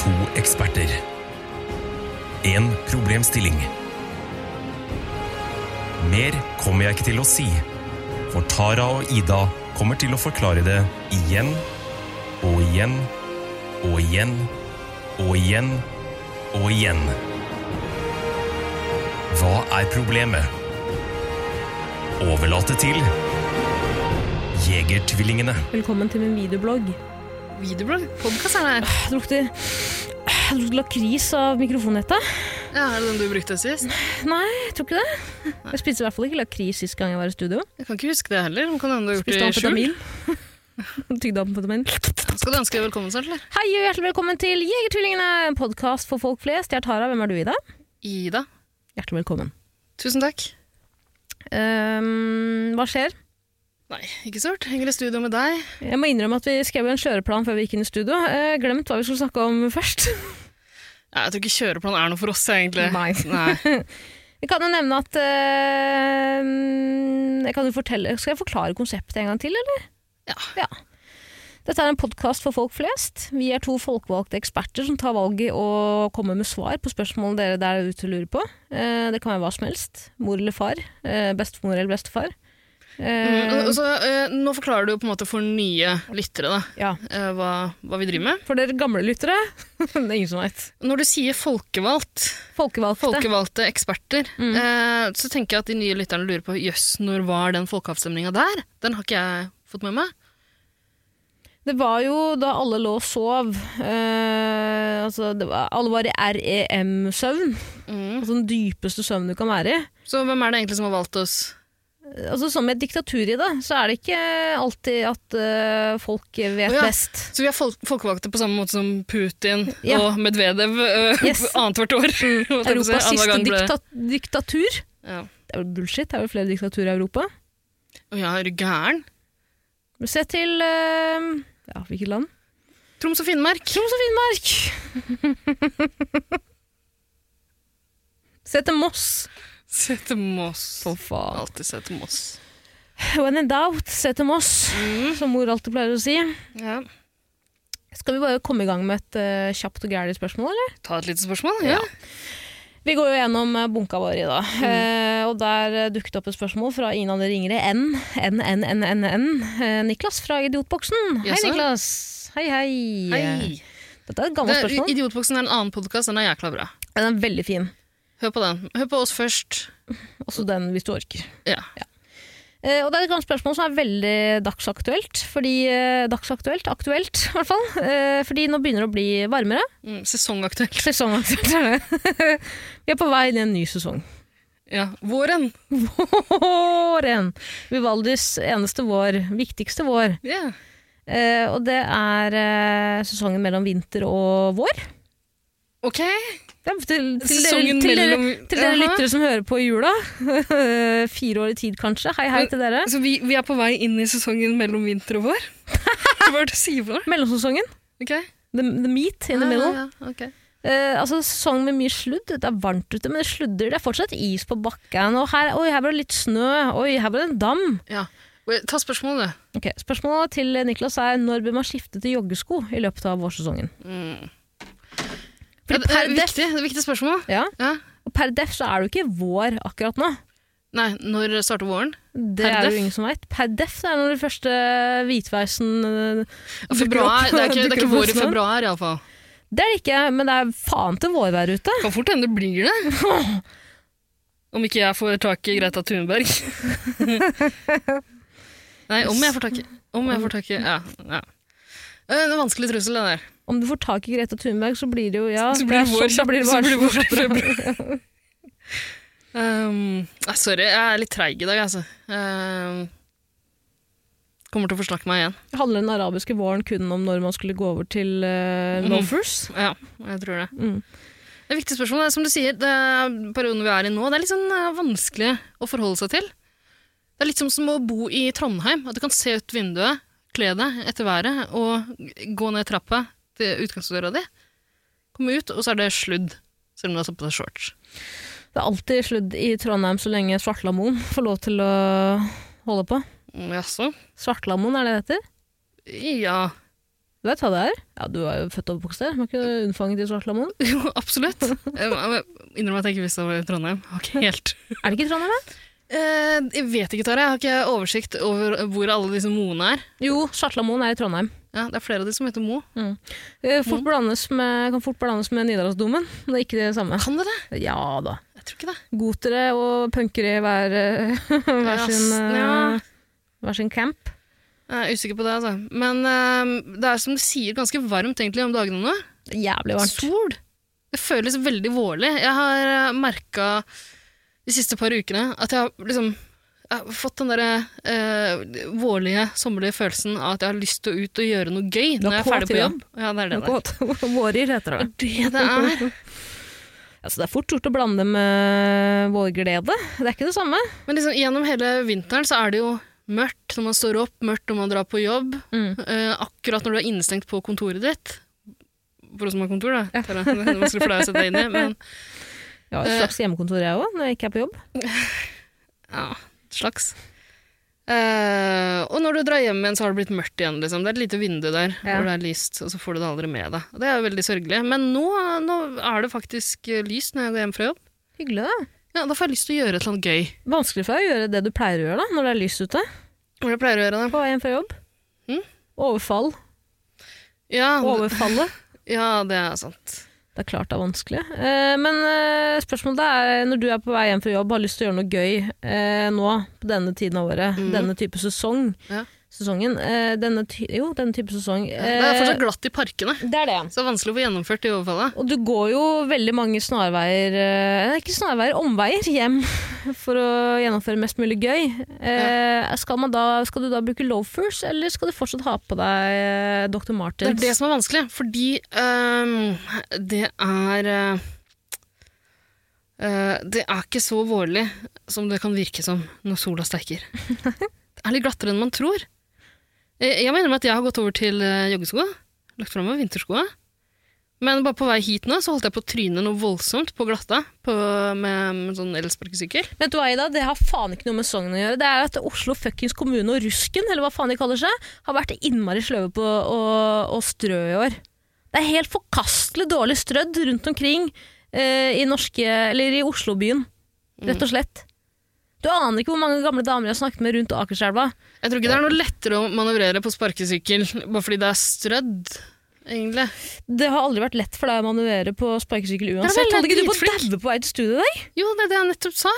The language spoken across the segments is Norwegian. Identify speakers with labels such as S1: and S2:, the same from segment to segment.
S1: To eksperter. En problemstilling. Mer kommer jeg ikke til å si, for Tara og Ida kommer til å forklare det igjen og igjen og igjen og igjen og igjen. Hva er problemet? Overlate til Jegertvillingene.
S2: Velkommen til min videoblogg.
S3: Videoblogg? Podkast er det her.
S2: Jeg lukter jeg lukter lakris av mikrofonnettet.
S3: Ja, er det den du brukte sist?
S2: Nei, jeg tror ikke det. Jeg spiste i hvert fall ikke lakris sist gang jeg var i studio.
S3: Jeg kan ikke huske det heller. men Kan hende du har gjort
S2: Spiste
S3: det i skjul.
S2: amfetamin. Tygde amfetamin.
S3: Skal du ønske deg velkommen snart, eller?
S2: Hei og hjertelig velkommen til Jegertvillingene, en podkast for folk flest. Jeg er Tara, hvem er du, Ida?
S3: Ida,
S2: Hjertelig velkommen.
S3: tusen takk.
S2: Ehm, hva skjer?
S3: Nei, ikke sort. Henger i studio med deg.
S2: Jeg må innrømme at vi skrev jo en kjøreplan før vi gikk inn i studio. Eh, glemt hva vi skulle snakke om først.
S3: Ja, jeg tror ikke kjøreplan er noe for oss, egentlig.
S2: Nei.
S3: Nei.
S2: Vi kan jo nevne at eh, jeg kan jo fortelle, Skal jeg forklare konseptet en gang til, eller?
S3: Ja.
S2: Dette er en podkast for folk flest. Vi er to folkevalgte eksperter som tar valg i å komme med svar på spørsmål dere der ute lurer på. Eh, det kan være hva som helst. Mor eller far. Eh, bestemor eller bestefar.
S3: Mm,
S2: Eh,
S3: og- og så, eh, nå forklarer du jo på en måte for nye lyttere da,
S2: ja.
S3: eh, hva, hva vi driver med.
S2: For dere gamle lyttere, det er ingen som veit.
S3: Når du sier folkevalgt,
S2: Folkevalgte.
S3: folkevalgte eksperter,
S2: Mm.
S3: eh, så tenker jeg at de nye lytterne lurer på jøss, når var den folkeavstemninga der? Den har ikke jeg fått med meg.
S2: Det var jo da alle lå og sov. Eh, altså, det var, alle var i E REM-søvn.
S3: Mm.
S2: Altså den dypeste søvnen du kan være i.
S3: Så hvem er det egentlig som har valgt oss?
S2: Altså Som i et diktatur i det, så er det ikke alltid at øh, folk vet
S3: Å ja.
S2: best.
S3: Så vi er fol folkevalgte på samme måte som Putin
S2: Ja.
S3: og Medvedev uh,
S2: Yes.
S3: annethvert år. holdt jeg på å si.
S2: Europas
S3: Annenhver
S2: siste
S3: gang ble-
S2: dikta diktatur.
S3: Ja.
S2: Det er jo bullshit, det er jo flere diktaturer i Europa.
S3: Å ja, er du gæren?
S2: Men Se til øh, ja, hvilket land?
S3: Troms og Finnmark.
S2: Troms og Finnmark! Se til Moss.
S3: Se til Moss.
S2: For faen.
S3: Alltid se til Moss.
S2: When in doubt, se til Moss,
S3: Mm.
S2: som mor alltid pleier å si.
S3: Ja.
S2: Skal vi bare komme i gang med et øh, kjapt og gærent spørsmål, eller?
S3: Ta et lite spørsmål. Ja.
S2: Vi går jo gjennom eh, bunka vår i dag,
S3: Mm.
S2: eh, og der eh, dukket opp et spørsmål fra ingen andre ringere enn N, N, N, N, N. Eh, Niklas fra Idiotboksen. Hei,
S3: Jaså?
S2: Niklas. Hei, hei.
S3: Hei.
S2: Dette er et
S3: Det
S2: gammelt
S3: er,
S2: spørsmål.
S3: Idiotboksen er en annen podkast. Den er jækla bra.
S2: Den er veldig fin.
S3: Hør på den. Hør på oss først.
S2: Også den, hvis du orker.
S3: Ja.
S2: Eh, og det er et gammelt spørsmål som er veldig dagsaktuelt. Fordi, eh, dagsaktuelt, aktuelt i hvert fall. Eh, fordi nå begynner det å bli varmere.
S3: Mm, sesongaktuelt.
S2: Sesongaktuelt er det. Vi er på vei inn i en ny sesong.
S3: Ja. Våren.
S2: Våren! Vivaldis eneste vår. Viktigste vår.
S3: Ja.
S2: Eh, og det er eh, sesongen mellom vinter og vår.
S3: Ok.
S2: Det er til, til dere,
S3: Sesongen
S2: til dere,
S3: mellom
S2: til dere
S3: Jaha.
S2: lyttere som hører på i jula. Fire år i tid, kanskje. Hei, hei
S3: Men-
S2: til dere.
S3: Så vi, vi er på vei inn i sesongen mellom vinter og vår? Hva er det du sier for noe?
S2: Mellomsesongen.
S3: Ok.
S2: The, the meat in the middle.
S3: Ja, ja, ok.
S2: Eh, altså Sesong med mye sludd. Det er varmt ute, men det sludder. Det er fortsatt is på bakken. Og her, oi, her ble det litt snø. Oi, her ble det en dam.
S3: Ja. Well, Ta spørsmålet, du.
S2: Ok, Spørsmålet til Niklas er når bør man skifte til joggesko i løpet av vårsesongen?
S3: Ja,
S2: Fordi
S3: Mm. det, det,
S2: per
S3: er
S2: def,
S3: viktig, det er viktig spørsmål.
S2: ja,
S3: Ja.
S2: og per def så er det jo ikke vår akkurat nå.
S3: Nei, når starter våren?
S2: Det
S3: Per
S2: er det
S3: def?
S2: jo ingen som veit. Per def det er når den første hvitveisen øh,
S3: Ja,
S2: dukker
S3: Februar,
S2: opp-
S3: det er ikke, det er
S2: dukker
S3: ikke
S2: opp på
S3: vår i
S2: snøen.
S3: februar, iallfall.
S2: Det er det ikke, men det er faen til vårvær ute.
S3: Kan fort hende det blir det. Om ikke jeg får tak i Greta Thunberg. Nei, om jeg får tak i Om jeg får tak i Ja. ja. Eh, Det er en vanskelig trussel, den der.
S2: Om du får tak i Greta Thunberg, så blir det jo ja,
S3: Så blir det
S2: er
S3: vår
S2: sånn-
S3: kjapt,
S2: blir det
S3: så
S2: bare
S3: blir det vår i
S2: sånn.
S3: Um, nei, sorry, jeg er litt treig i dag, altså. Um, kommer til å forsnakke meg igjen.
S2: Handler den arabiske våren kun om når man skulle gå over til øh,
S3: Mhm.
S2: loafers?
S3: Ja, jeg tror det.
S2: Mm.
S3: Det er et viktig spørsmål. Som du sier, det er perioden vi er i nå, det er litt sånn eh, vanskelig å forholde seg til. Det er litt som, som å bo i Trondheim. At du kan se ut vinduet, kle deg etter været og gå ned trappa til utgangsdøra di. Komme ut, og så er det sludd. Selv om du har tatt på deg shorts.
S2: Det er alltid sludd i Trondheim så lenge Svartlamoen får lov til å holde på.
S3: Mm, Jaså?
S2: Svartlamoen er det det heter?
S3: Ja.
S2: Du vet hva det er? Ja, du er jo født og oppvokst der. Var ikke du unnfanget i Svartlamoen?
S3: Jo, absolutt. Jeg må- jeg Innrømmer at jeg ikke visste det var i Trondheim. Har ikke helt.
S2: Er det ikke i Trondheim? da?
S3: Eh, jeg vet ikke, Tara. Jeg har ikke oversikt over hvor alle disse moene er.
S2: Jo, Svartlamoen er i Trondheim.
S3: Ja, det er flere av de som heter Mo.
S2: Eh, Fort blandes med, kan fort blandes med Nidarosdomen. men Det er ikke det samme.
S3: Kan det det?
S2: Ja da.
S3: Jeg tror ikke det.
S2: Gotere og punkere i hver, eh, hver,
S3: Ja,
S2: sin, eh,
S3: ja.
S2: hver sin camp.
S3: Jeg er usikker på det, altså. Men eh, det er som du sier, ganske varmt egentlig om dagene nå.
S2: Jævlig varmt.
S3: Sol! Det føles veldig vårlig. Jeg har merka de siste par ukene at jeg har liksom jeg har fått den derre eh, vårlige, sommerlige følelsen av at jeg har lyst til å ut og gjøre noe gøy
S2: Du er
S3: når jeg er ferdig
S2: kåt i
S3: på
S2: dag.
S3: jobb. Ja, det er det der.
S2: Godt. Vårer heter det.
S3: Det det er.
S2: Altså, det er fort gjort å blande med vårglede. Det er ikke det samme.
S3: Men liksom, gjennom hele vinteren så er det jo mørkt når man står opp, mørkt når man drar på jobb.
S2: Mm.
S3: Eh, akkurat når du er innestengt på kontoret ditt. For oss som har kontor, da. Tara. Det er vanskelig for deg å sette deg inn i, men
S2: Jeg har et slags hjemmekontor jeg òg, når jeg ikke er på jobb.
S3: Ja, slags. Eh, og når du drar hjem igjen, så har det blitt mørkt igjen. Liksom. Det er et lite vindu der
S2: Ja.
S3: hvor det er lyst, og så får du det aldri med deg. Det er jo veldig sørgelig. Men nå, nå er det faktisk eh, lyst når jeg går hjem fra jobb.
S2: Hyggelig, da.
S3: Ja, Da får jeg lyst til å gjøre et eller annet gøy.
S2: Vanskelig for deg å gjøre det du pleier å gjøre da, når det er lyst ute.
S3: Hva er det jeg pleier å gjøre da?
S2: På vei hjem fra jobb.
S3: Mm.
S2: Overfall.
S3: Ja, d-
S2: Overfallet.
S3: ja, det er sant.
S2: Det er klart det er vanskelig. Eh, men eh, spørsmålet er, når du er på vei hjem fra jobb og har lyst til å gjøre noe gøy eh, nå, på denne tiden av året,
S3: Mhm.
S2: denne type sesong,
S3: Ja.
S2: sesongen, eh, denne ty jo, denne type sesong.
S3: Det er
S2: eh,
S3: fortsatt glatt i parkene,
S2: det er det.
S3: så det er vanskelig å få gjennomført i overfallet.
S2: Og du går jo veldig mange snarveier eh, Ikke snarveier, omveier hjem for å gjennomføre mest mulig gøy. Eh, skal, man da, skal du da bruke loafers, eller skal du fortsatt ha på deg eh, Dr.
S3: Det er
S2: Martens?
S3: det som er vanskelig, fordi øhm, det er øh, øh, Det er ikke så vårlig som det kan virke som når sola steiker. Det er litt glattere enn man tror. Eh, Jeg mener at jeg har gått over til øh, joggeskoa. Lagt fra meg vinterskoa. Men bare på vei hit nå så holdt jeg på å tryne noe voldsomt på glatta på, med, med sånn elsparkesykkel.
S2: Vet du hva, Ida? Det har faen ikke noe med Sogn å gjøre. Det er jo at Oslo fuckings kommune og Rusken, eller hva faen de kaller seg, har vært innmari sløve på å, å strø i år. Det er helt forkastelig dårlig strødd rundt omkring eh, i, norske, eller i Oslobyen,
S3: Mm.
S2: rett og slett. Du aner ikke hvor mange gamle damer jeg har snakket med rundt Akerselva.
S3: Jeg tror ikke det er noe lettere å manøvrere på sparkesykkel bare fordi det er strødd, egentlig.
S2: Det har aldri vært lett for deg å manøvrere på sparkesykkel
S3: er
S2: uansett.
S3: veldig
S2: Hadde ikke du fått
S3: dritflink.
S2: daue på vei til studiet i dag?
S3: Jo, det er det jeg nettopp sa.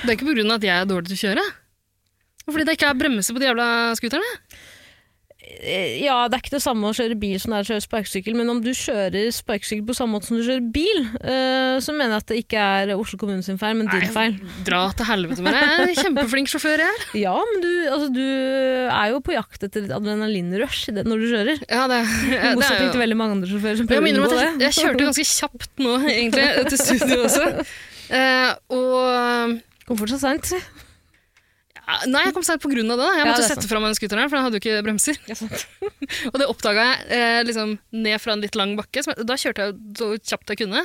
S3: Det er ikke på grunn av at jeg er dårlig til å kjøre. Og Fordi det ikke er bremser på de jævla skuterne.
S2: Eh, Ja, det er ikke det samme å kjøre bil som det er å kjøre sparkesykkel, men om du kjører sparkesykkel på samme måte som du kjører bil, eh, så mener jeg at det ikke er Oslo kommune sin feil, men din feil.
S3: Dra til helvete med deg. Jeg er en kjempeflink sjåfør jeg er.
S2: Ja, men du, altså, du er jo på jakt etter et adrenalinrush i det- når du kjører.
S3: Ja, det,
S2: I
S3: det er
S2: motsetning til
S3: jo.
S2: veldig mange andre sjåfører som
S3: Jeg
S2: prøver å
S3: må innrømme
S2: unngå
S3: at jeg,
S2: det.
S3: jeg kjørte ganske kjapt nå, egentlig, til studio også. Eh, og
S2: Kom fortsatt seint.
S3: ja, Nei, jeg kom sent på grunn av det. da. Jeg
S2: Ja,
S3: måtte
S2: det er
S3: sette fra meg den skuteren, her, for den hadde jo ikke bremser. Og det oppdaga jeg eh, liksom, ned fra en litt lang bakke. som jeg- Da kjørte jeg jo så kjapt jeg kunne.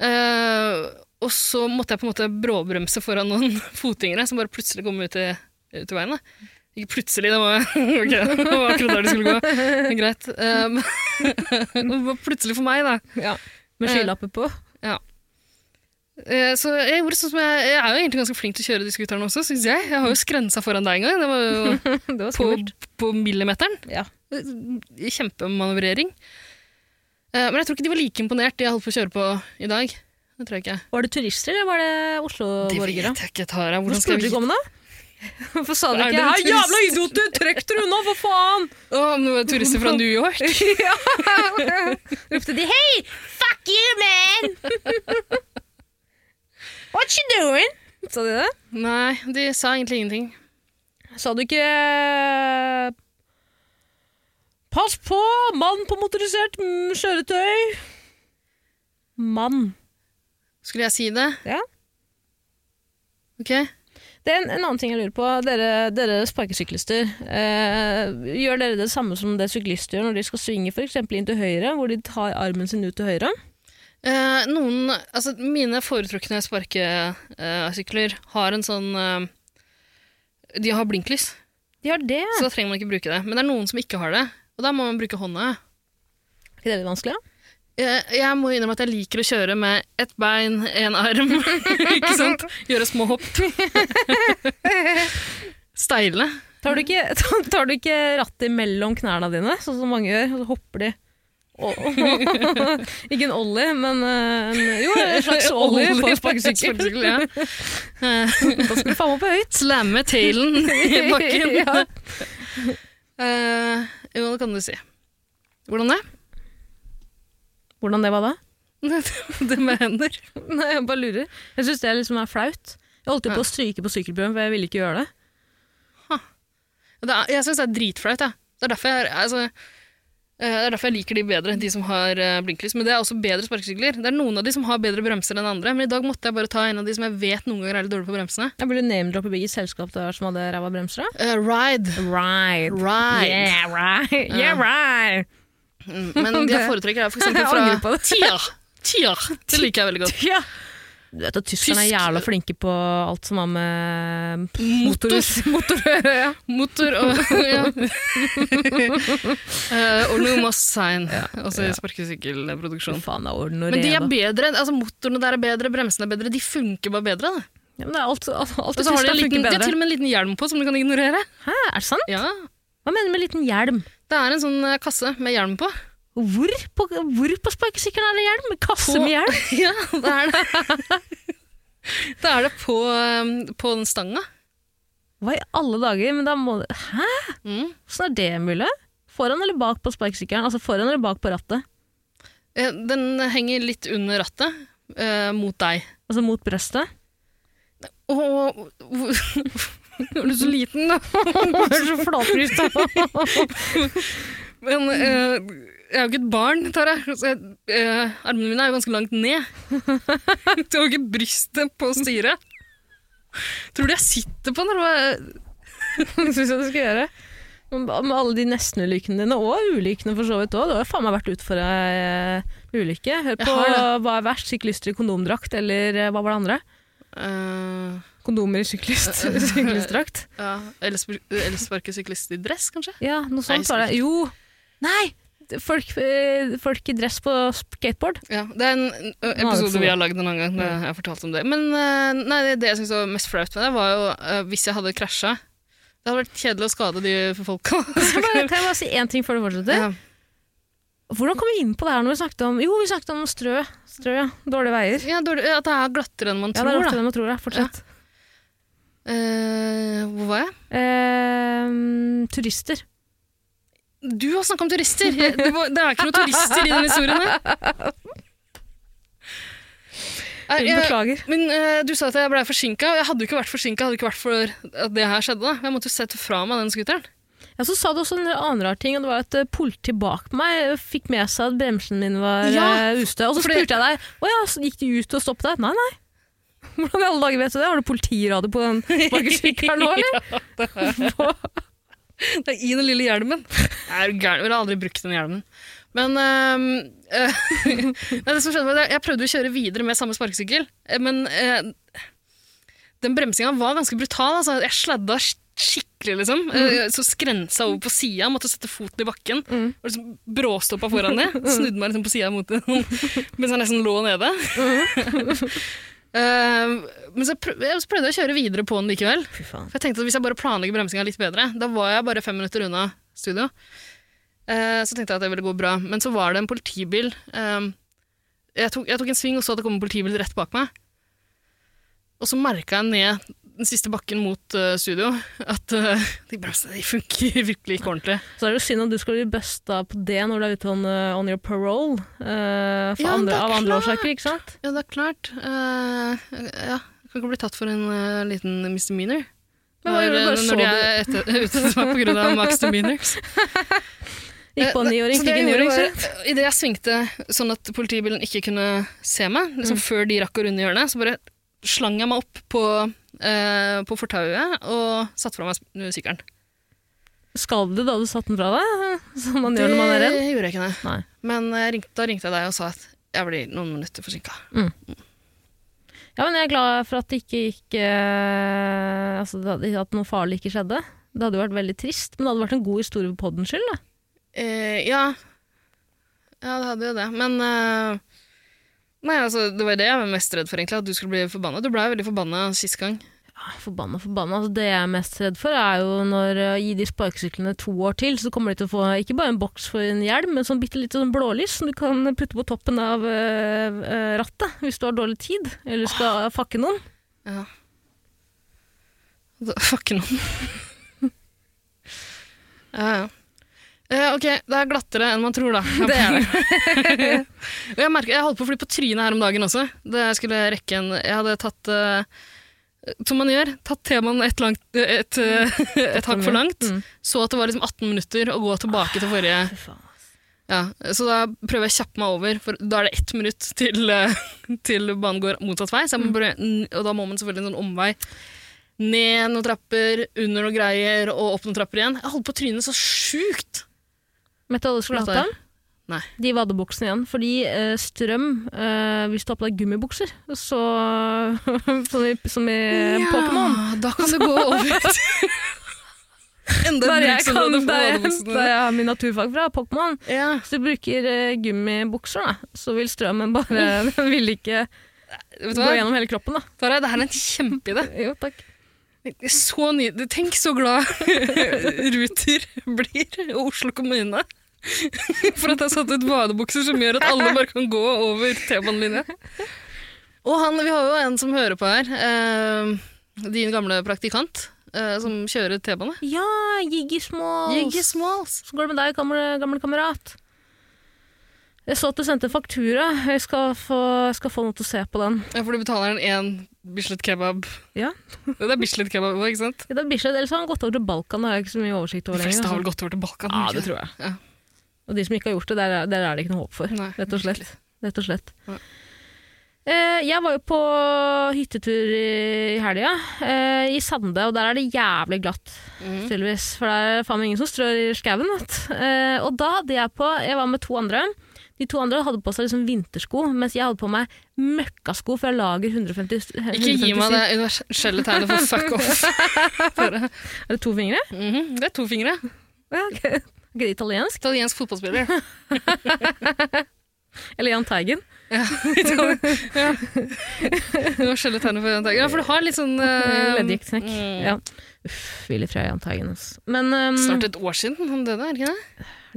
S3: Eh, og så måtte jeg på en måte bråbremse foran noen fotgjengere som bare plutselig kom ut i, ut i veien. Da. Ikke plutselig, det var, ok, det var akkurat der det skulle gå. Men Greit. Eh, men- det var plutselig for meg, da.
S2: Ja. Med skylapper på.
S3: Eh, så jeg gjorde sånn som jeg, jeg er jo egentlig ganske flink til å kjøre de skuterne også, syns jeg. Jeg har jo skrensa foran deg en gang. Det var jo
S2: Det var
S3: på,
S2: skummelt.
S3: på millimeteren.
S2: Ja.
S3: Kjempemanøvrering. Eh, Men jeg tror ikke de var like imponert, de jeg holdt på å kjøre på i dag. Det tror jeg ikke.
S2: Var det turister, eller var det Oslo-borgere?
S3: jeg ikke, Tara.
S2: Hvor
S3: Hvordan skal
S2: spurte du
S3: vi
S2: ikke om det? Hvorfor sa du
S3: Er
S2: ikke
S3: dere
S2: 'Hei, jævla
S3: turister?»
S2: idioter, trekk dere unna, for faen!'
S3: Å, om det var turister fra New York?
S2: Ropte de 'Hei, fuck you, man!' What you doing? Sa de det?
S3: Nei, de sa egentlig ingenting.
S2: Sa du ikke eh, 'Pass på, mann på motorisert mm, kjøretøy'? Mann.
S3: Skulle jeg si det?
S2: Ja.
S3: Ok.
S2: Det er en, en annen ting jeg lurer på. Dere, dere sparkesyklister, eh, gjør dere det samme som det syklister gjør når de skal svinge for eksempel inn til høyre, hvor de tar armen sin ut til høyre?
S3: Eh, noen, altså mine foretrukne sparkesykler har en sånn eh, De har blinklys,
S2: De har det.
S3: så da trenger man ikke bruke det. Men det er noen som ikke har det, og da må man bruke hånda.
S2: Er ikke det litt vanskelig? da?
S3: Jeg, jeg må innrømme at jeg liker å kjøre med ett bein, én arm, ikke sant? Gjøre små hopp. Steile.
S2: Tar du ikke, tar du ikke rattet mellom knærne dine, sånn som mange gjør, og så hopper de? Å- ikke en ollie, men eh, en, jo, en slags ollie på en sparkesykkel.
S3: Sparkesykkel, ja. Eh,
S2: Da skal du faen meg på høyt.
S3: Slamme tailen i bakken.
S2: Ja.
S3: Eh, jo, det kan du si. Hvordan det?
S2: Hvordan det var da?
S3: Det med hender.
S2: Nei, Jeg bare lurer. Jeg syns det liksom er flaut. Jeg holdt jo på å stryke på sykkelbjørn, for jeg ville ikke gjøre det.
S3: Det er, jeg syns det er dritflaut. jeg. Det er derfor jeg, altså, eh, det er derfor jeg liker de bedre, de som har eh, blinklys. Men det er også bedre sparkesykler. Det er noen av de som har bedre bremser enn andre, men i dag måtte jeg bare ta en av de som jeg vet noen ganger er litt dårlig på bremsene.
S2: Jeg burde name-droppe hvilket selskap det var som hadde ræva bremser. da.
S3: Eh, ride.
S2: Right.
S3: Ride.
S2: Yeah, right. Yeah, right.
S3: Mm, Men de jeg foretrekker er for eksempel
S2: Jeg angrer på
S3: fra
S2: det.
S3: Tia. Tia. Det liker jeg veldig godt.
S2: Ja. Du vet at tyskerne er
S3: Tysk-
S2: jævla flinke på alt som har med
S3: Motor.
S2: motor å gjøre. ja.
S3: Motor og ja. Eh, og noe masse sein, altså i sparkesykkelproduksjon.
S2: Fy faen, det er orden og
S3: Men de er
S2: reda.
S3: bedre, altså motorene der er bedre, bremsene er bedre, de funker bare bedre. Da.
S2: Ja, men det er alt, alt, alt
S3: Og
S2: i
S3: så har de,
S2: Tyskland
S3: en liten,
S2: funker
S3: de har
S2: bedre.
S3: til og med en liten hjelm på som du kan ignorere.
S2: Hæ, er det sant?
S3: Ja,
S2: Hva mener du med liten hjelm?
S3: Det er en sånn eh, kasse med hjelm på.
S2: Hvor på, hvor på sparkesykkelen er det hjelm? Kasse
S3: På-
S2: med hjelm?
S3: Ja, det er det. Da er det på, eh, på den stanga.
S2: Hva i alle dager? Men da må det Hæ?
S3: Mm.
S2: Åssen er det mulig? Foran eller bak på sparkesykkelen? Altså foran eller bak på rattet?
S3: Eh, Den henger litt under rattet, eh, mot deg.
S2: Altså mot brøstet?
S3: Åh, er du så liten da?
S2: Åh, det er så flatbryst!
S3: Men eh, jeg er jo ikke et barn, Tara. Så jeg, eh, armene mine er jo ganske langt ned. Du har jo ikke brystet på styret. Tror du jeg sitter på når jeg...
S2: Syns jeg du skal gjøre. Men ba- Med alle de nestenulykkene dine, og ulykkene for så vidt òg. Du har jo faen meg vært ute for ei eh, ulykke. Hør
S3: Jeg
S2: på
S3: har det.
S2: hva er verst, syklister i kondomdrakt eller eh, hva var det andre?
S3: Eh,
S2: Kondomer i syklist, syklistdrakt?
S3: ja, eller sp- eller sparke syklist i dress, kanskje?
S2: Ja, noe sånt var det. Jo! Nei! Folk, eh, folk i dress på skateboard.
S3: Ja, det er en ø, episode vi har lagd en annen gang. da Jeg har fortalt om det. Men eh, nei, det, det jeg syntes var mest flaut med det, var jo eh, hvis jeg hadde krasja. Det hadde vært kjedelig å skade de folka.
S2: Kan jeg bare- kan jeg bare si én ting før du fortsetter?
S3: Ja.
S2: Hvordan kom vi inn på det her når vi snakket om Jo, vi snakket om strø. Strø, ja. Dårlige veier.
S3: Ja, dårlig, at det er glattere enn man
S2: Ja, det er
S3: tror,
S2: ofte
S3: da.
S2: det man tror, ja. Fortsett.
S3: Eh, hvor var jeg?
S2: Ehm, turister.
S3: Du har snakka om turister! Jeg- Det, var, det er ikke noen turister i den historien her. Nei, jeg-
S2: Beklager.
S3: Men eh, du sa at jeg blei forsinka. Jeg hadde jo ikke vært forsinka hadde det ikke vært for at det her skjedde. da. Jeg måtte jo sette fra meg den scooteren.
S2: Ja, så sa du også en annen rar ting, og det var at eh, politiet bak meg eh, fikk med seg at bremsen min var
S3: Ja,
S2: eh, ustø. Og så
S3: fordi-
S2: spurte jeg deg å ja, så gikk de ut og stoppet deg. Nei, nei. Hvordan i alle dager vet du det? Har du politiradio på den sparkesykkelen nå, eller?
S3: Det er i den lille hjelmen. Jeg er jo gæren, jeg ville aldri brukt den hjelmen. Men øhm, øh, nei, det som skjedde var at jeg- Jeg prøvde å kjøre videre med samme sparkesykkel, eh, men eh, den bremsinga var ganske brutal. Altså. Jeg sladda sk- skikkelig, liksom. Eh, Så skrensa over på sida, måtte sette foten i bakken.
S2: Mm.
S3: Og liksom bråstoppa foran det. Snudde meg liksom på sida mot den mens jeg nesten lå nede. Mm. Eh, men så, prøv, så prøvde jeg å kjøre videre på den likevel.
S2: Fy faen.
S3: For jeg tenkte at Hvis jeg bare planlegger bremsinga litt bedre Da var jeg bare fem minutter unna studio. Eh, så tenkte jeg at det ville gå bra. Men så var det en politibil eh, jeg, tok, jeg tok en sving og så at det kom en politibil rett bak meg. Og så merka jeg ned den siste bakken mot eh, studio at eh, de bremsene de funker virkelig ikke ordentlig.
S2: Så er det jo synd at du skal bli busta på det når du er ute on, eh, on your parole eh, for
S3: Ja, men det
S2: andre,
S3: er
S2: av andre
S3: klart.
S2: årsaker, ikke sant?
S3: Ja, det er klart. Eh, ja, jeg kan ikke bli tatt for en eh, liten misdemeanor.
S2: Men hva
S3: Når,
S2: gjorde du?
S3: eh,
S2: Bare så
S3: når de
S2: du-
S3: er ute etter meg pga. max demeanors.
S2: Gikk på en
S3: Eh,
S2: niåring,
S3: så det
S2: fikk en
S3: jeg
S2: niåring.
S3: gjorde
S2: så-
S3: var, eh, Idet jeg svingte sånn at politibilen ikke kunne se meg, liksom
S2: Mm.
S3: før de rakk å runde hjørnet, så bare slang jeg meg opp på, eh, på fortauet og satte fra meg sp- sykkelen.
S2: Skalv du da du satte den fra deg? Som man gjør når man er redd?
S3: Det gjorde jeg ikke, nei. eh,
S2: Nei.
S3: Men jeg ringte, da ringte jeg deg og sa at jeg blir noen minutter forsinka.
S2: Ja, men jeg er glad for at det ikke gikk eh, altså, det hadde- At noe farlig ikke skjedde. Det hadde jo vært veldig trist, men det hadde vært en god historie for poddens skyld. Da.
S3: Eh, ja. ja, det hadde jo det. Men eh, Nei, altså, det var jo det jeg var mest redd for, egentlig. At du skulle bli forbanna. Du blei veldig forbanna sist gang.
S2: Ja, Forbanna, forbanna. Altså, det jeg er mest redd for, er jo når eh, Gi de sparkesyklene to år til, så kommer de til å få ikke bare en boks for en hjelm, men sånn bitte lite sånn blålys som du kan putte på toppen av eh, eh, rattet hvis du har dårlig tid, eller skal fakke noen.
S3: Ja. Da- Fuck noen. ja, ja. Eh, ok, det er glattere enn man tror, da. Det er det. Og jeg, merker, jeg holdt på å fly på trynet her om dagen også. Da jeg skulle rekke en Jeg hadde tatt eh, Som man gjør, tatt temaen et, langt, et, eh, et hakk for langt.
S2: Mm.
S3: Så at det var liksom 18 minutter å gå tilbake til forrige
S2: Fy faen.
S3: ja, Så da prøver jeg å kjappe meg over, for da er det ett minutt til, eh, til banen går motsatt vei. Så jeg må
S2: Mm.
S3: prøve- n- og da må man selvfølgelig en sånn omvei. Ned noen trapper, under noen greier, og opp noen trapper igjen. Jeg holdt på trynet så sjukt!
S2: Vet du hva du skulle hatt
S3: Forlatt
S2: av?
S3: Nei.
S2: De vadebuksene igjen. Fordi eh, strøm eh, Hvis du har på deg gummibukser, så Som i, som i Eh, Pokémon.
S3: Da kan det gå over til Enda
S2: Der jeg,
S3: et
S2: kan,
S3: bruksområde for
S2: der, jeg, der
S3: vadebuksene.
S2: jeg har min naturfag fra, Pokémon.
S3: Ja.
S2: Hvis du bruker eh, gummibukser, da, så vil strømmen bare Den vil ikke
S3: Vet du
S2: gå
S3: hva,
S2: gjennom hele kroppen, da.
S3: Tara, det her er en kjempeidé.
S2: Jo, takk.
S3: Så nydelig. Tenk så glad Ruter blir, og Oslo kommune, for at jeg har satt ut badebukser som gjør at alle bare kan gå over T-banelinja. Og han, vi har jo en som hører på her, eh, din gamle praktikant, eh, som kjører T-bane.
S2: Ja, Jiggy Smalls.
S3: Jiggy Smalls.
S2: Så går det med deg, gamle, gamle kamerat. Jeg så at du sendte en faktura. Jeg skal få, jeg skal få noe til å se på den.
S3: Ja, for du betaler han én Bislett kebab.
S2: Ja.
S3: Det er Bislett kebab òg, ikke sant?
S2: Det er Bislett, ellers har han gått over til Balkan. Det har jeg ikke så mye oversikt
S3: De
S2: over lenger.
S3: fleste har vel
S2: altså.
S3: gått over til Balkan?
S2: Ja,
S3: ikke
S2: det tror jeg.
S3: Ja.
S2: Og de som ikke har gjort det, der, er- der er det ikke noe håp for.
S3: Nei,
S2: rett og slett.
S3: virkelig.
S2: Rett og slett.
S3: Ja.
S2: Eh, jeg var jo på hyttetur i helga, eh, i Sande, og der er det jævlig glatt,
S3: Mhm.
S2: tydeligvis. For det er faen meg ingen som strør i skauen. vet du. Eh, og da hadde jeg på Jeg var med to andre. De to andre hadde på seg liksom vintersko, mens jeg hadde på meg møkkasko fra lager 150
S3: Ikke gi meg det universelle tegnet for fuck off. Bare.
S2: Er det to fingre?
S3: Mhm, Det er to fingre.
S2: Ja, ok. Er ikke det italiensk?
S3: Italiensk fotballspiller.
S2: Eller Jahn Teigen?
S3: ja. Universelle tegnet for Jahn Teigen. Ja, for du har litt sånn eh,
S2: Leddgiktknekk.
S3: mm,
S2: Ja. Uff, Willy Frøya Jahn altså. Men um,
S3: Snart
S2: er
S3: et mm. år siden han døde, er det ikke det?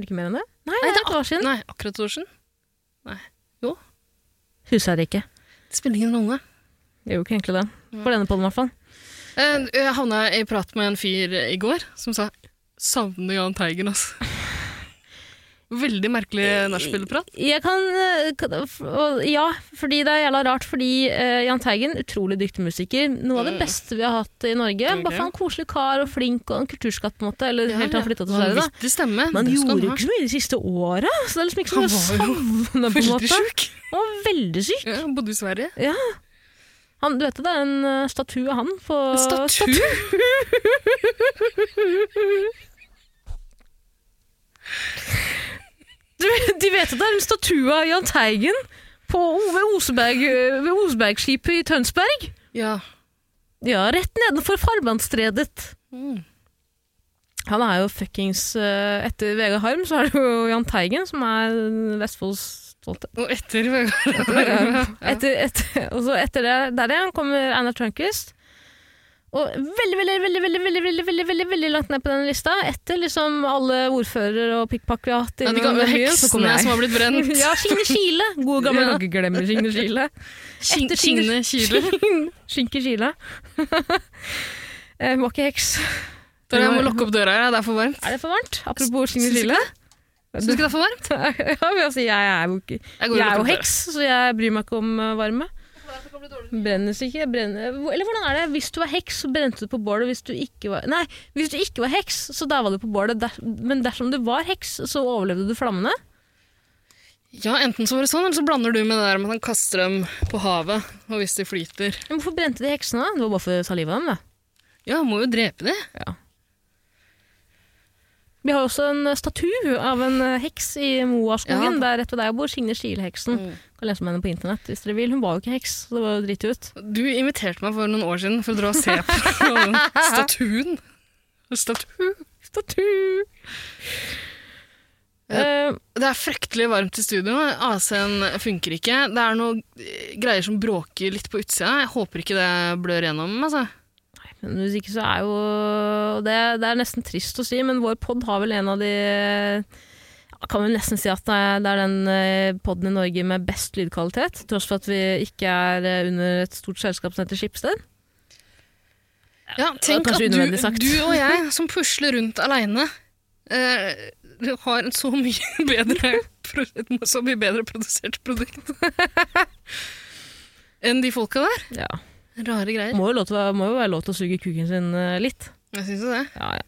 S2: det ikke mer enn det? Nei, det er et år siden.
S3: Nei, akkurat et år siden.
S2: Husker jeg det ikke.
S3: Det spiller ingen rolle.
S2: Jeg gjorde ikke egentlig det.
S3: Mm.
S2: For denne podden i hvert fall.
S3: Eh, Jeg havna i prat med en fyr i går som sa 'savner Jahn Teigen', altså. Veldig merkelig nachspielprat.
S2: Jeg kan, eh, kan f- og- Ja, fordi det er jævla rart, fordi eh, Jahn Teigen, utrolig dyktig musiker, noe av
S3: Mm.
S2: det beste vi har hatt i Norge.
S3: Ok.
S2: Bare for en koselig kar og flink og en kulturskatt, på en måte. Eller helt til han flytta til Sverige, da.
S3: Vanvittig stemme.
S2: Men
S3: det
S2: han
S3: skal han
S2: gjorde
S3: ha.
S2: ikke så mye de siste åra, så det er liksom ikke så
S3: Han
S2: mye å savne, på en
S3: Veldig
S2: måte.
S3: sjuk.
S2: Han var veldig syk.
S3: Ja, han bodde i Sverige.
S2: Han, du vet det, det er en eh, statue av han på
S3: En statue!
S2: Du, de vet at det er en statue av Jahn Teigen på, ved, Oseberg, eh, ved Osebergskipet i Tønsberg.
S3: Ja.
S2: Ja, rett nedenfor Farmannstredet.
S3: Mm.
S2: Han er jo fuckings eh, Etter Vegard Harm så er det jo Jahn Teigen som er Vestfolds stolthet.
S3: Og etter Vegard
S2: Etter, etter, og så etter det der igjen kommer Einar Tørnquist. Og veldig, veldig, veldig veldig, veldig, veldig, veldig, veldig, veldig langt ned på den lista, etter liksom alle ordfører og pikkpakk vi har hatt
S3: Ja, de
S2: innom
S3: gamle
S2: den byen, så kommer
S3: heksene
S2: jeg.
S3: som har blitt brent.
S2: Ja, Signe Kile. Gode gamle
S3: Ja.
S2: ja. glemmer Signe Kile.
S3: Skin-
S2: Etter
S3: Signe Kyle.
S2: Skinke Kile. Eh, Hun var ikke heks.
S3: Dere, jeg må lukke opp døra her, det er for varmt.
S2: Er det for varmt? Apropos Signe
S3: Syns ikke
S2: Kile.
S3: Syns ikke det er for varmt?
S2: Ja, men altså, jeg er jo ikke
S3: Jeg
S2: Jeg er jo
S3: og lukker opp
S2: heks, så jeg bryr meg ikke om eh, varme. Brennes ikke? Brenner. Hvor- Eller hvordan er det? Hvis du var heks, så brente du på bålet. Hvis du ikke var Nei, hvis du ikke var heks, så daua du på bålet. Der- Men dersom du var heks, så overlevde du flammene.
S3: døra. Ja, enten så var det sånn, eller så blander du med det der med at han kaster dem på havet, og hvis de flyter
S2: Men hvorfor brente de heksene? da? Det var bare for å ta livet av dem, da.
S3: Ja, han må jo drepe dem.
S2: Ja. Vi har også en eh, statue av en eh, heks i Moaskogen,
S3: Ja. Mm.
S2: der rett ved der jeg bor. Signe Skilheksen. Kan lese om henne på internett hvis dere vil. Hun var jo ikke heks, så det var jo dritt ut.
S3: Du inviterte meg for noen år siden for å dra og se på den statuen. Statue.
S2: Statue! Eh,
S3: Det er fryktelig varmt i studio. AC-en funker ikke. Det er noe eh, greier som bråker litt på utsida. Jeg håper ikke det blør gjennom. Altså.
S2: Men hvis ikke så er jo og det, det er nesten trist å si, men vår pod har vel en av de ja, Kan vel nesten si at det er- det er den poden i Norge med best lydkvalitet. Tross for at vi ikke er eh, under et stort selskap som heter Schibsted.
S3: Ja, tenk
S2: kanskje
S3: at du,
S2: unødvendig sagt.
S3: du og jeg, som pusler rundt aleine, eh, har en så mye bedre, pro- et så mye bedre produsert produkt enn de folka der.
S2: Ja.
S3: Rare greier.
S2: Må jo, lov til, å- må jo være lov til å suge kuken sin eh, litt.
S3: Jeg syns jo det.
S2: Ja, ja.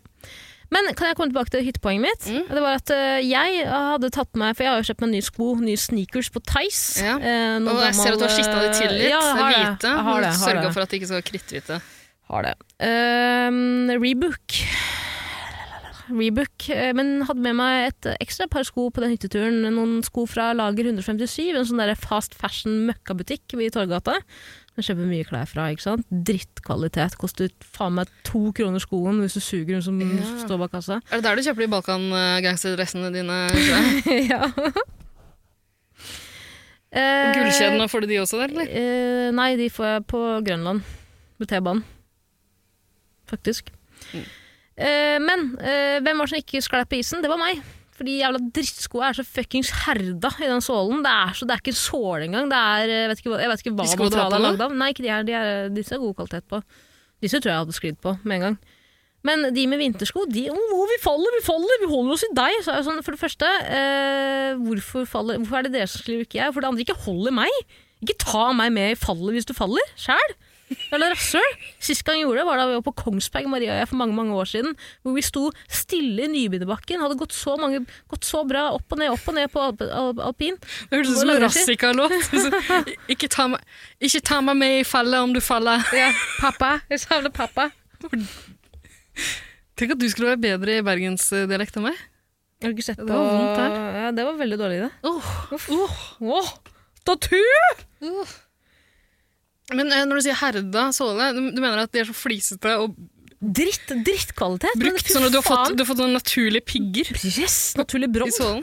S2: Men kan jeg komme tilbake til hyttepoenget mitt?
S3: Mm.
S2: Det var at eh, jeg hadde tatt med For jeg har jo kjøpt meg nye sko, nye sneakers på Theis.
S3: Ja.
S2: Eh, noen
S3: Og jeg ser at du har
S2: gammel, eh,
S3: skittet de til litt.
S2: Ja, jeg har det.
S3: hvite.
S2: Jeg har det, jeg har
S3: Sørga
S2: det.
S3: for at de ikke skal være kritthvite.
S2: Har det. Ehm, Rebook. Rebook. eh, Men hadde med meg et ekstra par sko på den hytteturen. Noen sko fra Lager 157, en sånn der fast fashion møkkabutikk ved Torgata. Jeg kjøper mye klær fra, ikke sant? Drittkvalitet. Koster faen meg to kroner skoen hvis du suger hun som
S3: Ja.
S2: står bak kassa.
S3: Er det der du kjøper de Balkan-gangsterdressene dine? Gullkjedene,
S2: ja. Eh,
S3: får du de også der, eller?
S2: Eh, nei, de får jeg på Grønland. Med T-banen. Faktisk. Eh, men eh, hvem var det som ikke sklei på isen? Det var meg. For de jævla drittskoa er så fuckings herda i den sålen. Det er, så, det er ikke en såle engang. Det er, eh, vet ikke, hva- jeg vet ikke hva
S3: De skoene du har
S2: materialet er
S3: på nå?
S2: lagd av. Nei, ikke de her. De er, disse er god kvalitet på. Disse tror jeg jeg hadde sklidd på med en gang. Men de med vintersko, de Å, å, vi faller, vi faller! Vi holder oss i deg! Så er jeg sånn, for det første, eh, hvorfor, faller, hvorfor er det dere som skriver, ikke jeg? For det andre, ikke holder meg! Ikke ta meg med i fallet hvis du faller sjæl! Jævla rasshøl! Sist gang jeg gjorde det, var da vi var på Kongsberg, Maria og jeg, for mange mange år siden. Hvor vi sto stille i Nybegynnerbakken. Hadde gått så, mange, gått så bra opp og ned, opp og ned på alp, alp, alpin.
S3: Det hørtes ut som en Rassika-låt. Ikke, ta meg- ikke ta meg med i fallet om du faller.
S2: Pappa! Jeg savner pappa!
S3: Tenk at du skulle være bedre i bergensdialekt enn meg.
S2: Jeg har du ikke sett på
S3: Det var vondt her.
S2: Ja, det var veldig dårlig, det.
S3: Åh.
S2: Åh, statue!
S3: Men eh, når du sier herda såle, du, du mener at de er så flisete og
S2: Dritt, drittkvalitet. men
S3: brukt,
S2: fy
S3: sånn at du har fått,
S2: faen.
S3: du har fått noen naturlige pigger
S2: Yes, naturlig brodd.
S3: i sålen?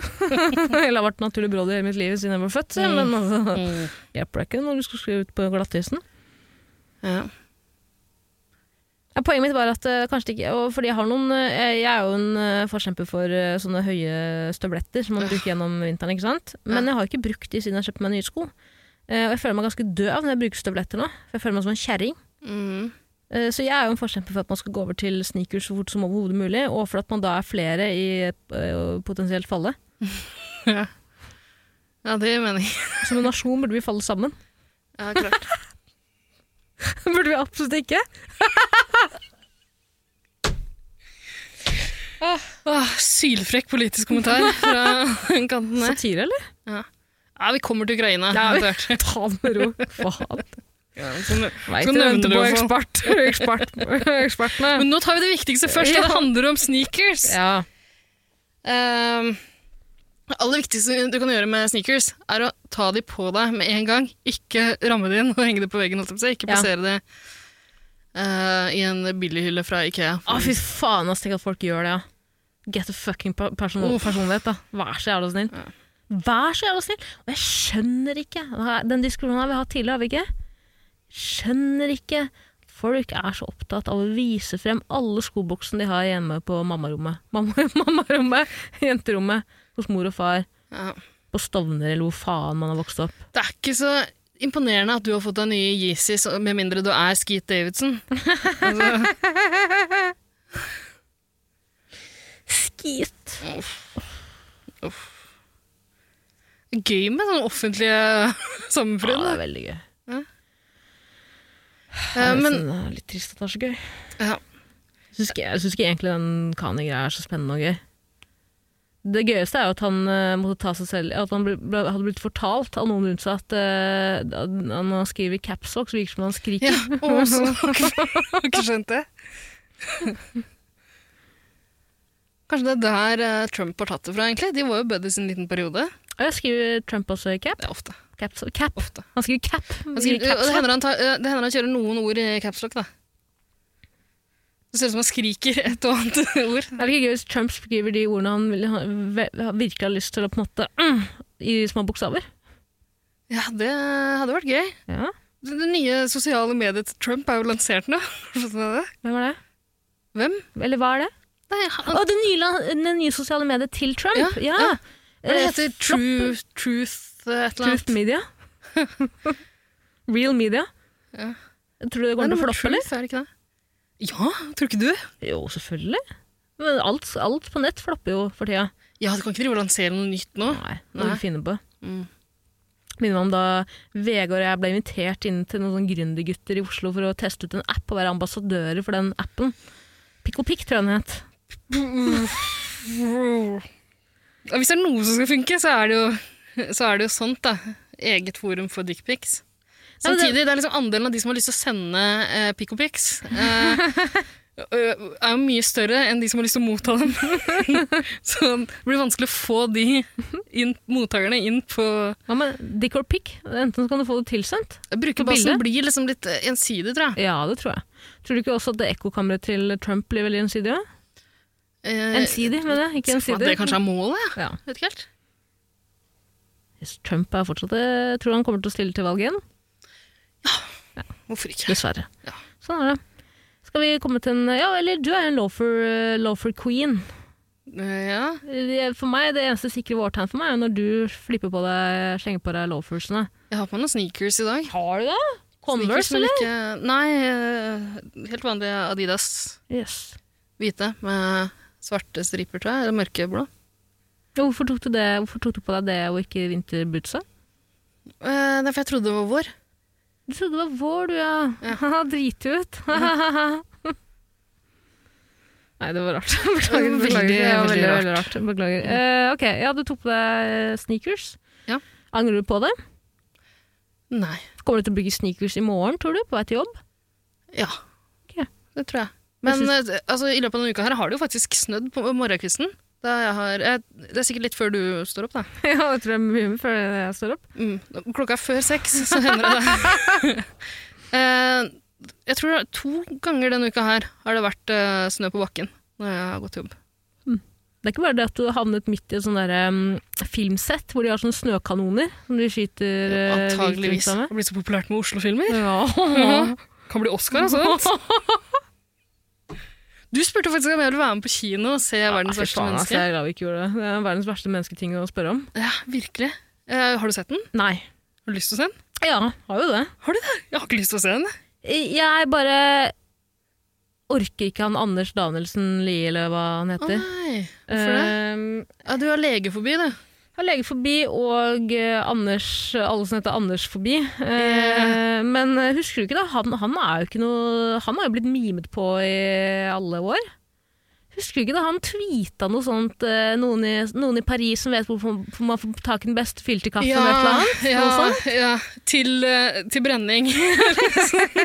S2: Eller har vært naturlig brodd i hele mitt liv siden jeg ble født. så, Men altså,
S3: Mm.
S2: hjelper det ikke når du skal skrive ut på glattisen.
S3: Ja.
S2: Ja, poenget mitt var at eh, kanskje det ikke og Fordi jeg har noen eh, Jeg jeg er jo en eh, forkjemper for eh, sånne høye støvletter som man
S3: Øh.
S2: bruker gjennom vinteren, ikke sant. Men jeg har ikke brukt de siden jeg kjøpte meg nye sko. Eh, Og jeg føler meg ganske døv når jeg bruker støvletter nå. For jeg føler meg som en kjerring.
S3: Mm.
S2: Eh, Så jeg er jo en forkjemper for at man skal gå over til sneakers så fort som overhodet mulig, og for at man da er flere i eh, potensielt falle.
S3: ja, det gir mening.
S2: Som en nasjon burde vi falle sammen.
S3: Ja, klart.
S2: burde vi absolutt ikke.
S3: Åh, sylfrekk politisk kommentar fra kanten der.
S2: Satire, eller?
S3: Ja, vi kommer til Ukraina.
S2: Ja, vi-
S3: etter hvert.
S2: Ta det med ro. Faen.
S3: Ja, sånn-
S2: Veit
S3: Så
S2: du
S3: nevner
S2: venter
S3: du
S2: på
S3: i hvert
S2: ekspert, ekspert, ekspertene.
S3: Men nå tar vi det viktigste først, og det handler om sneakers.
S2: Ja.
S3: Ehm, det aller viktigste du kan gjøre med sneakers, er å ta de på deg med en gang. Ikke ramme det inn og henge det på veggen, holdt jeg på å si. ikke
S2: Ja.
S3: plassere det eh, i en billighylle fra Ikea.
S2: Å, fy faen, ass, tenk at folk gjør det, ja. Get the fucking per- person
S3: Uff.
S2: personlighet, da. Vær så jævla snill.
S3: Ja.
S2: Vær så jævla snill! Og jeg skjønner ikke Den diskusjonen har vi hatt tidligere, har vi ikke? Skjønner ikke Folk er så opptatt av å vise frem alle skoboksene de har hjemme på mammarommet. Mamma, mammarommet, jenterommet, hos mor og far,
S3: Ja.
S2: på Stovner eller hvor faen man har vokst opp.
S3: Det er ikke så imponerende at du har fått deg nye Yeezys, med mindre du er Skeet Davidson. Altså,
S2: Skit!
S3: gøy med sånne offentlige
S2: Ja,
S3: sammenfryd.
S2: det
S3: da.
S2: er veldig gøy.
S3: Eh,
S2: Jeg
S3: men
S2: synes det er litt trist at det er så gøy.
S3: ja.
S2: Jeg syns ikke, jeg synes ikke egentlig den Kani-greia er så spennende og gøy. Det gøyeste er jo at han eh, måtte ta seg selv At han ble, ble, hadde blitt fortalt av noen rundt seg at eh, at når han skriver capslock, så virker det som han skriker.
S3: Ja, og så har ikke skjønt det. Kanskje det er der eh, Trump har tatt det fra, egentlig. De var jo buddies en liten periode.
S2: Og jeg skriver Trump også i cap.
S3: Det er ofte.
S2: Caps- cap.
S3: ofte.
S2: Han skriver cap.
S3: Han
S2: Han
S3: skriver,
S2: skriver
S3: Mm, og det
S2: caps.
S3: hender han, tar, eh, det hender han kjører noen ord i caps lock, da. Det ser ut som han skriker et og annet ord.
S2: Er det ikke gøy hvis Trump skriver de ordene han vil, ha, ve- virkelig har lyst til å på en måte mm, i små bokstaver?
S3: Ja, det hadde vært gøy.
S2: Ja,
S3: Det, det nye sosiale mediet til Trump er jo lansert nå. Skjønner du det?
S2: hvem er det?
S3: Hvem?
S2: Eller hva er det?
S3: Nei,
S2: Å,
S3: han,
S2: det nye, la- det nye sosiale mediet til Trump!
S3: Ja,
S2: Ja.
S3: ja. hva det
S2: Eh,
S3: heter True, Truth eh, et eller
S2: Truth
S3: annet?
S2: Media. Real Media.
S3: Ja.
S2: Tror du det
S3: Nei,
S2: kommer
S3: det
S2: til å
S3: var
S2: floppe, eller?
S3: Truth, er det ikke det? Ja, tror ikke du?
S2: Jo, selvfølgelig. Men alt, alt på nett flopper jo for tida.
S3: Ja, du kan ikke drive og lansere noe nytt nå.
S2: Nei, hva
S3: Nei.
S2: du finner på.
S3: Mm.
S2: Minner meg om da Vegard og jeg ble invitert inn til noen sånne gründergutter i Oslo for å teste ut en app og være ambassadører for den appen. Pikk og pikk, tror jeg den het.
S3: Ja, hvis det er noe som skal funke, så er det jo, så er det jo sånt, da. Eget forum for dickpics.
S2: Ja, men det-
S3: Samtidig, det er liksom andelen av de som har lyst til å sende eh, pikk og pics, eh, ø, er jo mye større enn de som har lyst til å motta dem. så det blir vanskelig å få de inn, mottakerne inn på
S2: Ja, men dick or pick, enten så kan du få det tilsendt.
S3: Brukerbasen
S2: bildet?
S3: blir liksom litt eh, ensidig, tror jeg.
S2: Ja, det tror jeg. Tror du ikke også at det ekkokammeret til Trump blir veldig ensidig? Ja?
S3: Eh,
S2: Ensidig, mener jeg. Ikke
S3: at
S2: ensidig.
S3: Det kanskje er målet, ja.
S2: Ja.
S3: Vet ikke helt.
S2: Trump er fortsatt eh, Tror han kommer til å stille til valget igjen?
S3: Hvorfor ikke?
S2: Dessverre.
S3: Ja.
S2: Sånn er det. Skal vi komme til en Ja, eller du er en loafer, eh, loafer queen.
S3: Eh, ja.
S2: Det- For meg, Det eneste sikre vårtegn for meg er når du flipper på deg, slenger på deg loafersene.
S3: Jeg har på meg noen sneakers i dag.
S2: Har du det? Converse,
S3: Sneakers,
S2: eller?
S3: men Ikke, nei, eh, helt vanlige Adidas
S2: Yes.
S3: hvite med svarte striper, tror jeg. Eller mørkeblå.
S2: Ja, Hvorfor tok, du det? Hvorfor tok du på deg det og ikke vinterbootsa?
S3: Eh, Det er for jeg trodde det var vår.
S2: Du trodde det var vår, du, ja. Haha, Drit ut. Nei, det var rart. Beklager.
S3: Veldig,
S2: beklager. Det var
S3: veldig rart.
S2: rart. Beklager. Eh, ok, ja, du tok på deg sneakers.
S3: Ja.
S2: Angrer du på det?
S3: Nei.
S2: Kommer du til å bruke sneakers i morgen, tror du? På vei til jobb?
S3: Ja.
S2: Ok.
S3: Det tror jeg. Men eh, altså, i løpet av denne uka her har det jo faktisk snødd på morgenkvisten. Da jeg har, jeg, det er sikkert litt før du står opp, da.
S2: ja, jeg tror jeg er mye før jeg står opp.
S3: Mm. Klokka er før seks, så hender det det. Eh, jeg tror to ganger denne uka her har det vært eh, snø på bakken når jeg har gått til jobb.
S2: Det er ikke bare det at du har havnet midt i et sånn der, um, filmsett hvor de har sånne snøkanoner som de skyter eh, vilt
S3: Antageligvis.
S2: ut av
S3: Det blir så populært med Oslo-filmer.
S2: med.
S3: Kan bli Oscar, altså. Du spurte faktisk om jeg ville være med på kino og se verdens
S2: Fy
S3: verste
S2: faen, altså. ass,
S3: menneske.
S2: Jeg er glad vi ikke gjorde det. Det er verdens verste mennesketing å spørre om.
S3: Ja, virkelig. Eh, har du sett den?
S2: Nei.
S3: Har du lyst til å se den?
S2: Ja, har jo det.
S3: Har du det? Jeg har ikke lyst til å se den.
S2: Jeg bare orker ikke han Anders Danielsen Lie, eller hva han
S3: Å
S2: heter.
S3: nei. Hvorfor det?
S2: Ehm,
S3: Ja, du har legefobi, du.
S2: Jeg har legefobi og eh, Anders, alle som heter Anders-fobi.
S3: Ja.
S2: Eh, men eh, husker du ikke, da? Han, han, er jo ikke noe, han har jo blitt mimet på i alle år. Husker du ikke da han tweeta noe sånt eh, noen i, noen i Paris som vet hvorfor hvorfor man får tak i den beste fylte kaffen eller et eller annet?
S3: ja,
S2: Noe sånt?
S3: ja. Til, eh, til brenning.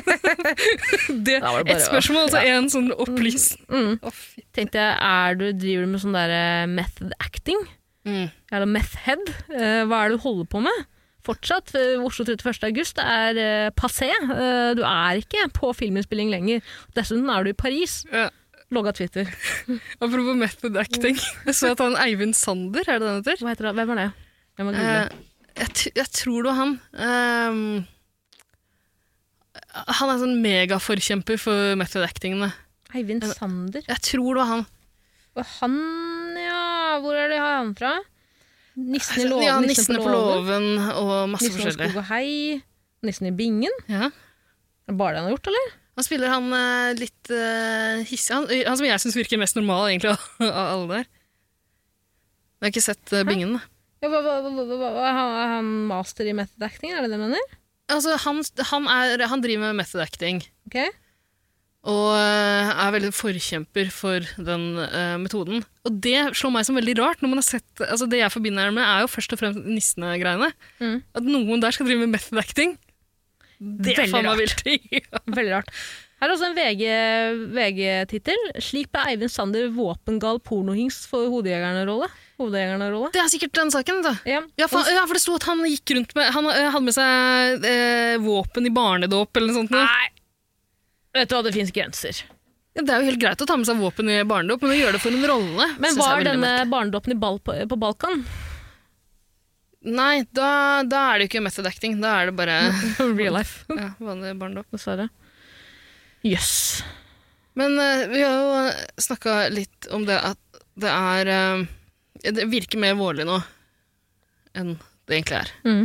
S3: det,
S2: Da var det bare
S3: et
S2: å-
S3: spørsmål, så en sånn opplyst.
S2: Mm.
S3: Å, fy.
S2: Tenkte jeg, er du, driver du med sånn der eh, method acting?
S3: Mm.
S2: Eller meth head? Eh, hva er det du holder på med? Fortsatt, eh, Oslo 31. august er eh, passé. Eh, du er ikke på filminnspilling lenger. Dessuten er du i Paris.
S3: Ja.
S2: Logga Twitter.
S3: Apropos method acting.
S2: Mm.
S3: Jeg så at han Eivind Sander, er det det han heter?
S2: Hva heter det? Hvem er det? Jeg må google.
S3: Eh, jeg, t jeg tror det var han. Ehm, han er sånn megaforkjemper for method actingene.
S2: Eivind Sander.
S3: Jeg tror det var han.
S2: Og han, ja Hvor er det har han fra? Nissen i låven.
S3: Altså, ja,
S2: nissen
S3: Nissene på låven og masse
S2: liksom Nissen over skog
S3: forskjellig.
S2: og hei. Nissen i bingen.
S3: Ja.
S2: Er det bare det han har gjort, eller?
S3: Han spiller han eh, litt uh, hissig han, han som jeg syns virker mest normal, egentlig, av av alle der. Jeg har ikke sett eh, bingen. da.
S2: Ja, hva, hva, hva, hva, hva, hva, har han master i method acting, er det det du mener?
S3: Altså, han, han, er, han driver med method acting.
S2: Ok.
S3: Og eh, er veldig forkjemper for den eh, metoden. Og det slår meg som veldig rart. når man har sett, altså Det jeg forbinder det med, er jo først og fremst nissene-greiene.
S2: Mm.
S3: At noen der skal drive med method acting. Det er
S2: Veldig
S3: faen meg vilt. Ja.
S2: Veldig rart. Her er også en VG- VG-tittel. 'Slik ble Eivind Sander våpengal pornohingst for hodejegerrolle'. Hodejegerrolle.
S3: Det er sikkert den saken, da.
S2: Ja.
S3: Ja for, ja, for det sto at han gikk rundt med Han eh, hadde med seg eh, våpen i barnedåp eller noe sånt. noe.
S2: Nei! Vet du hva, det fins grenser.
S3: Ja, det er jo helt greit å ta med seg våpen i barnedåp, men å gjøre det for en rolle
S2: Men
S3: synes jeg er
S2: var
S3: veldig
S2: denne
S3: merkelig.
S2: barnedåpen i bal på, på Balkan?
S3: Nei, da, da er det jo ikke method acting. Da er det bare
S2: Real life,
S3: ja, vanlig barnedåp.
S2: dessverre. Jøss. Yes.
S3: Men eh, vi har jo snakka litt om det at det er eh, Det virker mer vårlig nå enn det egentlig er.
S2: Mm.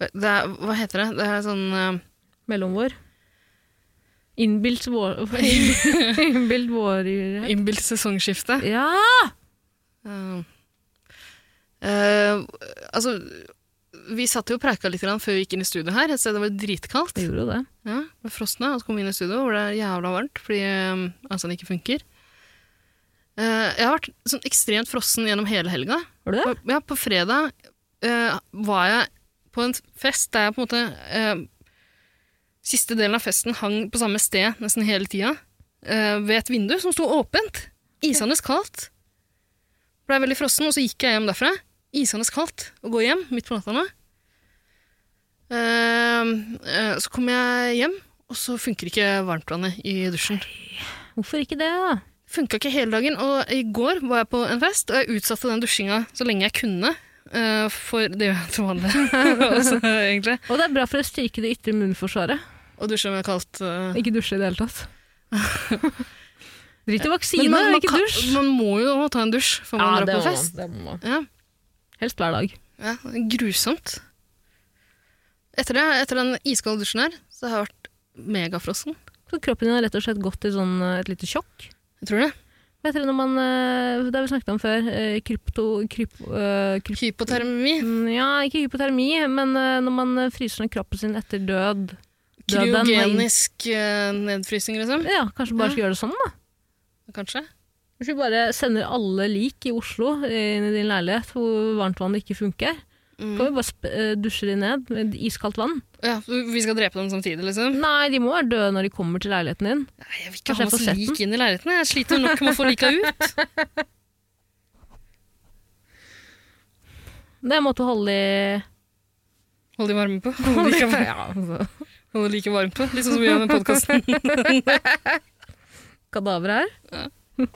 S3: Det er hva heter det? Det er sånn eh,
S2: Mellomvår. Innbilt vår... Innbilt vårjure.
S3: innbilt sesongskifte.
S2: Ja!
S3: Eh, eh, altså, vi satt jo og preika litt grann før vi gikk inn i studio her. Et sted det var dritkaldt.
S2: Det gjorde jo det.
S3: Ja, med frosne, og så kom vi inn i studio hvor det er jævla varmt fordi um, altså, den ikke funker. Eh, jeg har vært sånn ekstremt frossen gjennom hele helga.
S2: Var det det?
S3: På, ja, på fredag eh, var jeg på en fest der jeg på en måte eh, Siste delen av festen hang på samme sted nesten hele tida. eh, ved et vindu som sto åpent. Isende kaldt. Blei veldig frossen, og så gikk jeg hjem derfra. Isende kaldt å gå hjem midt på natta nå. Eh, eh, så kom jeg hjem, og så funker ikke varmtvannet i dusjen.
S2: Hvorfor ikke det, da?
S3: Funka ikke hele dagen, og i går var jeg på en fest, og jeg utsatte den dusjinga så lenge jeg kunne. eh, for det gjør jeg til vanlig også, egentlig.
S2: Og det er bra for å styrke det ytre munnforsvaret.
S3: Og dusje med kaldt eh,
S2: Ikke dusje i det hele tatt. Drit i
S3: men
S2: vaksine,
S3: man, man,
S2: ikke
S3: kan,
S2: dusj.
S3: man må jo ta en dusj før man drar på fest. Ja.
S2: Helst hver dag.
S3: Ja, grusomt. Etter, det, etter den iskalde dusjen her, så har jeg vært megafrossen.
S2: Så kroppen din har rett og slett gått i sånn, eh, et lite sjokk.
S3: Jeg tror det.
S2: Vet dere når man, eh, Det har vi snakket om før. eh, Krypto... Kryp, eh, kryp,
S3: Hypotermi.
S2: Mm, ja, ikke hypotermi, men eh, når man eh, fryser ned kroppen sin etter død. Døden,
S3: Kryogenisk eh, nedfrysing, liksom.
S2: Ja, Kanskje bare skal gjøre det sånn, da.
S3: Kanskje.
S2: Hvis vi bare sender alle lik i Oslo eh, inn i din leilighet hvor varmtvannet ikke funker,
S3: Mm.
S2: kan vi bare sp eh, dusje de ned med iskaldt vann?
S3: Ja, vi skal drepe dem samtidig, liksom.
S2: Nei, de må være døde når de kommer til leiligheten din.
S3: Nei, jeg vil ikke
S2: Kanskje
S3: ha
S2: jeg får
S3: masse
S2: sett
S3: lik inn i leiligheten. Jeg sliter nok med å få lika ut.
S2: Det er en måte å holde i
S3: Hold de varme på. Hold de like, varme-
S2: Ja, altså.
S3: hold de like varme på. Litt sånn som vi gjør med podkasten.
S2: Kadaver her.
S3: Ja.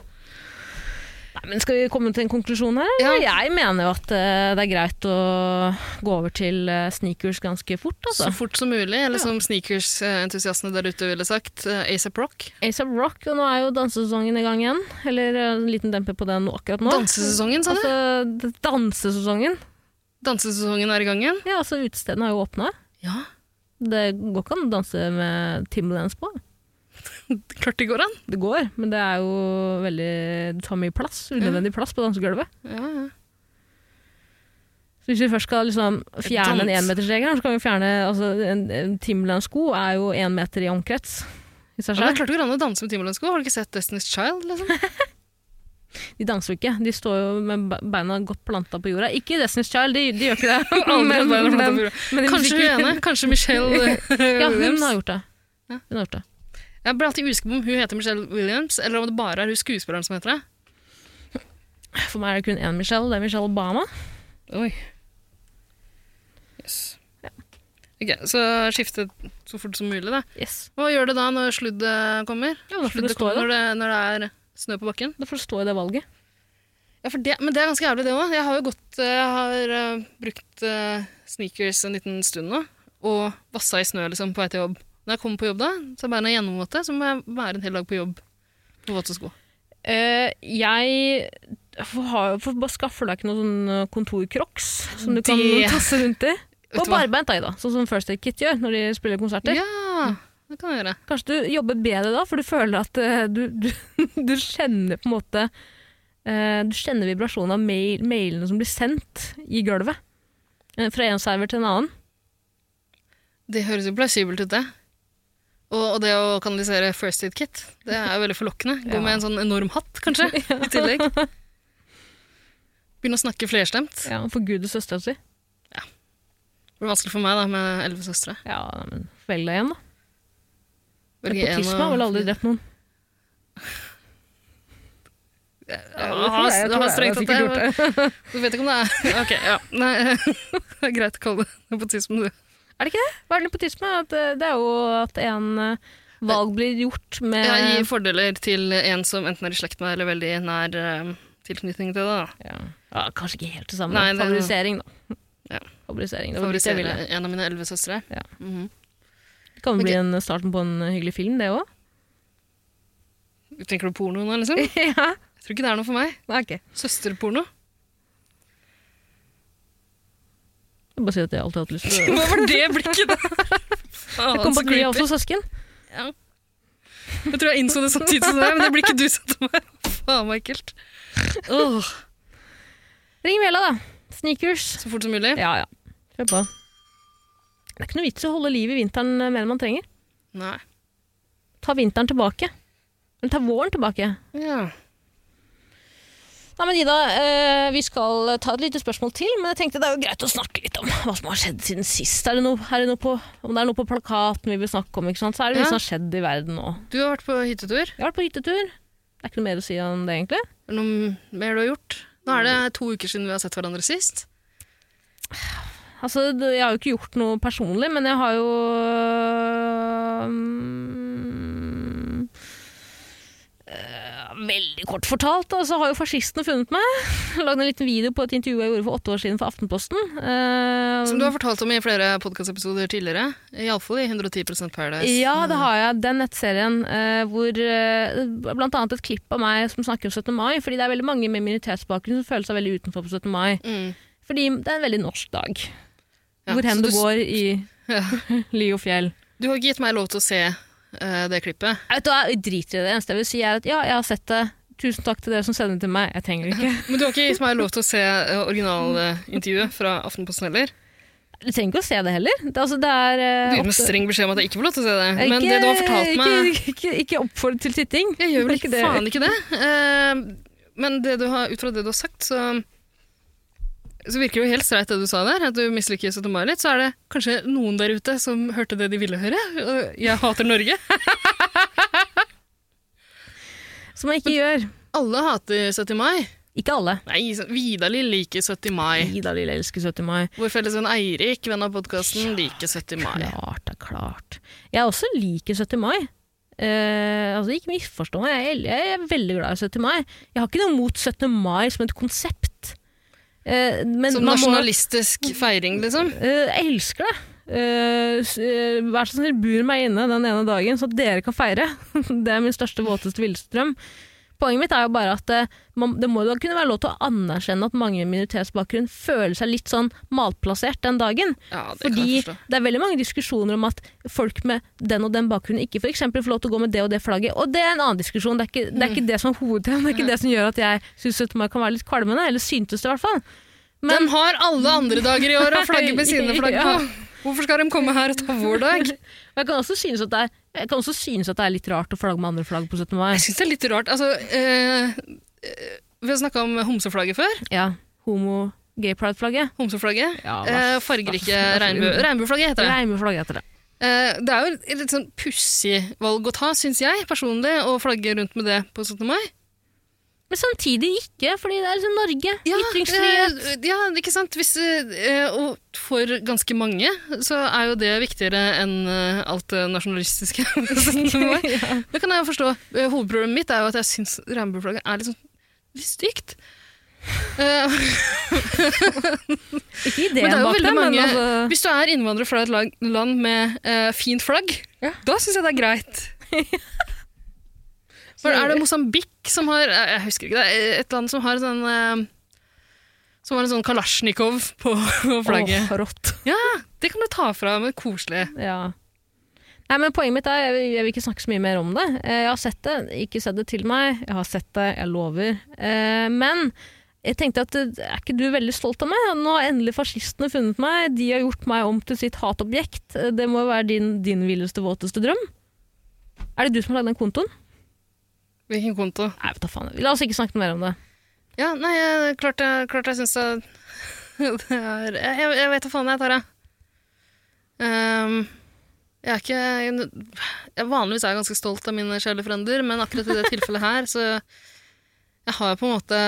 S2: Nei, men Skal vi komme til en konklusjon her?
S3: Ja.
S2: Jeg mener jo at eh, det er greit å gå over til eh, sneakers ganske fort. Altså.
S3: Så fort som mulig, eller som sneakers-entusiastene der ute ville sagt, Asap Rock.
S2: Ace of Rock, og nå er jo dansesesongen i gang igjen. Eller eh, en liten demper på den akkurat nå.
S3: Dansesesongen, sa du?
S2: Altså, d- dansesesongen.
S3: Dansesesongen er i gang igjen.
S2: Ja, altså Utestedene har jo åpna.
S3: Ja,
S2: Det går ikke an å danse med Timberlands på.
S3: klart det går an.
S2: Det går, men det er jo veldig Du tar mye plass. Unødvendig plass på dansegulvet.
S3: Ja, ja.
S2: Så hvis vi først skal liksom fjerne en
S3: Dans.
S2: énmetersregel, så kan vi fjerne altså, en, en Timberland-sko er jo én meter i omkrets. I seg
S3: Ja, det
S2: selv.
S3: er klart det går an å danse med Timberland-sko. Har du ikke sett Destiny's Child? Liksom?
S2: De danser jo ikke. De står jo med be- beina godt planta på jorda. Ikke i Destiny's Child, de, de gjør ikke det.
S3: Aldri
S2: Men-
S3: hatt beina planta på
S2: men-
S3: jorda.
S2: men de
S3: Kanskje hun
S2: musikker-
S3: ene. Kanskje Michelle eh,
S2: Ja, hun
S3: Williams.
S2: har gjort det.
S3: Ja.
S2: Hun har gjort det.
S3: Jeg blir alltid usikker på om hun heter Michelle Williams, eller om det bare er hun skuespilleren som heter det.
S2: For meg er det kun én Michelle, det er Michelle Obama.
S3: Oi. Yes. Ok, Så skifte så fort som mulig, da.
S2: Yes.
S3: Hva gjør det da når sluddet kommer?
S2: Ja, da får det
S3: Sluddet
S2: stå i
S3: kommer
S2: det.
S3: når, det, når det er snø på bakken?
S2: Da får det stå i det valget.
S3: Ja, for det, Men det er ganske jævlig, det òg. Jeg har jo gått eh, Jeg har eh, brukt eh, sneakers en liten stund nå, og vassa i snø liksom på vei til jobb. Når jeg kommer på jobb, da, så er beina gjennomvåte, så må jeg være en hel dag på jobb på våte sko.
S2: Eh, jeg har, for, bare skaffer deg ikke noen sånn kontorcrocs som du kan
S3: Det-
S2: tasse rundt i.
S3: Vet
S2: Og
S3: du hva?
S2: barbeint, da, Ida, sånn som First Aid Kit gjør når de spiller konserter.
S3: Ja, det kan jeg gjøre.
S2: Kanskje du jobber bedre da, for du føler at eh, du, du, du kjenner på en måte eh, Du kjenner vibrasjonen av mail, mailene som blir sendt i gulvet. eh, Fra en server til en annen.
S3: Det høres jo plausibelt ut, det. Og, og det å kanalisere First Aid Kit, det er jo veldig forlokkende. Gå
S2: Ja.
S3: med en sånn enorm hatt, kanskje, i tillegg. Begynne å snakke flerstemt.
S2: Ja, For gud og søstera si.
S3: Det blir vanskelig for meg da, med elleve søstre.
S2: Ja, men velg deg igjen, da.
S3: Velge en
S2: Nepotisme har vel aldri drept noen.
S3: Ja, det har strengt tatt det. men- Du vet ikke om det er Ok, ja. Nei, det er greit å kalle det nepotisme, du.
S2: Hva er nepotisme? At, eh, det er jo at en eh, valg blir gjort med
S3: Jeg gir fordeler til en som enten er i slekt med eller veldig nær eh, tilknytning til det. da.
S2: ja. Ja, Kanskje ikke helt det samme.
S3: Nei, det-
S2: Favorisering, da.
S3: Ja.
S2: Favorisering. Det var dit jeg ville.
S3: Favorisere en av mine elleve søstre.
S2: Ja.
S3: Mhm.
S2: Det kan
S3: Ok.
S2: bli en eh, starten på en hyggelig film, det òg.
S3: Tenker du porno nå, liksom?
S2: ja.
S3: Jeg tror ikke det er noe for meg.
S2: Nei, ok.
S3: Søsterporno.
S2: Jeg Bare si at jeg alltid har hatt lyst til det.
S3: Hva var det blikket der?
S2: Jeg kom på at vi er også søsken.
S3: Ja. Jeg tror jeg innså det samtidig som deg, men det blir ikke du som til meg. Faen meg ekkelt. Åh,
S2: Ring Vela, da. Sneakers.
S3: så fort som mulig.
S2: Ja, ja. Kjør på. Det er ikke noe vits i å holde liv i vinteren eh, mer enn man trenger.
S3: Nei.
S2: Ta vinteren tilbake. Eller ta våren tilbake.
S3: Ja.
S2: Nei, men Ida, eh, vi skal ta et lite spørsmål til, men jeg tenkte det er jo greit å snakke litt om hva som har skjedd siden sist. Er det noe, er det noe på, om det er noe på plakaten vi vil snakke om, ikke sant? så er det mye
S3: Ja.
S2: som har skjedd i verden nå.
S3: Du har vært på hyttetur.
S2: Jeg har vært på hyttetur. Det er ikke noe mer å si om det, egentlig.
S3: Er det noe mer du har gjort? Nå er det to uker siden vi har sett hverandre sist.
S2: Altså, det- jeg har jo ikke gjort noe personlig, men jeg har jo eh, mm, eh, Veldig kort fortalt, da, så har jo fascistene funnet meg. Lagde en liten video på et intervju jeg gjorde for åtte år siden for Aftenposten. Eh,
S3: Som du har fortalt om i flere podkastepisoder tidligere. Iallfall i 110 Paradise.
S2: Ja, det har jeg. Den nettserien eh, hvor eh, blant annet et klipp av meg som snakker om 17. mai, fordi det er veldig mange med minoritetsbakgrunn som føler seg veldig utenfor på 17. mai.
S3: Mm.
S2: Fordi det er en veldig norsk dag.
S3: Ja,
S2: hvor hen
S3: så
S2: du, går i
S3: Ja.
S2: li og fjell.
S3: Du har ikke gitt meg lov til å se eh, det klippet.
S2: Jeg vet du hva, jeg driter i det. Det eneste jeg vil si er at ja, jeg har sett det. Tusen takk til dere som sender det til meg. Jeg trenger det ikke.
S3: Men du har ikke gitt meg lov til å se eh, originalintervjuet fra Aftenposten heller.
S2: Du trenger ikke å se det heller. Det, er altså, det er eh,
S3: Du gir meg
S2: oppfordret-
S3: streng beskjed om at jeg ikke får lov til å se det.
S2: Ikke-
S3: Men det du har fortalt meg
S2: Ikke, ikke, ikke oppfordret til titting.
S3: Jeg gjør vel
S2: Ikke
S3: ikke
S2: det.
S3: faen ikke det. Eh, men det du har, ut fra det du har sagt, så, så virker det jo helt streit det du sa der, at du misliker 17. mai litt. Så er det kanskje noen der ute som hørte det de ville høre. og Jeg hater Norge.
S2: Som jeg ikke gjør.
S3: Alle hater 70. mai.
S2: Ikke alle.
S3: Nei, så- Vidali liker 70. mai.
S2: Ida Lille elsker 70. mai.
S3: Vår felles venn Eirik, venn av podkasten, liker 70. mai.
S2: Klart, det er klart. Jeg også liker 70. mai. Eh, altså, ikke misforstå meg, jeg, el- jeg er veldig glad i 70. mai. Jeg har ikke noe mot 17. mai som et konsept. Eh, men
S3: Som
S2: man må-
S3: nasjonalistisk feiring, liksom.
S2: Eh, jeg elsker det. Eh, s- eh, vær så snill, bur meg inne den ene dagen, så at dere kan feire. det er min største, våteste villstrøm. Poenget mitt er jo bare at eh, man, det må da kunne være lov til å anerkjenne at mange med minoritetsbakgrunn føler seg litt sånn malplassert den dagen.
S3: Ja, det kan
S2: Fordi
S3: jeg forstå.
S2: det er veldig mange diskusjoner om at folk med den og den bakgrunnen ikke for eksempel får lov til å gå med det og det flagget. Og det er en annen diskusjon. Det er ikke det, er
S3: Mm.
S2: ikke det som er hovedtemaet. Det er ikke det som gjør at jeg syns 17. mai kan være litt kvalmende. Eller syntes det, i hvert fall. Men-
S3: de har alle andre dager i året å flagge med sine flagg på.
S2: Ja.
S3: Hvorfor skal de komme her og ta vår dag?
S2: Og jeg kan også synes at det er, jeg kan også synes at det er litt rart å flagge med andre flagg på 17. mai.
S3: Jeg syns det er litt rart. Altså, eh, eh, vi har snakka om homseflagget før.
S2: Ja, homo gay pride-flagget.
S3: Homseflagget.
S2: Ja,
S3: eh,
S2: hva-
S3: fargerike
S2: hva-
S3: regnbue. Regnbueflagget heter det.
S2: Reimeflagget heter det.
S3: Eh, det er jo et litt sånn pussig valg å ta, syns jeg personlig, å flagge rundt med det på 17. mai.
S2: Men samtidig ikke, fordi det er liksom Norge. Ytringsfrihet.
S3: eh, ja, ikke sant. Hvis, eh, og for ganske mange så er jo det viktigere enn eh, alt det nasjonalistiske. på 17. mai.
S2: ja.
S3: Det kan jeg jo forstå. Eh, Hovedproblemet mitt er jo at jeg syns regnbueflagget er litt sånn litt stygt. Eh,
S2: Ikke
S3: Men det
S2: ideen
S3: er jo
S2: bak det,
S3: veldig
S2: men
S3: mange-
S2: altså
S3: hvis du er innvandrer fra et lag, land med eh, fint flagg,
S2: Ja.
S3: da syns jeg det er greit. For er det Mosambik som har eh, Jeg husker ikke det. er Et land som har sånn eh, Som har en sånn kalasjnikov på flagget.
S2: Åh, rått.
S3: Det kan du ta fra, men koselig.
S2: Ja. Nei, men Poenget mitt er, jeg vil, jeg vil ikke snakke så mye mer om det. Eh, Jeg har sett det, ikke sett det til meg. Jeg har sett det, jeg lover. Eh, Men jeg tenkte at eh, er ikke du veldig stolt av meg? Nå har endelig fascistene funnet meg. De har gjort meg om til sitt hatobjekt. Eh, Det må jo være din, din villeste, våteste drøm. Er det du som har lagd den kontoen?
S3: Hvilken konto?
S2: Nei, vet da faen. La oss ikke snakke mer om det.
S3: Ja, nei, jeg- klart jeg, klart jeg syns det det er Jeg, jeg vet da faen, jeg, Tara. Um, Jeg er ikke jeg Vanligvis er jeg ganske stolt av mine sjelefrender, men akkurat i det tilfellet her, så Jeg har på en måte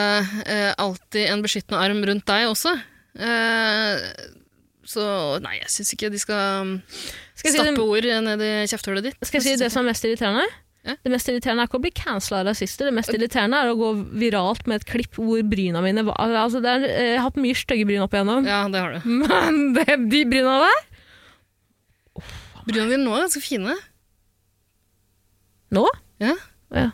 S3: eh, alltid en beskyttende arm rundt deg også. Eh, så nei, jeg syns ikke de skal
S2: Skal jeg si
S3: stappe
S2: det-
S3: ord ned i kjefthullet ditt.
S2: Skal jeg si det som er mest irriterende?
S3: Ja.
S2: Det mest irriterende er ikke å bli cancela av rasister, det mest irriterende er å gå viralt med et klipp hvor bryna mine var altså, det er, Jeg har hatt mye stygge bryn opp igjennom,
S3: Ja, det har du.
S2: men det, de bryna der
S3: Bryna dine nå er ganske fine.
S2: Nå?
S3: Ja.
S2: Ja.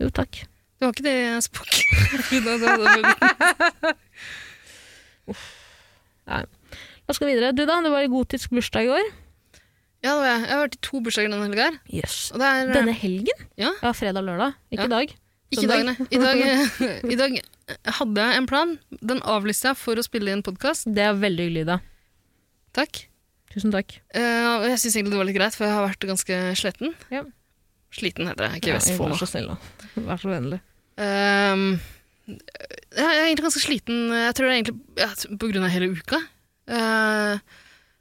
S2: Jo, takk.
S3: Du har ikke det spokk-bryna du hadde på gutten.
S2: La oss gå videre. Du, da? Det var i gotisk bursdag i år.
S3: Ja, det var jeg. Jeg har vært i to bursdager denne helga. her,
S2: Yes.
S3: Og det er
S2: Denne helgen?
S3: Ja.
S2: ja fredag og lørdag. Ikke
S3: Ja.
S2: i dag.
S3: Ikke i dag, nei. eh, I dag, I dag hadde jeg en plan. Den avlyste jeg for å spille inn podkast.
S2: Det er veldig hyggelig, da.
S3: Takk.
S2: Tusen takk.
S3: Eh, og jeg syns egentlig det var litt greit, for jeg har vært ganske sletten.
S2: Ja.
S3: Sliten heter det, ikke
S2: Ja,
S3: Vestfold.
S2: Vær så snill, da. Vær så vennlig.
S3: Ehm, ja, jeg er egentlig ganske sliten. Jeg tror det er egentlig ja, på grunn av hele uka. Eh,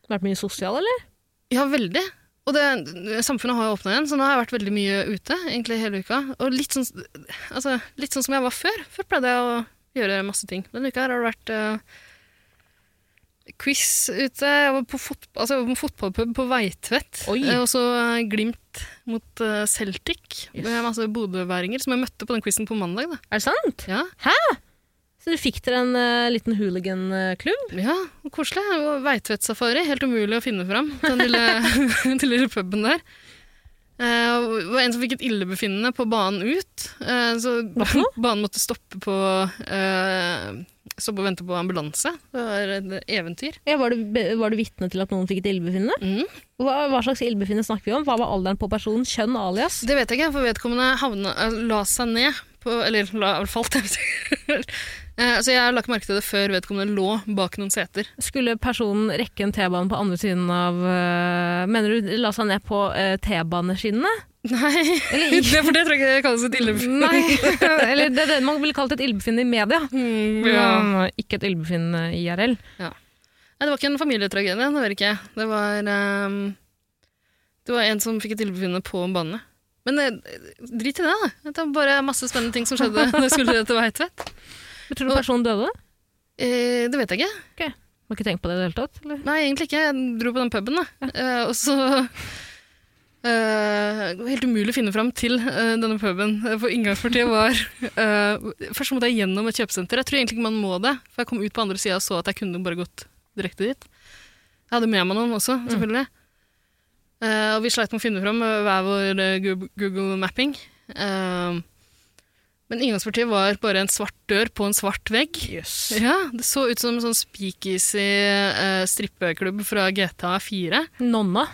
S2: Vært mye sosial, eller?
S3: ja, veldig. Og det, samfunnet har jo åpna igjen, så nå har jeg vært veldig mye ute egentlig hele uka. Og litt sånn, altså, litt sånn som jeg var før. Før pleide jeg å gjøre masse ting. Denne uka her har det vært eh, quiz ute. Jeg var på fot altså, jeg var på fotballpub på Veitvet.
S2: Oi.
S3: Eh, Og så eh, Glimt mot eh, Celtic.
S2: Yes.
S3: Med masse bodøværinger som jeg møtte på den quizen på mandag. Da.
S2: Er det sant?
S3: Ja.
S2: Så du fikk dere en eh, liten eh, hooligan-klubb?
S3: Ja, og koselig. Og Veitvet-safari. Helt umulig å finne fram til den lille, den lille puben der. Eh, og det var en som fikk et illebefinnende på banen ut. Eh, så
S2: Hva for noe?
S3: banen måtte stoppe på eh, Stoppe og vente på ambulanse. Det var et eventyr.
S2: Ja, var, du, be- var du vitne til at noen fikk et ildbefinnende?
S3: Mm.
S2: Hva, hva slags ildbefinnende snakker vi om? Hva var alderen på personen? Kjønn? Alias?
S3: Det vet jeg ikke, for vedkommende havna, eh, la seg ned på Eller la, falt, jeg vet ikke. Eh, Så jeg la ikke merke til det før vedkommende lå bak noen seter.
S2: Skulle personen rekke en T-bane på andre siden av eh, Mener du la seg ned på eh, T-baneskinnene?
S3: Nei, det, for det tror jeg ikke kalles et illebefinnende.
S2: Nei. Eller det er det man ville kalt et ildbefinnende i media.
S3: Mm,
S2: Men Ikke et ildbefinnende IRL.
S3: Nei, det var ikke en familietragedie, det var det ikke. Det var, ehm, det var en som fikk et tilbefinnende på banene. Men eh, drit i det, da. Det var bare masse spennende ting som skjedde da jeg skulle til Veitvet.
S2: Men Tror du personen døde?
S3: Eh, det vet jeg ikke.
S2: Har ikke tenkt på det i det hele tatt? Eller?
S3: Nei, egentlig ikke. Jeg dro på den puben, da. Eh, og så eh, det var helt umulig å finne fram til eh, denne puben. Eh, For inngangspartiet var eh, Først måtte jeg gjennom et kjøpesenter. Jeg tror egentlig ikke man må det, for jeg kom ut på andre sida og så at jeg kunne bare gått direkte dit. Jeg hadde med meg noen også, selvfølgelig. Eh, og vi sleit med å finne fram med hver vår eh, Gu- Google mapping. Eh, men inngangspartiet var bare en svart dør på en svart vegg. Ja, Det så ut som en sånn speakeasy eh, strippeklubb fra GTA 4.
S2: Nonna.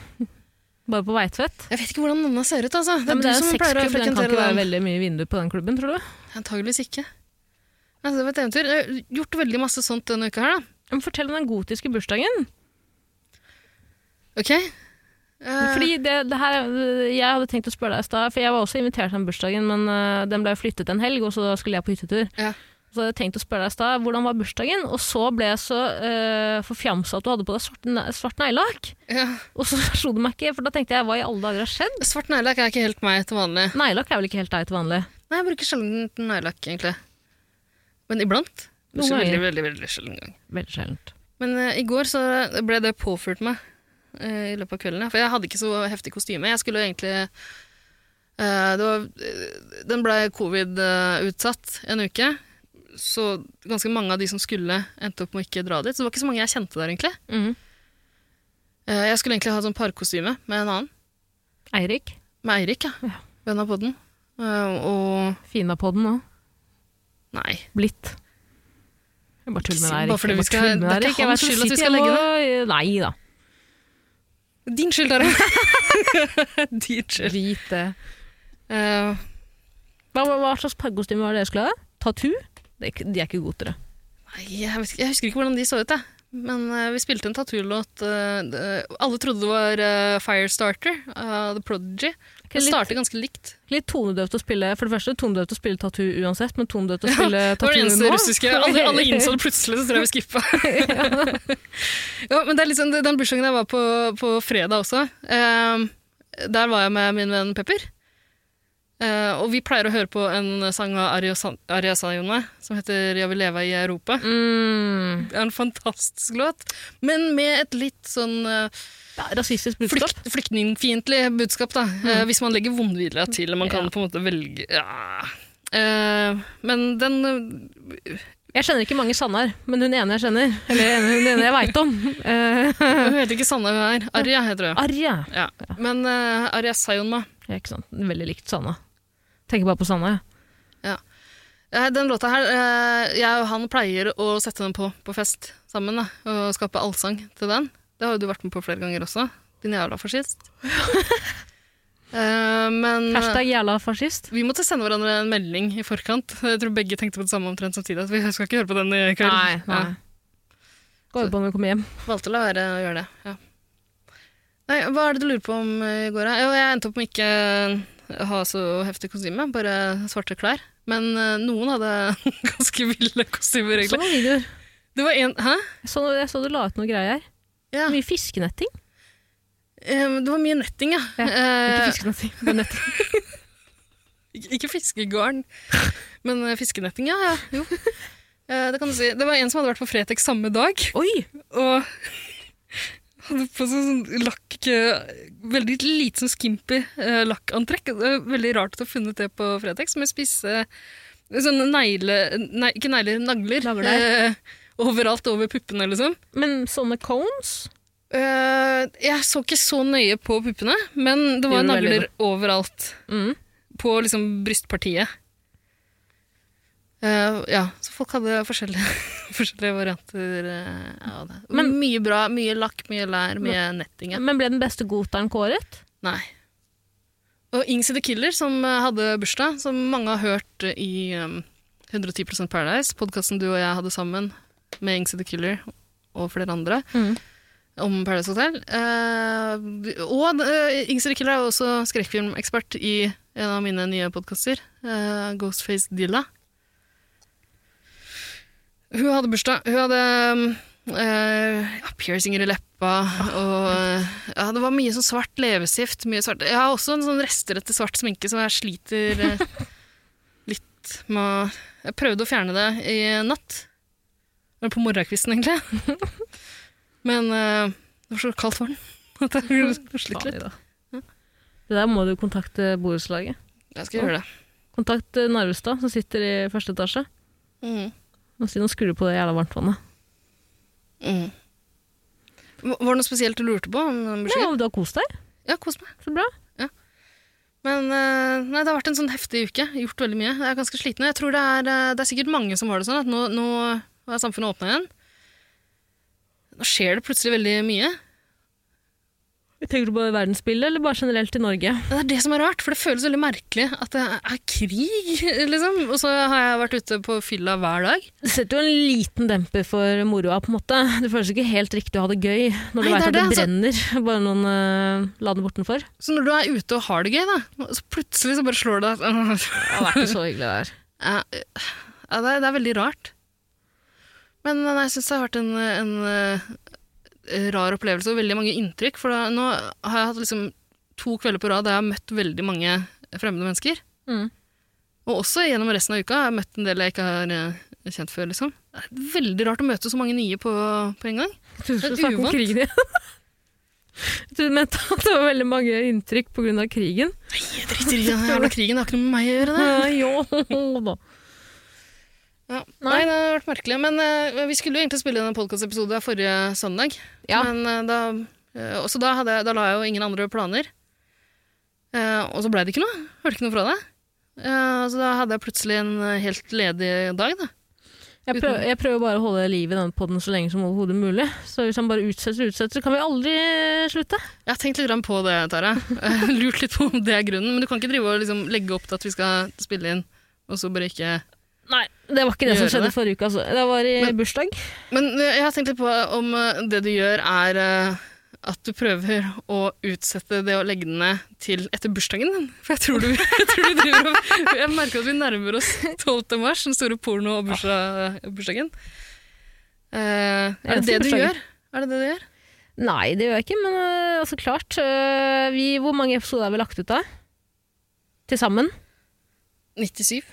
S2: Bare på Veitvet.
S3: Jeg vet ikke hvordan Nonna ser ut, altså. Det
S2: Nei,
S3: er
S2: men
S3: du
S2: det er en
S3: som pleier
S2: sexklubb,
S3: å
S2: den kan
S3: frekventere
S2: ikke være
S3: den.
S2: veldig mye vinduer på den klubben, tror du?
S3: Antageligvis ikke. Altså, det var et eventyr. Jeg har gjort veldig masse sånt denne uka her, da.
S2: Men fortell om den gotiske bursdagen.
S3: Ok? Eh,
S2: Fordi det, det her, Jeg hadde tenkt å spørre deg i stad, for jeg var også invitert til den bursdagen, men øh, den ble flyttet en helg, og så skulle jeg på hyttetur.
S3: Ja.
S2: Så jeg hadde tenkt å spørre deg i stad hvordan var bursdagen, og så ble jeg så øh, forfjamsa at du hadde på deg svart, ne- svart neglelakk.
S3: ja.
S2: Og så slo det meg ikke, for da tenkte jeg hva i alle dager har skjedd?
S3: Svart neglelakk er ikke helt meg til vanlig.
S2: Neglelakk er vel ikke helt deg til vanlig?
S3: Nei, jeg bruker sjelden neglelakk, egentlig. Men iblant.
S2: Noen
S3: Så veldig,
S2: ganger.
S3: veldig, veldig sjelden gang.
S2: Veldig sjeldent.
S3: Men eh, i går så ble det påført meg eh, i løpet av kvelden. ja. For jeg hadde ikke så heftig kostyme. Jeg skulle egentlig eh, det var, eh, Den ble covid-utsatt en uke. Så ganske mange av de som skulle, endte opp med å ikke dra dit. Så det var ikke så mange jeg kjente der, egentlig.
S2: Mhm.
S3: Eh, jeg skulle egentlig ha et sånt parkostyme med en annen.
S2: Eirik.
S3: Med Eirik, ja.
S2: Ja.
S3: Venn av podden. Eh, og
S2: Fina på den nå.
S3: nei.
S2: Blitt. Jeg bare tuller med deg, Eirik.
S3: Bare fordi
S2: Jeg
S3: vi skal-
S2: tuller med
S3: det er
S2: deg, Eirik.
S3: ikke
S2: Jeg
S3: hans
S2: vet
S3: skyld
S2: du
S3: at vi
S2: sitter
S3: skal
S2: hjemme og- Nei da.
S3: Din skyld, Tara. Din skyld.
S2: Drit det.
S3: Eh,
S2: Hva, hva- hva slags parkostyme var det dere skulle ha? Tattoo? Det er ikke- De er ikke gode til det.
S3: Nei, jeg, vet, ikke- jeg husker ikke hvordan de så ut, jeg. Men eh, vi spilte en tatulåt eh, det- Alle trodde det var eh, Firestarter av The Prodigy. Det
S2: litt-
S3: starter ganske likt.
S2: Litt tonedøvt å spille For det første tonedøvt å spille tattoo uansett, men tonedøvt å spille
S3: Det var det
S2: tattoo nå.
S3: eneste russiske. Alle, alle innså det plutselig, så tror jeg vi skippa. ja, men det er liksom, den bursdagen jeg var på på fredag også, eh, der var jeg med min venn Pepper. Eh, og vi pleier å høre på en sang av Arja San- Arja Sanjona som heter 'Jeg vil leve i Europa'.
S2: Mm.
S3: Det er en fantastisk låt, men med et litt sånn eh,
S2: Ja, rasistisk budskap. Mm.
S3: flykt, flyktningfiendtlig budskap, da. Eh, hvis man legger vondvilja til, og man kan på en måte velge ja. Eh, Men den eh,
S2: Jeg kjenner ikke mange Sannar, men hun ene jeg kjenner, eller ene- hun ene jeg veit om, uh,
S3: Hun heter eh, ikke Sanna, hun er Arja, heter hun.
S2: Arja.
S3: Ja. Men eh, Arja Sayonma.
S2: Ja, ikke sant? Veldig likt Sanna. Tenker bare på Sanna, ja.
S3: Eh, Den låta her eh, Jeg og han pleier å sette den på på fest sammen, da, og skape allsang til den. Det har jo du vært med på flere ganger også. Din jævla fascist. Eh, men
S2: Hashtag jævla fascist.
S3: Vi måtte sende hverandre en melding i forkant. Jeg tror begge tenkte på det samme omtrent samtidig. At vi skal ikke høre på den i kveld. Ja,
S2: Går jo på når vi kommer hjem.
S3: valgte å la være å gjøre det. Ja. Nei, hva er det du lurer på om eh, i går? da? Jo, jeg endte opp med ikke ha så heftig kostyme, bare svarte klær. Men eh, noen hadde ganske ville
S2: Så
S3: kostymer, egentlig.
S2: noen videoer.
S3: Det var en Hæ?
S2: Jeg så, jeg så du la ut noen greier her.
S3: Ja.
S2: Mye fiskenetting.
S3: Eh, Det var mye netting, ja.
S2: Ja,
S3: Eh,
S2: Ikke fiskenetting, men netting.
S3: Ik- Ikke fiskegarn, men eh, fiskenetting, ja. ja. Jo. Eh, Det kan du si. Det var en som hadde vært på Fretex samme dag.
S2: Oi!
S3: Og hadde på seg sånn lakk eh, Veldig lite sånn skimpy eh, lakkantrekk. Det er veldig rart at du har funnet det på Fretex, med spisse eh, sånne negler nei, Ikke negler, nagler.
S2: Nagler.
S3: eh, overalt over puppene, liksom.
S2: Men sånne cones
S3: Eh, jeg så ikke så nøye på puppene, men det var
S2: Gjorde veldig
S3: nagler overalt.
S2: mm.
S3: På liksom brystpartiet. Eh, ja, så folk hadde forskjellige, forskjellige varianter eh, av det. Men,
S2: Men-
S3: mye bra. Mye lakk, mye lær, mye netting. ja.
S2: Men ble den beste goteren kåret?
S3: Nei. Og Ings the Killer, som eh, hadde bursdag, som mange har hørt eh, i um, 110 Paradise, podkasten du og jeg hadde sammen med Ings the Killer og flere andre om Paradise Hotel. Eh, og uh, Ings the Killer er jo også skrekkfilmekspert i en av mine nye podkaster, eh, Ghostface Dilla. Hun hadde bursdag. Hun hadde um, eh, ja, piercinger i leppa og eh, ja, Det var mye sånn svart leppestift. Mye svart. Jeg har også en sånn rester etter svart sminke, så jeg sliter eh, litt med å- Jeg prøvde å fjerne det i natt. Eller på morgenkvisten, egentlig. Men eh, det var så kaldt var den. At jeg slitt litt.
S2: Fader, da. Det der må du kontakte borettslaget.
S3: Jeg skal gjøre det.
S2: Kontakt eh, Narvestad, som sitter i første etasje,
S3: Mm.
S2: og si nå skrur du på det jævla varmtvannet.
S3: Mm. Var det noe spesielt du lurte på? om den
S2: Ja,
S3: bursdagen?
S2: du har kost deg.
S3: Ja, kos meg.
S2: Så bra.
S3: Men eh, nei, det har vært en sånn heftig uke. Jeg har Gjort veldig mye. Jeg er ganske sliten. og Jeg tror det er, eh, det er sikkert mange som har det sånn at nå, nå er samfunnet åpna igjen. Nå skjer det plutselig veldig mye.
S2: Tenker du på verdensbildet, eller bare generelt i Norge?
S3: Det er det som er rart, for det føles veldig merkelig at det er krig, liksom. Og så har jeg vært ute på fylla hver dag.
S2: Det setter jo en liten demper for moroa, på en måte. Det føles ikke helt riktig å ha det gøy når du
S3: Nei, det
S2: veit
S3: er
S2: at det,
S3: det, altså.
S2: brenner bare noen uh, land bortenfor.
S3: Så når du er ute og har det gøy, da, så plutselig så bare slår det at
S2: Det har vært så hyggelig der.
S3: Ja, eh, ja, det, er, det er veldig rart. Men nei, jeg syns det har vært en, en eh, rar opplevelse og veldig mange inntrykk. For da, nå har jeg hatt liksom to kvelder på rad der jeg har møtt veldig mange fremmede mennesker.
S2: Mm.
S3: Og også gjennom resten av uka har jeg møtt en del jeg ikke har eh, kjent før. liksom. Det er veldig rart å møte så mange nye på, på en gang.
S2: Jeg trodde du skulle
S3: Det er
S2: snakke om
S3: uvant.
S2: krigen igjen. Jeg trodde du mente at det var veldig mange inntrykk pga. krigen.
S3: Jeg driter i den jævla krigen, det har ikke noe med meg å gjøre. det.
S2: Eh, jo da.
S3: Ja.
S2: Nei.
S3: Nei, det har vært merkelig. Men eh, vi skulle jo egentlig spille inn en podkastepisode forrige søndag.
S2: Ja.
S3: Men eh, da, eh, også da, hadde jeg, da la jeg jo ingen andre planer. Eh, og så blei det ikke noe. Hørte ikke noe fra deg. Eh, så da hadde jeg plutselig en eh, helt ledig dag, da.
S2: Jeg, prøv, jeg prøver bare å holde liv i den podden så lenge som overhodet mulig. Så hvis han bare utsetter og utsetter, så kan vi aldri slutte.
S3: Jeg har tenkt litt grann på det, Tara. Eh, Lurt litt på om det er grunnen. Men du kan ikke drive og liksom legge opp til at vi skal spille inn, og så bare ikke
S2: Nei, Det var ikke det som
S3: Gjøre
S2: skjedde
S3: det.
S2: forrige uke, altså. Det var i
S3: Men-
S2: bursdag.
S3: Men eh, jeg har tenkt litt på om eh, det du gjør, er eh, at du prøver å utsette det å legge den ned til etter bursdagen din. For jeg tror du, jeg tror du driver og Jeg merker at vi nærmer oss 12. mars, den store porno- og bursdag, bursdagen. Eh, er det det
S2: Eneste
S3: du
S2: bursdagen.
S3: gjør? Er det det du gjør?
S2: Nei, det gjør jeg ikke, men øh, altså klart. øh, vi, hvor mange episoder har vi lagt ut av? Til sammen?
S3: 97,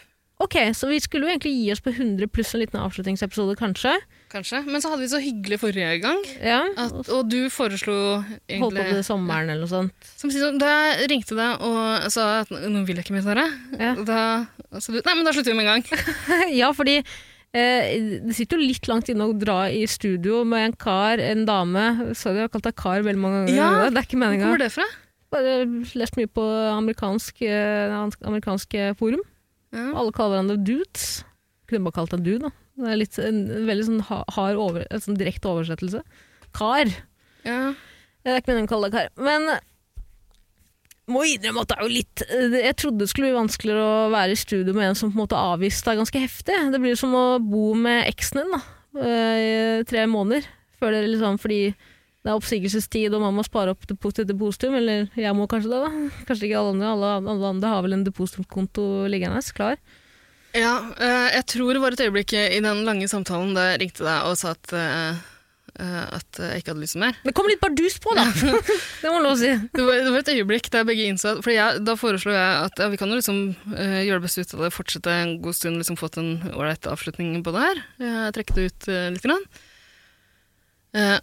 S2: Ok, så vi skulle jo egentlig gi oss på 100 pluss en liten avslutningsepisode, kanskje.
S3: kanskje. Men så hadde vi så hyggelig forrige gang,
S2: Ja,
S3: at, og du foreslo egentlig
S2: Holdt på til sommeren eller noe sånt.
S3: Samtidig som sånn, da jeg ringte deg og sa at nå vil jeg ikke mer til dere,
S2: Ja.
S3: da sa du nei, men da slutter vi med en gang.
S2: ja, fordi eh, det sitter jo litt langt inne å dra i studio med en kar, en dame Sorry, jeg har kalt deg kar veldig mange ganger.
S3: Ja,
S2: det er ikke
S3: Hvor
S2: meninga.
S3: kommer det fra?
S2: Bare lest mye på amerikansk, eh, amerikansk forum.
S3: Ja.
S2: Alle kaller hverandre dudes. Kunne bare kalt deg du, da. Det er litt, en veldig sånn ha- hard over, en sånn direkte oversettelse. Kar.
S3: Ja.
S2: Det er ikke meningen å kalle deg kar. Men må innrømme at det er jo litt eh, Jeg trodde det skulle bli vanskeligere å være i studio med en som på en måte avviste deg ganske heftig. Det blir jo som å bo med eksen din da, eh, i tre måneder. Før det liksom, fordi det er oppsigelsestid, og man må spare opp depo- til depositum. Eller jeg må kanskje det, da. Kanskje ikke alle andre. Alle, alle andre har vel en depositumkonto liggende klar.
S3: ja eh, jeg tror det var et øyeblikk i den lange samtalen da jeg ringte deg og sa at, eh, eh, at jeg ikke hadde lyst til mer.
S2: Det kommer litt bardus på, da! det må man lov å si.
S3: Det var, det var et øyeblikk der begge innså at fordi jeg, Da foreslo jeg at ja, vi kan jo liksom eh, gjøre det beste ut av det, fortsette en god stund, liksom fått en ålreit avslutning på det her. Jeg trekk det ut eh, litt. Grann. Eh,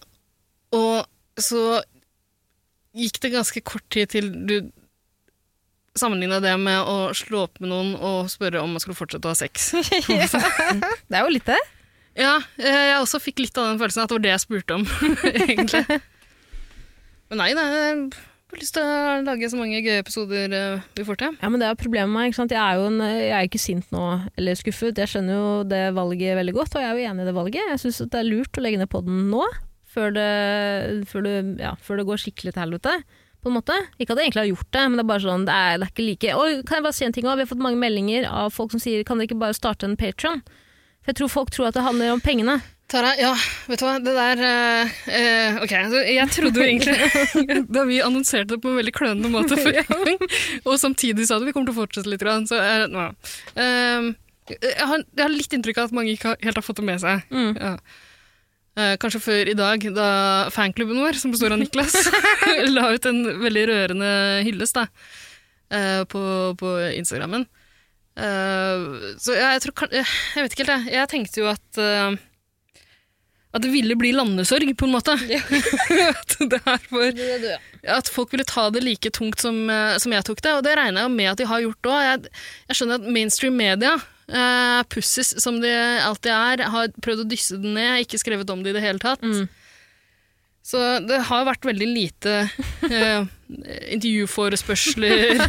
S3: og så gikk det ganske kort tid til du sammenligna det med å slå opp med noen og spørre om man skulle fortsette å ha sex.
S2: Det er jo litt det.
S3: ja, eh, jeg også fikk litt av den følelsen at det var det jeg spurte om, egentlig. Men nei, nei, jeg har lyst til å lage så mange gøye episoder eh, vi får til.
S2: Ja, men det er jo problemet med meg. ikke sant? Jeg er jo en, jeg er ikke sint nå, eller skuffet. Jeg skjønner jo det valget veldig godt, og jeg er jo enig i det valget. Jeg syns det er lurt å legge ned podden nå, før det, før, det, ja, før det går skikkelig til helvete. På en måte. Ikke at jeg egentlig har gjort det, men det er bare sånn, det er, det er ikke like Oi, kan jeg bare si en ting også? Vi har fått mange meldinger av folk som sier kan dere ikke bare starte en Patron? For jeg tror folk tror at det handler om pengene.
S3: Tara, ja, vet du hva, det der eh, eh, Ok, så jeg trodde jo egentlig Da vi annonserte det på en veldig klønete måte forrige gang, og samtidig sa det vi kommer til å fortsette litt, grann, så eh, nå. Ehm, jeg, har, jeg har litt inntrykk av at mange ikke har- helt har fått det med seg.
S2: Mm.
S3: Ja. Eh, kanskje før i dag, da fanklubben vår, som består av Niklas, la ut en veldig rørende hyllest da, eh, på, på Instagrammen. Eh, så jeg, jeg tror kan- Jeg jeg vet ikke helt, jeg. Jeg tenkte jo at eh, at det ville bli landesorg, på en måte. at, det er for, at folk ville ta det like tungt som, eh, som jeg tok det, og det regner jeg jo med at de har gjort òg. Jeg, jeg skjønner at mainstream media, eh, pussis som de alltid er, har prøvd å dysse den ned, ikke skrevet om det i det hele tatt.
S2: Mm.
S3: Så det har vært veldig lite eh, intervjuforespørsler.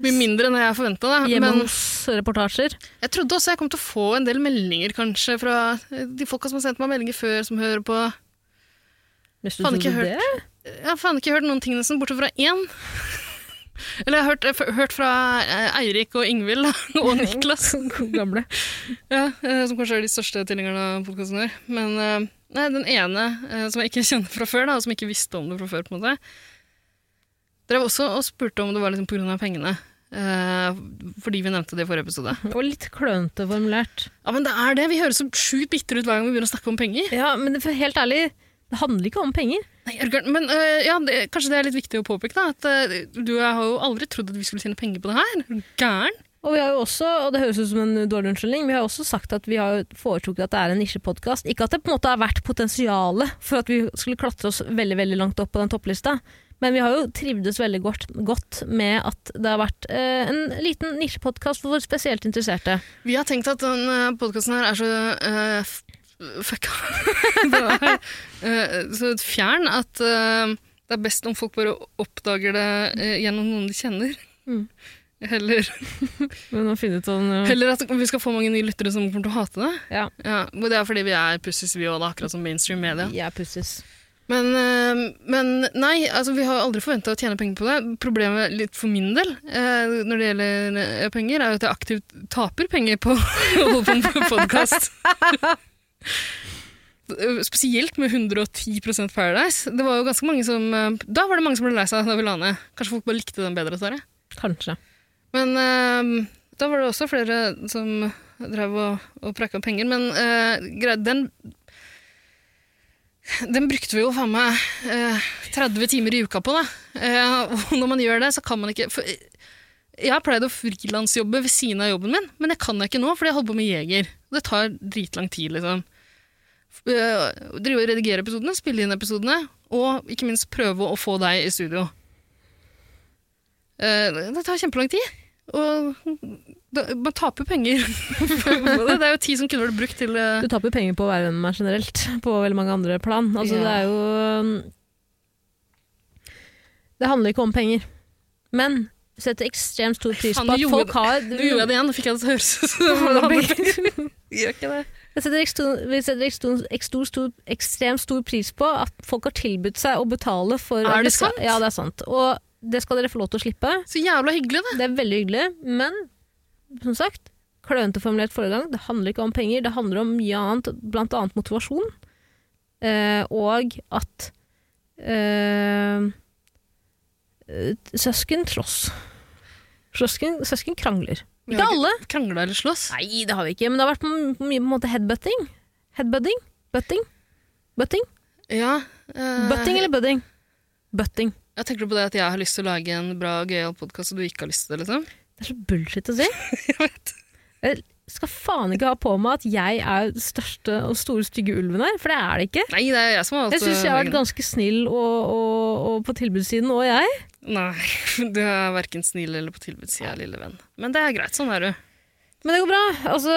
S3: Mye mindre enn jeg forventa, da.
S2: Hjemme
S3: Men-
S2: hos reportasjer.
S3: jeg trodde også jeg kom til å få en del meldinger, kanskje, fra de folka som har sendt meg meldinger før, som hører på.
S2: Hvis
S3: Faen, ikke hørt.
S2: det.
S3: Jeg har faen ikke hørt noen ting, nesten, bortsett fra én. Eller jeg har hørt, jeg har hørt fra eh, Eirik og Ingvild da, og Niklas,
S2: God Gamle.
S3: ja, eh, som kanskje er de største tilhengerne av podkasten vår. Men eh, nei, den ene eh, som jeg ikke kjenner fra før, da, og som ikke visste om det fra før, på en måte, drev også og spurte om det var liksom pga. pengene. eh, fordi vi nevnte det i forrige episode.
S2: Og litt klønete formulert.
S3: Ja, men det er det. Vi høres så sjukt bitre ut hver gang vi begynner å snakke om penger.
S2: Ja, men det- for helt ærlig, det handler ikke om penger.
S3: Nei, Jørgen, men øh, ja, det, Kanskje det er litt viktig å påpeke da, at øh, du og jeg har jo aldri trodd at vi skulle tjene penger på det her. Er du Gæren.
S2: Og vi har jo også, og det høres ut som en dårlig unnskyldning, vi har jo også sagt at vi har foretrukket at det er en nisjepodkast. Ikke at det på en måte har vært potensialet for at vi skulle klatre oss veldig veldig langt opp på den topplista, men vi har jo trivdes veldig godt, godt med at det har vært eh, en liten nisjepodkast for spesielt interesserte.
S3: Vi har tenkt at denne podkasten her er så øh, f- fucka Den er, øh, Så fjern at øh, det er best om folk bare oppdager det øh, gjennom noen de kjenner.
S2: Mm.
S3: Heller,
S2: Men å finne ut sånn
S3: heller at vi skal få mange nye lyttere som kommer til å hate det.
S2: Ja,
S3: Ja, men det er fordi vi er pussis, vi òg, akkurat som mainstream media.
S2: jeg er pussis.
S3: Men, eh, men nei, altså, vi har aldri forventa å tjene penger på det. Problemet litt for min del eh, når det gjelder eh, penger, er jo at jeg aktivt taper penger på å holde på med podkast. Spesielt med 110 Paradise. Det var jo ganske mange som, eh, da var det mange som ble lei seg da vi la ned. Kanskje folk bare likte den bedre. Dessverre.
S2: Kanskje.
S3: Men eh, da var det også flere som drev og, og prekka om penger. Men eh, grei- den, den brukte vi jo faen meg eh, 30 timer i uka på, da. Eh, og når man gjør det, så kan man ikke for, eh, Jeg har pleid å frilansjobbe ved siden av jobben min, men det kan jeg ikke nå, fordi jeg holder på med Jeger. Det tar dritlang tid, liksom. Eh, drive og redigere episodene, spille inn episodene, og ikke minst prøve å få deg i studio. Eh, det tar kjempelang tid. Og da, man taper penger på det. Det er jo tid som kunne vært brukt til eh,
S2: Du taper jo penger på å være venn med meg generelt, på veldig mange andre plan. Altså,
S3: Ja.
S2: Det er jo mm, Det handler ikke om penger. Men vi setter ekstremt stor pris
S3: Faen,
S2: på
S3: nå
S2: at
S3: gjorde
S2: folk har
S3: Nå gjorde jeg det igjen, nå fikk jeg det til å høres ut som om det handlet om penger. Gjør ikke det.
S2: Jeg setter eksto- Vi setter eksto- ekstor- stor- ekstremt stor pris på at folk har tilbudt seg å betale for
S3: Er
S2: at
S3: det
S2: vi skal-
S3: sant?
S2: Ja, det er sant. Og det skal dere få lov til å slippe.
S3: Så jævla hyggelig, det.
S2: Det er veldig hyggelig, men som sagt, klønete formulert forrige gang, det handler ikke om penger, det handler om mye annet, blant annet motivasjon, eh, og at eh, eh, søsken slåss. Søsken, søsken krangler.
S3: Vi
S2: Ikke
S3: har
S2: alle,
S3: ikke krangla eller slåss.
S2: Nei, det har vi ikke, men det har vært m- mye på en måte headbutting. Headbutting? Butting? Butting?
S3: Ja, eh,
S2: Butting eller budding? Butting.
S3: Jeg tenker på det at jeg har lyst til å lage en bra gøyal podkast, og du ikke har lyst til det, liksom.
S2: Det er så bullshit å si. Jeg skal faen ikke ha på meg at jeg er den største og store stygge ulven her, for det er det ikke.
S3: Nei, det er jeg som har valgt
S2: Jeg syns jeg har vært
S3: ganske
S2: ganske snill og, og, og på tilbudssiden, og jeg.
S3: Nei, du er verken snill eller på tilbudssida, lille venn. Men det er greit, sånn er du.
S2: Men det går bra. Altså,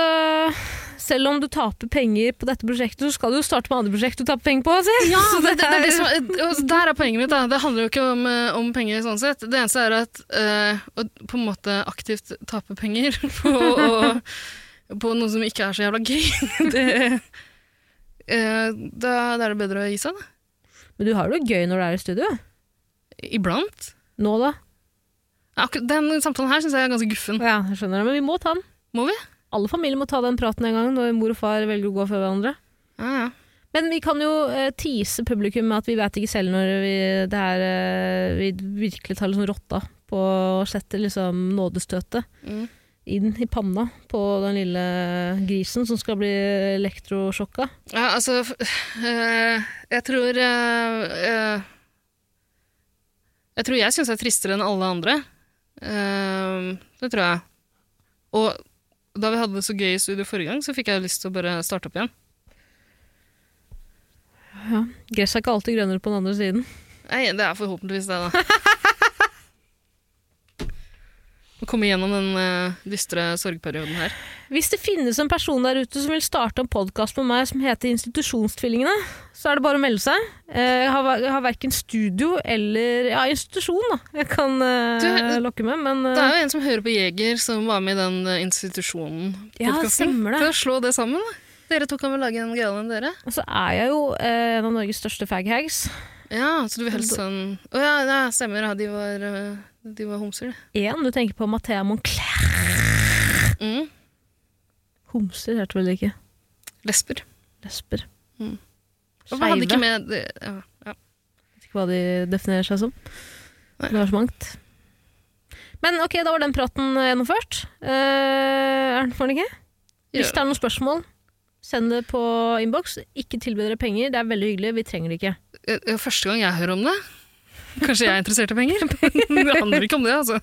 S2: selv om du taper penger på dette prosjektet, så skal du jo starte med andre prosjekt du taper penger på. Si.
S3: Ja,
S2: Så
S3: det, det, det er det som, eh, altså, der er poenget mitt. Da. Det handler jo ikke om, eh, om penger sånn sett. Det eneste er at eh, å på en måte aktivt tape penger på, å- på noe som ikke er så jævla gøy, det, eh, da, da er det bedre å gi seg, da.
S2: Men du har det jo gøy når du er i studio.
S3: Iblant.
S2: Nå da?
S3: Ja, akkur- Den samtalen her syns jeg er ganske guffen.
S2: Ja, jeg skjønner det, men vi må ta den.
S3: Må vi?
S2: Alle familier må ta den praten en gang når mor og far velger å gå før hverandre.
S3: Ja, ja.
S2: Men vi kan jo eh, tease publikum med at vi vet ikke selv når vi, det her, eh, vi virkelig tar liksom rotta på å sette liksom nådestøtet
S3: Mm.
S2: inn i panna på den lille grisen som skal bli elektrosjokka.
S3: Ja, altså f- eh, Jeg tror eh, eh, Jeg tror jeg syns jeg er tristere enn alle andre. Eh, det tror jeg. Og da vi hadde det så gøy i studio forrige gang, så fikk jeg lyst til å bare starte opp igjen.
S2: Gresset er ikke alltid grønnere på den andre siden.
S3: Nei, det er forhåpentligvis det, da. Å komme gjennom den eh, dystre sorgperioden her.
S2: Hvis det finnes en person der ute som vil starte en podkast med meg som heter Institusjonstvillingene, så er det bare å melde seg. Eh, Jeg har, ver- jeg har verken studio eller ja, institusjon da. jeg kan eh,
S3: Du,
S2: lokke med, men eh,
S3: Det er jo en som hører på Jeger, som var med i den eh, institusjonen.
S2: eh, Ja, stemmer det.
S3: For å slå det sammen, da. Dere to kan vel lage en gøyere enn dere?
S2: Og så er jeg jo eh, en av Norges største faghags.
S3: Ja, så du vil helst sånn Å ja, det stemmer. Ja, de var, øh, de var homser, de.
S2: Én, du tenker på Mathea Monclair.
S3: Mm.
S2: Homser heter vel det ikke.
S3: Lesber.
S2: Lesber.
S3: Mm. Og
S2: Skeive.
S3: hva hadde ikke
S2: Vet
S3: med det, ja, ja.
S2: ikke hva de definerer seg som.
S3: Nei.
S2: Det var så mangt. Men ok, da var den praten eh, gjennomført. Eh, er den for den ikke? Hvis det er noen spørsmål, send det på innboks. Ikke tilby dere penger, det er veldig hyggelig. Vi trenger det ikke.
S3: Ja, ja, Eh, Første gang jeg hører om det. Kanskje jeg er interessert i penger? Men det handler ikke om det, altså.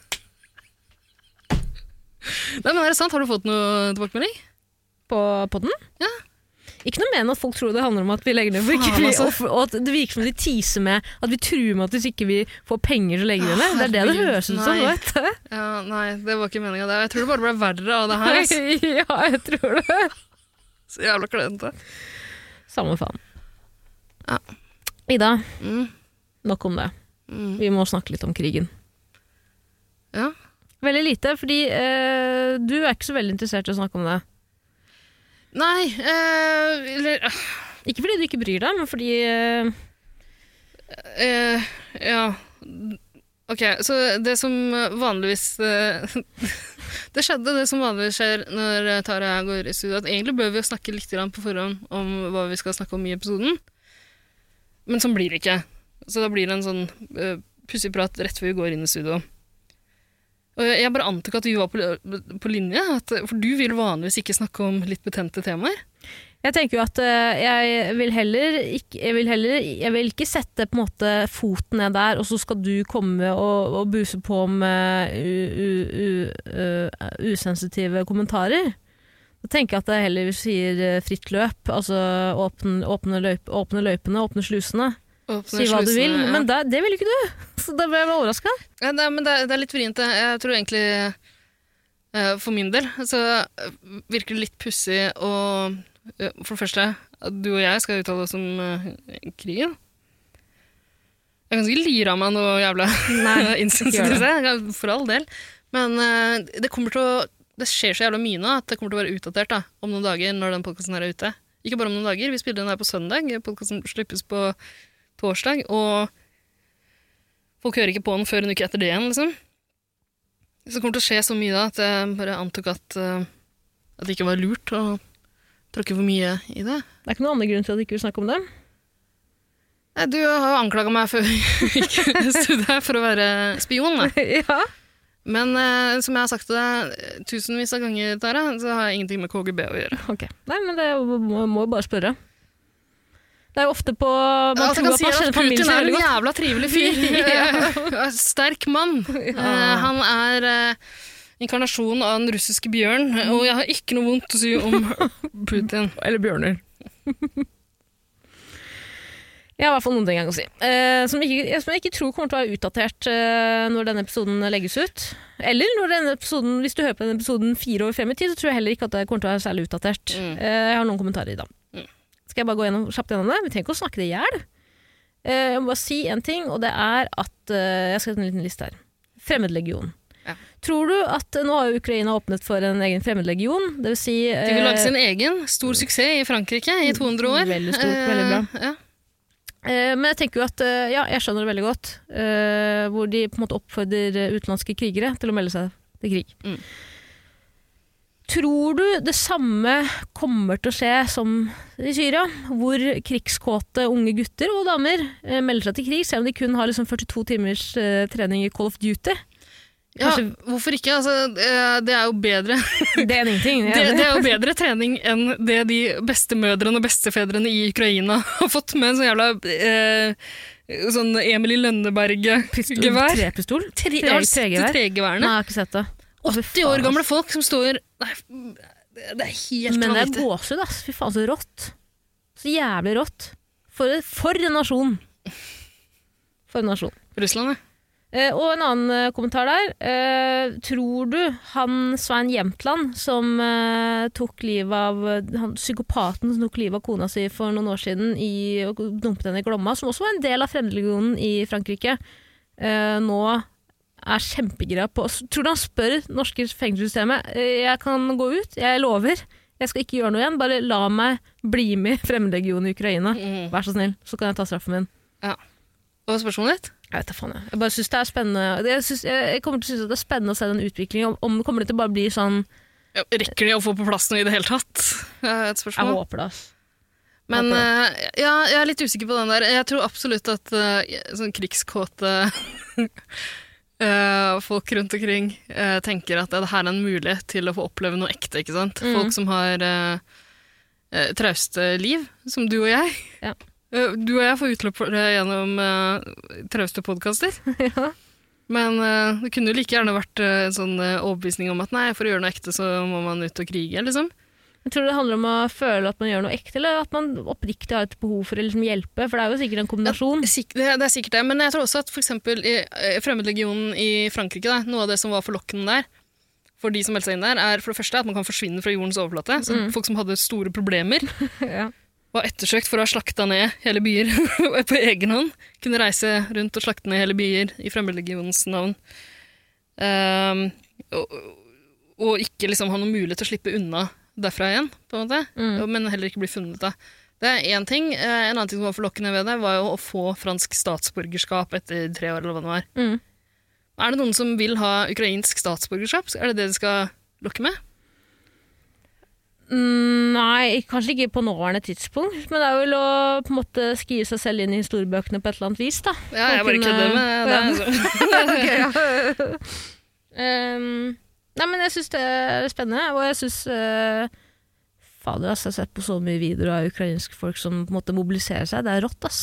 S3: Nei, men er det sant? Har du fått noe tilbakemelding?
S2: På podden?
S3: Ja.
S2: Ikke noe mer enn at folk tror det handler om at vi legger ned, for
S3: Faen,
S2: ikke vi,
S3: altså.
S2: og, og at det virker som de teaser med at vi truer med at hvis ikke vi får penger, så legger vi ned. Det er det det
S3: Herregud,
S2: høres ut som.
S3: nei.
S2: vet du.
S3: Ja, nei, det var ikke meninga. Jeg tror det bare ble verre av det her. Altså.
S2: ja, jeg tror det.
S3: Så jævla klønete.
S2: Samme faen.
S3: Ja.
S2: Ida,
S3: Mm.
S2: nok om det.
S3: Mm.
S2: Vi må snakke litt om krigen.
S3: Ja.
S2: Veldig lite, fordi eh, du er ikke så veldig interessert i å snakke om det.
S3: Nei, eh, eller
S2: Ikke fordi du ikke bryr deg, men fordi eh,
S3: Eh, ja. Ok, så det som vanligvis eh, Det skjedde det som vanligvis skjer når Tara og jeg går i studio, at egentlig bør vi jo snakke litt grann på forhånd om hva vi skal snakke om i episoden. Men sånn blir det ikke. Så da blir det en sånn eh, pussig prat rett før vi går inn i studio. Og jeg jeg bare antok at vi var på, på linje, at, for du vil vanligvis ikke snakke om litt betente temaer.
S2: Jeg tenker jo at eh, jeg vil heller ikke, jeg vil heller, jeg vil ikke sette på en måte foten ned der, og så skal du komme og, og buse på med u, u, u, eh, usensitive kommentarer. Da tenker jeg at jeg heller sier eh, fritt løp, altså åpne, åpne, løyp, åpne løypene, åpne slusene.
S3: Åpne
S2: Si hva du
S3: slusene,
S2: vil,
S3: ja.
S2: men det, det vil ikke du. Så da ble jeg overraska.
S3: Ja, det, er- men det, er- det er litt vrient. det. Jeg tror egentlig eh, For min del så eh, virker det litt pussig å eh, For det første, at du og jeg skal uttale oss om eh, krigen. Jeg kan sikkert lire av meg noe jævla
S2: ikke
S3: insensitive, ja, for all del. Men eh, det kommer til å det skjer så jævla mye nå at det kommer til å være utdatert da, om noen dager. når den podcasten her er ute. Ikke bare om noen dager, vi spiller den her på søndag. Podkasten slippes på torsdag. Og folk hører ikke på den før en uke etter det igjen, liksom. Så det kommer til å skje så mye da at jeg bare antok at, eh, at det ikke var lurt å tråkke for mye i det.
S2: Det er ikke noen annen grunn til at du ikke vil snakke om det.
S3: Nei, du har jo anklaga meg før vi gikk i studio her for å være spion. Da.
S2: ja.
S3: Men eh, som jeg har sagt til deg eh, tusenvis av ganger, Tara, så har jeg ingenting med KGB å gjøre.
S2: Ok. Nei, men det må, må jo bare spørre. Det er jo ofte på Man
S3: Alt jeg
S2: tror
S3: kan
S2: at
S3: si
S2: man
S3: er
S2: kjenner
S3: altså, at Putin
S2: familien sin
S3: er
S2: veldig
S3: en
S2: godt.
S3: jævla trivelig fyr. Eh, Sterk mann. Eh, Han er eh, inkarnasjonen av den russiske bjørn, og jeg har ikke noe vondt å si om Putin.
S2: Eller bjørner. Jeg har i hvert fall noen ting jeg kan si. Eh, som, jeg ikke, som jeg ikke tror kommer til å være utdatert eh, når denne episoden legges ut. Eller når denne episoden, hvis du hører på denne episoden fire år frem i tid, så tror jeg heller ikke at det kommer til å være særlig utdatert.
S3: Mm.
S2: Eh, jeg har noen kommentarer i dag. Skal jeg bare gå gjennom, kjapt gjennom det? Vi trenger ikke å snakke det i hjel. Eh, jeg må bare si en ting, og det er at eh, Jeg har skrevet en liten liste her. Fremmedlegion.
S3: Ja.
S2: Tror du at eh, Nå har jo Ukraina åpnet for en egen fremmedlegion. Det vil si
S3: De vil
S2: eh,
S3: lage sin egen. Stor suksess i Frankrike i 200 år.
S2: Veldig stort,
S3: Eh,
S2: veldig bra.
S3: ja.
S2: Eh, men jeg tenker jo at eh, Ja, jeg skjønner det veldig godt. eh, hvor de på en måte oppfordrer eh, utenlandske krigere til å melde seg til krig.
S3: Mm.
S2: Tror du det samme kommer til å skje som i Syria? Hvor krigskåte unge gutter og damer eh, melder seg til krig, selv om de kun har liksom 42 timers eh, trening i Call of Duty?
S3: Ja,
S2: Kanskje-
S3: hvorfor ikke? Altså, eh, det er jo bedre
S2: Det er ingenting.
S3: det, det er jo bedre trening enn det de bestemødrene og bestefedrene i Ukraina har fått med en sånn jævla eh, sånn Emily Lønneberg-gevær.
S2: Trepistol?
S3: Tre,
S2: tre-
S3: har du sett
S2: tregevær?
S3: de
S2: Nei,
S3: tregeværene?
S2: jeg har ikke sett det. Å, fy
S3: 80
S2: faen,
S3: år
S2: ass.
S3: gamle folk som står Nei, det er helt
S2: Men det er
S3: vanvittig.
S2: gåsehud, ass. Fy faen, så rått. Så jævlig rått. For, for en nasjon. For en nasjon.
S3: Russland, ja.
S2: Eh, og en annen eh, kommentar der. Eh, tror du han Svein Jämtland som eh, tok livet av han, Psykopaten som tok livet av kona si for noen år siden i, og dumpet henne i Glomma, som også var en del av Fremmedlegionen i Frankrike, eh, nå er kjempegira på Tror du han spør norske fengselssystemet eh, Jeg kan gå ut, jeg lover. Jeg skal ikke gjøre noe igjen, bare la meg bli med i Fremmedlegionen i Ukraina.
S3: Mm.
S2: Vær så snill, så kan jeg ta straffen min.
S3: Hva var spørsmålet ditt?
S2: Jeg vet da faen, jeg. Jeg bare synes det er spennende. Jeg, synes, jeg jeg kommer til å synes at det er spennende å se den utviklingen. Om, om kommer det til å bare bli sånn
S3: Ja, Rekker de å få på plass noe i det hele tatt? Eh, Et
S2: Jeg
S3: spørsmål.
S2: håper det, ass.
S3: Men eh, ja, jeg er litt usikker på den der. Jeg tror absolutt at eh, sånn krigskåte eh, folk rundt omkring eh, tenker at det her er en mulighet til å få oppleve noe ekte. ikke sant?
S2: Mm.
S3: Folk som har eh, eh, trauste liv, som du og jeg.
S2: Ja.
S3: Eh, du og jeg får utløp for det gjennom eh, trauste podkaster.
S2: Ja.
S3: Men eh, det kunne jo like gjerne vært eh, en sånn eh, overbevisning om at nei, for å gjøre noe ekte så må man ut og krige, liksom.
S2: Jeg tror det handler om å føle at man gjør noe ekte, eller at man oppriktig har et behov for å liksom hjelpe. For det er jo sikkert en kombinasjon.
S3: Sik det, det er sikkert det, men jeg tror også at for eksempel i eh, Fremmedlegionen i Frankrike, da, noe av det som var forlokkende der, for de som meldte seg inn der, er for det første at man kan forsvinne fra jordens overflate. Så folk som hadde store problemer,
S2: Ja.
S3: var ettersøkt for å ha slakta ned hele byer på egen hånd. Kunne reise rundt og slakte ned hele byer i fremmedlegionens navn. Ehm, og, og ikke liksom ha noen mulighet til å slippe unna derfra igjen, på en måte.
S2: Mm.
S3: Men heller ikke bli funnet, da. Det er én ting. Eh, En annen ting som var forlokkende ved det, var jo å få fransk statsborgerskap etter tre år, eller hva det var.
S2: Mm.
S3: Er det noen som vil ha ukrainsk statsborgerskap? Er det det de skal lokke med?
S2: Mm, Nei, kanskje ikke på nåværende tidspunkt, men det er vel å på en måte skrive seg selv inn i historiebøkene på et eller annet vis, da.
S3: Ja,
S2: For
S3: jeg
S2: å
S3: bare
S2: kunne-
S3: kødder med det.
S2: Ja.
S3: Altså.
S2: Ehm, nei, men jeg syns det er spennende, og jeg syns Fader, ass, jeg har sett på så mye videoer av ukrainske folk som på en måte mobiliserer seg. Det er rått, ass.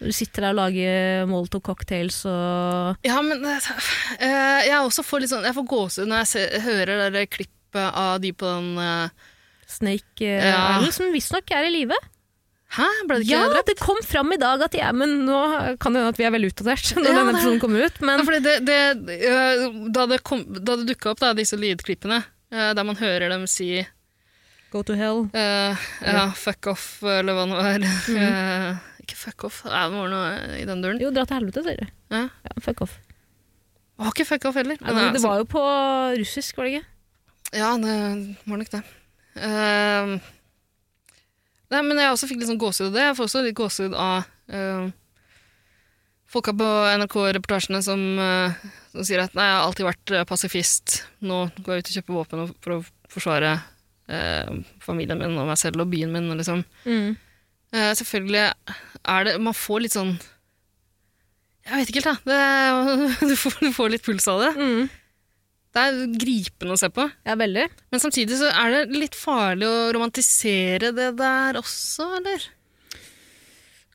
S2: Du sitter der og lager molotov cocktails og
S3: Ja, men eh, jeg, også får litt sånn, jeg får gåsehud når jeg ser, hører det der klippet av de på den eh,
S2: Snake eh,
S3: Ja.
S2: Island, som visstnok er i live.
S3: Hæ, ble det ikke
S2: Ja,
S3: drept?
S2: det kom fram i dag at de er Men nå kan det hende at vi er veldig utdatert når
S3: Ja,
S2: denne
S3: det-
S2: episoden kommer ut, men
S3: Ja, fordi det, det, eh, da det, kom- da det dukka opp da, disse lydklippene eh, der man hører dem si
S2: go to hell.
S3: Eh, ja, fuck off, eller hva det var.
S2: Mhm.
S3: Eh, ikke fuck off, Nei, det var noe i den duren.
S2: Jo, dra til helvete, sier du.
S3: Ja.
S2: Ja, fuck off.
S3: Det var ikke fuck off heller.
S2: Nei,
S3: men, altså,
S2: det var jo på russisk, var det ikke?
S3: Ja, det var nok det. Eh, nei, men jeg også fikk litt sånn gåsehud av det. Jeg får også litt gåsehud av eh, folka på NRK-reportasjene som, eh, som sier at nei, jeg har alltid vært eh, pasifist. Nå går jeg ut og kjøper våpen og- for å forsvare eh, familien min og meg selv og byen min, liksom. Eh, selvfølgelig er det Man får litt sånn Jeg vet ikke helt, da. Det, du, får, du får litt puls av det.
S2: Mm.
S3: Det er gripende å se på.
S2: Ja, veldig.
S3: Men samtidig så er det litt farlig å romantisere det der også, eller?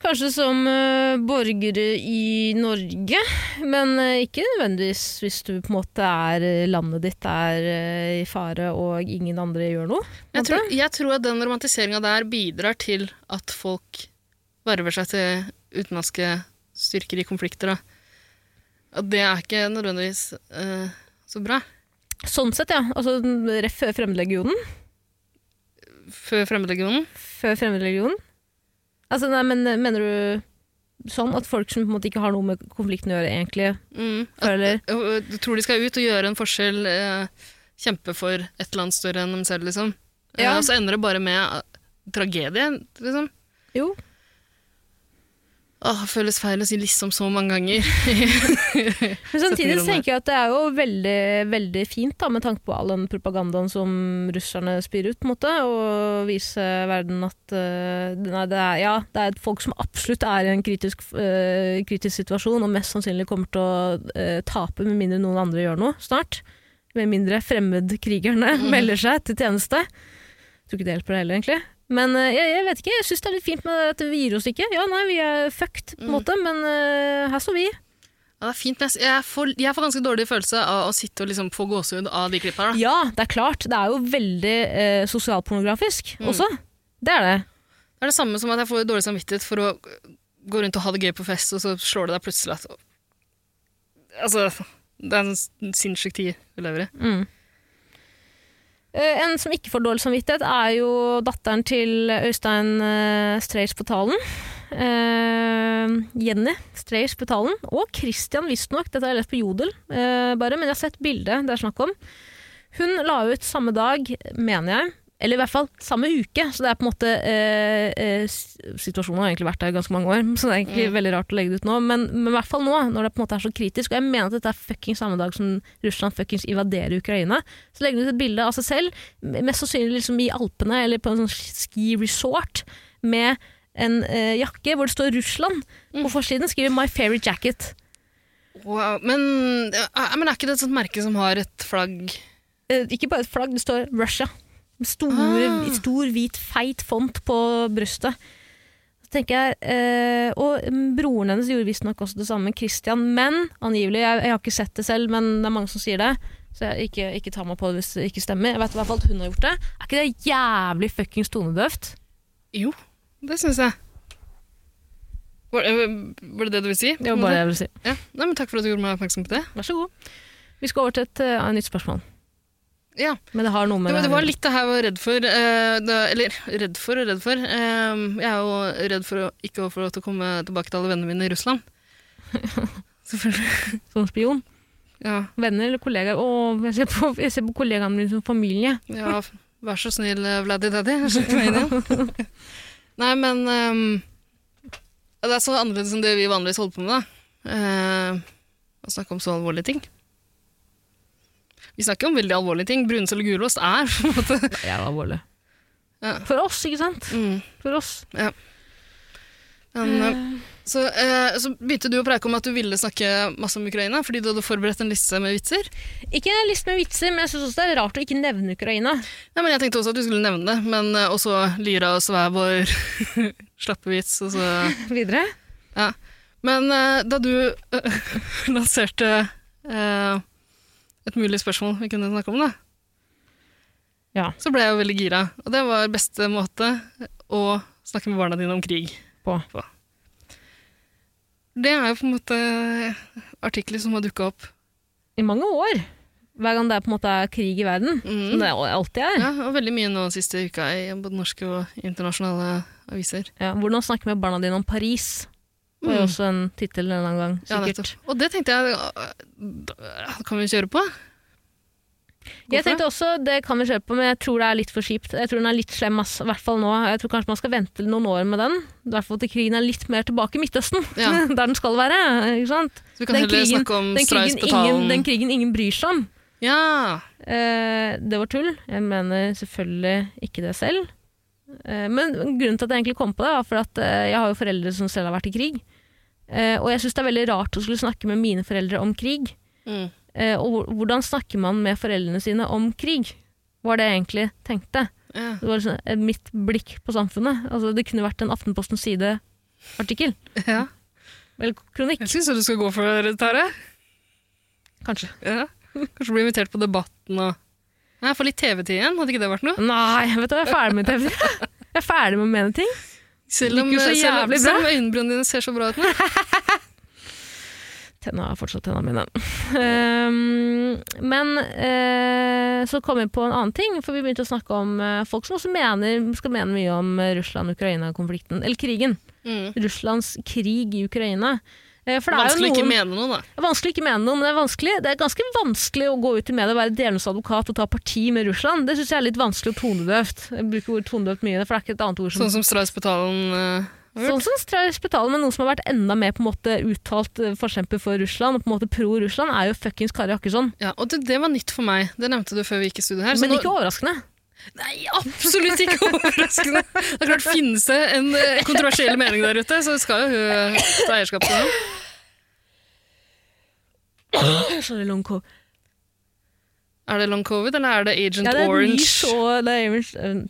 S2: Kanskje som eh, borgere i Norge, men eh, ikke nødvendigvis hvis du på en måte er eh, landet ditt er eh, i fare og ingen andre gjør noe. på en
S3: Jeg tror, jeg tror at den romantiseringa der bidrar til at folk verver seg til utenlandske styrker i konflikter. Da. At det er ikke nødvendigvis eh, så bra.
S2: måte. Sånn sett, ja. Altså rett før Fremmedlegionen.
S3: Før Fremmedlegionen.
S2: Før Fremmedlegionen. Altså, nei, men eh, mener du sånn at folk som på en måte ikke har noe med konflikten å gjøre, egentlig
S3: Mm.
S2: føler
S3: Og Du tror de skal ut og gjøre en forskjell, eh, kjempe for et eller annet større enn dem selv, liksom. Eh,
S2: Ja.
S3: Og så ender det bare med eh, tragedie, liksom.
S2: Jo,
S3: Åh, det føles feil å si liksom så mange ganger.
S2: Men samtidig så
S3: Satire om det.
S2: tenker jeg at det er jo veldig, veldig fint da, med tanke på all den propagandaen som russerne spyr ut, på en måte, og vise verden at eh, nei, det, er, ja, det er folk som absolutt er i en kritisk, eh, kritisk situasjon, og mest sannsynlig kommer til å eh, tape med mindre noen andre gjør noe snart. Med mindre fremmedkrigerne melder seg til tjeneste. Tror ikke det hjelper det heller, egentlig. Men eh, jeg, jeg vet ikke, jeg syns det er litt fint med at vi gir oss ikke. Ja, nei, vi er fucked, på en måte, men eh, her står vi.
S3: Ja, det er fint, men jeg s- jeg får, jeg får ganske dårlig følelse av å sitte og liksom få gåsehud av de klippa. Da.
S2: Ja, det er klart. Det er jo veldig eh, sosialpornografisk også. Det er det.
S3: Det er det samme som at jeg får dårlig samvittighet for å gå rundt og ha det gøy på fest, og så slår det deg plutselig at Altså, det er en s- sinnssyk tid vi lever i.
S2: Mm. Eh, en som ikke får dårlig samvittighet, er jo datteren til Øystein eh, Streis på talen. Eh, Jenny Streis på talen. Og Christian, visstnok. Dette har jeg lest på Jodel, eh, bare, men jeg har sett bildet det er snakk om. Hun la ut samme dag, mener jeg, eller i hvert fall samme uke, så det er på en måte eh, eh, s- Situasjonen har egentlig vært der i ganske mange år, så det er egentlig veldig rart å legge det ut nå. Men, men i hvert fall nå, når det på en måte er så kritisk. Og jeg mener at dette er fucking samme dag som Russland fuckings invaderer Ukraina. Så legger hun ut et bilde av seg selv, m- mest sannsynlig liksom i Alpene eller på en sånn ski resort, med en eh, jakke hvor det står Russland. På forsiden skriver 'My favorite jacket'.
S3: Wow. Men, ja, men er ikke det et sånt merke som har et flagg
S2: Eh, ikke bare et flagg, det står Russia. Med Store,
S3: Ah.
S2: Stor, hvit, feit font på brystet. Så tenker jeg, eh, Og mm, broren hennes gjorde visstnok også det samme, Christian. Men angivelig, jeg, jeg har ikke sett det selv, men det er mange som sier det. Så jeg, ikke, ikke ta meg på det hvis det ikke stemmer. Jeg vet i hvert fall at hun har gjort det. Er ikke det jævlig fuckings tonedøvt?
S3: Jo, det syns jeg. Var, var det det du ville si?
S2: Det var bare det jeg ville si.
S3: ja. Nei, men Takk for at du gjorde meg oppmerksom på det.
S2: Vær så god. Vi skal over til et eh, nytt spørsmål.
S3: Ja,
S2: Men det har noe med
S3: det, var- det
S2: her å
S3: var
S2: gjøre.
S3: litt det her jeg var redd for. eh, da- eller redd for og redd for. Eh, jeg er jo redd for å ikke å få lov til å komme tilbake til alle vennene mine i Russland. Selvfølgelig.
S2: Som spion.
S3: Ja,
S2: Venner eller kollegaer. Å, jeg ser på, jeg ser på kollegaene mine som familie.
S3: ja vær så snill, eh, Vladdy Daddy. Slipp meg inn igjen. Nei, men ehm, Det er så annerledes enn det vi vanligvis holder på med, da. Eh, å snakke om så alvorlige ting. Vi snakker om veldig alvorlige ting. Brunost eller gulost er på en måte
S2: Det er alvorlig.
S3: Ja.
S2: For oss, ikke sant?
S3: mm.
S2: For oss.
S3: men,
S2: Mm.
S3: eh, så, eh, så begynte du å preike om at du ville snakke masse om Ukraina fordi du hadde forberedt en liste med vitser.
S2: Ikke en liste med vitser, men jeg syns også det er rart å ikke nevne Ukraina.
S3: Nei, men Jeg tenkte også at du skulle nevne det, men eh, også Lyra og Svævår slappe vits. Og så,
S2: Videre.
S3: ja. Men eh, da du eh, lanserte eh, et mulig spørsmål vi kunne snakke om, da,
S2: Ja.
S3: så ble jeg jo veldig gira. Og det var beste måte å snakke med barna dine om krig.
S2: På.
S3: Det er jo på en måte artikler som har dukka opp.
S2: I mange år. Hver gang det er på en måte er krig i verden.
S3: Mm.
S2: Som det alltid er.
S3: Ja, og veldig mye nå siste uka i både norske og internasjonale aviser.
S2: Ja, hvordan snakke med barna dine om Paris? Var jo
S3: Mm.
S2: også en tittel en annen gang,
S3: Ja,
S2: sikkert.
S3: nettopp. og det tenkte jeg da Kan vi kjøre på? Gå
S2: jeg
S3: for
S2: tenkte også, det kan vi kjøre på, men jeg tror det er litt for kjipt. Jeg tror den er litt slem, ass, i hvert fall nå. Jeg tror kanskje man skal vente noen år med den. I hvert fall til krigen er litt mer tilbake i Midtøsten,
S3: Ja. Mm,
S2: der den skal være. ikke sant?
S3: Så vi kan
S2: Den
S3: heller
S2: krigen-
S3: snakke om
S2: Den krigen,
S3: Streisbetalen.
S2: ingen, den krigen ingen bryr seg om.
S3: Ja.
S2: Eh, det var tull. Jeg mener selvfølgelig ikke det selv. Eh, men grunnen til at jeg egentlig kom på det, var for at eh, jeg har jo foreldre som selv har vært i krig. Eh, og jeg syns det er veldig rart å skulle snakke med mine foreldre om krig.
S3: Mm.
S2: Eh, og hvor- hvordan snakker man med foreldrene sine om krig? Var det jeg egentlig tenkte.
S3: ja.
S2: Det var liksom eh, mitt blikk på samfunnet. Altså, det kunne vært en Aftenpostens side-artikkel.
S3: ja.
S2: Eller kronikk,
S3: Jeg syns du skal gå for det, Tare.
S2: kanskje.
S3: Ja. Kanskje bli invitert på Debatten og Nei, få litt TV-tid igjen, hadde ikke det vært noe?
S2: Nei, vet du hva, jeg er ferdig med TV. Jeg er ferdig med å mene ting.
S3: Selv om,
S2: Gikk jo så
S3: selv om,
S2: jævlig bra.
S3: selv om øyenbrynene dine ser så bra ut nå.
S2: Tenna er fortsatt tenna mine. Ehm, men eh, så kom vi på en annen ting, for vi begynte å snakke om eh, folk som også mener, skal mene mye om eh, Russland-Ukraina-konflikten, eller krigen.
S3: Mm.
S2: Russlands krig i Ukraina. Eh, for det er jo
S3: Vanskelig ikke
S2: noen,
S3: mene noe, da.
S2: Det er vanskelig å ikke mene noe, men det er vanskelig. Det er ganske vanskelig å gå ut i media og være delens advokat og ta parti med Russland. Det syns jeg er litt vanskelig og tonedøvt. Jeg bruker ordet tonedøvt mye, for det er ikke et annet ord som
S3: Sånn som Streisbetalen eh,
S2: Sånn som Strauss betaler, men noen som har vært enda mer på en måte uttalt eh, forkjemper for Russland, og på en måte pro-Russland, er jo fuckings Kari Jakkesson.
S3: Ja, og det, det var nytt for meg. Det nevnte du før vi gikk i studio her. så
S2: Men
S3: nå-
S2: ikke overraskende.
S3: Nei, absolutt ikke overraskende. Det er klart, Finnes det en eh, kontroversiell mening der ute, så skal jo hun ta eierskap til den.
S2: Sorry, long co-
S3: Er det long covid, eller er det Agent
S2: Ja, det er et
S3: Orange?
S2: nys og det er, orange, eh,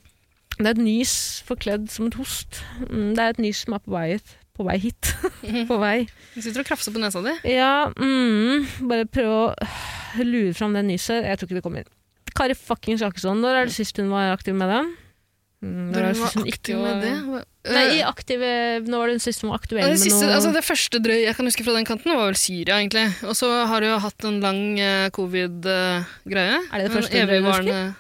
S2: det er et nys forkledd som et host. Mm, Det er et nys som er på vei ut. På vei hit. på vei.
S3: Du sitter og krafser på nesa di.
S2: Ja, mm, bare prøv å øh, lure fram det nyset. Jeg tror ikke det kommer inn. Kari fuckings Jakkesson, når er det sist hun var aktiv med det? Mm,
S3: Når
S2: er det sist
S3: hun var
S2: hun ikke
S3: aktiv
S2: var-
S3: med det.
S2: Nei, i
S3: Eh,
S2: aktive, nå var det den siste som var aktuell
S3: ja, det,
S2: med
S3: siste,
S2: noe
S3: altså det første drøy jeg kan huske fra den kanten, var vel Syria, egentlig. Og så har hun hatt en lang eh, covid-greie.
S2: Er det det første drøye du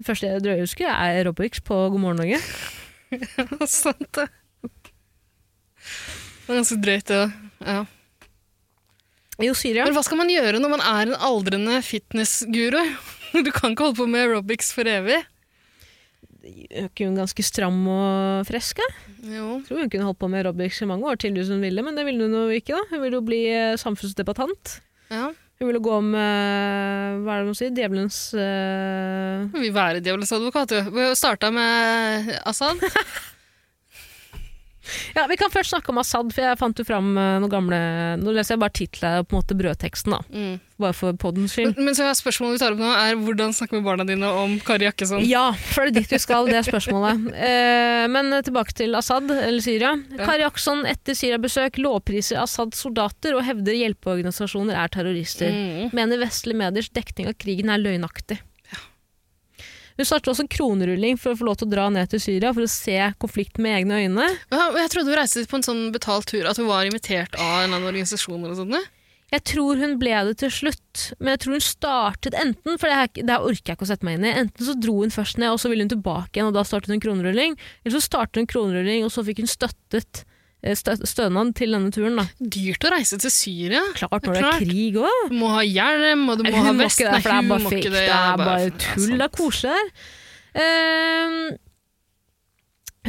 S2: Det første jeg drøye husker, er aerobics på God morgen Norge.
S3: Sant det. Det var ganske drøyt, det. Ja. Ja.
S2: Jo, Syria.
S3: Men hva skal man gjøre når man er en aldrende fitnessguru? Du kan ikke holde på med aerobics for evig.
S2: Er ikke hun ganske stram og frisk? da?
S3: Jo.
S2: Jeg tror hun kunne holdt på med aerobics i mange år til hvis hun ville, men det ville hun jo ikke. da. Hun ville jo bli eh, samfunnsdebattant.
S3: Ja.
S2: Hun ville gå om eh, hva er det man sier, djevelens eh,
S3: Vi vil være djevelens advokat, jo. Vi starta med Assad.
S2: Ja, Vi kan først snakke om Assad, for jeg fant jo fram eh, noen gamle Nå leser jeg bare tittelen og på en måte brødteksten, da.
S3: Mm.
S2: Bare for poddens skyld.
S3: Men, men så er spørsmålet vi tar opp nå, er hvordan snakke med barna dine om Kari Jakkesson?
S2: Ja, for det er dit vi skal, det er spørsmålet. Eh, men tilbake til Assad, eller Syria.
S3: Ja.
S2: Kari Jaksson etter Syria-besøk lovpriser Assads soldater og hevder hjelpeorganisasjoner er terrorister.
S3: Mm.
S2: Mener vestlige mediers dekning av krigen er løgnaktig. Hun starter også kronerulling for å få lov til å dra ned til Syria for å se konflikten med egne øyne.
S3: Ja, og jeg trodde hun reiste på en sånn betalt tur, at hun var invitert av en eller annen organisasjon eller sånt.
S2: Jeg tror hun ble det til slutt, men jeg tror hun startet enten For det her, det her orker jeg ikke å sette meg inn i. Enten så dro hun først ned, og så ville hun tilbake igjen, og da startet hun kronerulling. Eller så startet hun kronerulling, og så fikk hun støttet eh, stø- stønad til denne turen. Da.
S3: Dyrt å reise til Syria.
S2: Klart når det
S3: Klart.
S2: er krig òg.
S3: Du må ha hjelm, og du må ha
S2: Hun må
S3: vest.
S2: ikke det,
S3: Nei,
S2: for det er
S3: hun
S2: bare
S3: må
S2: fake.
S3: ikke
S2: Det
S3: Ja,
S2: er bare
S3: ja,
S2: tull. Det
S3: sant.
S2: er koselig der. Ehm,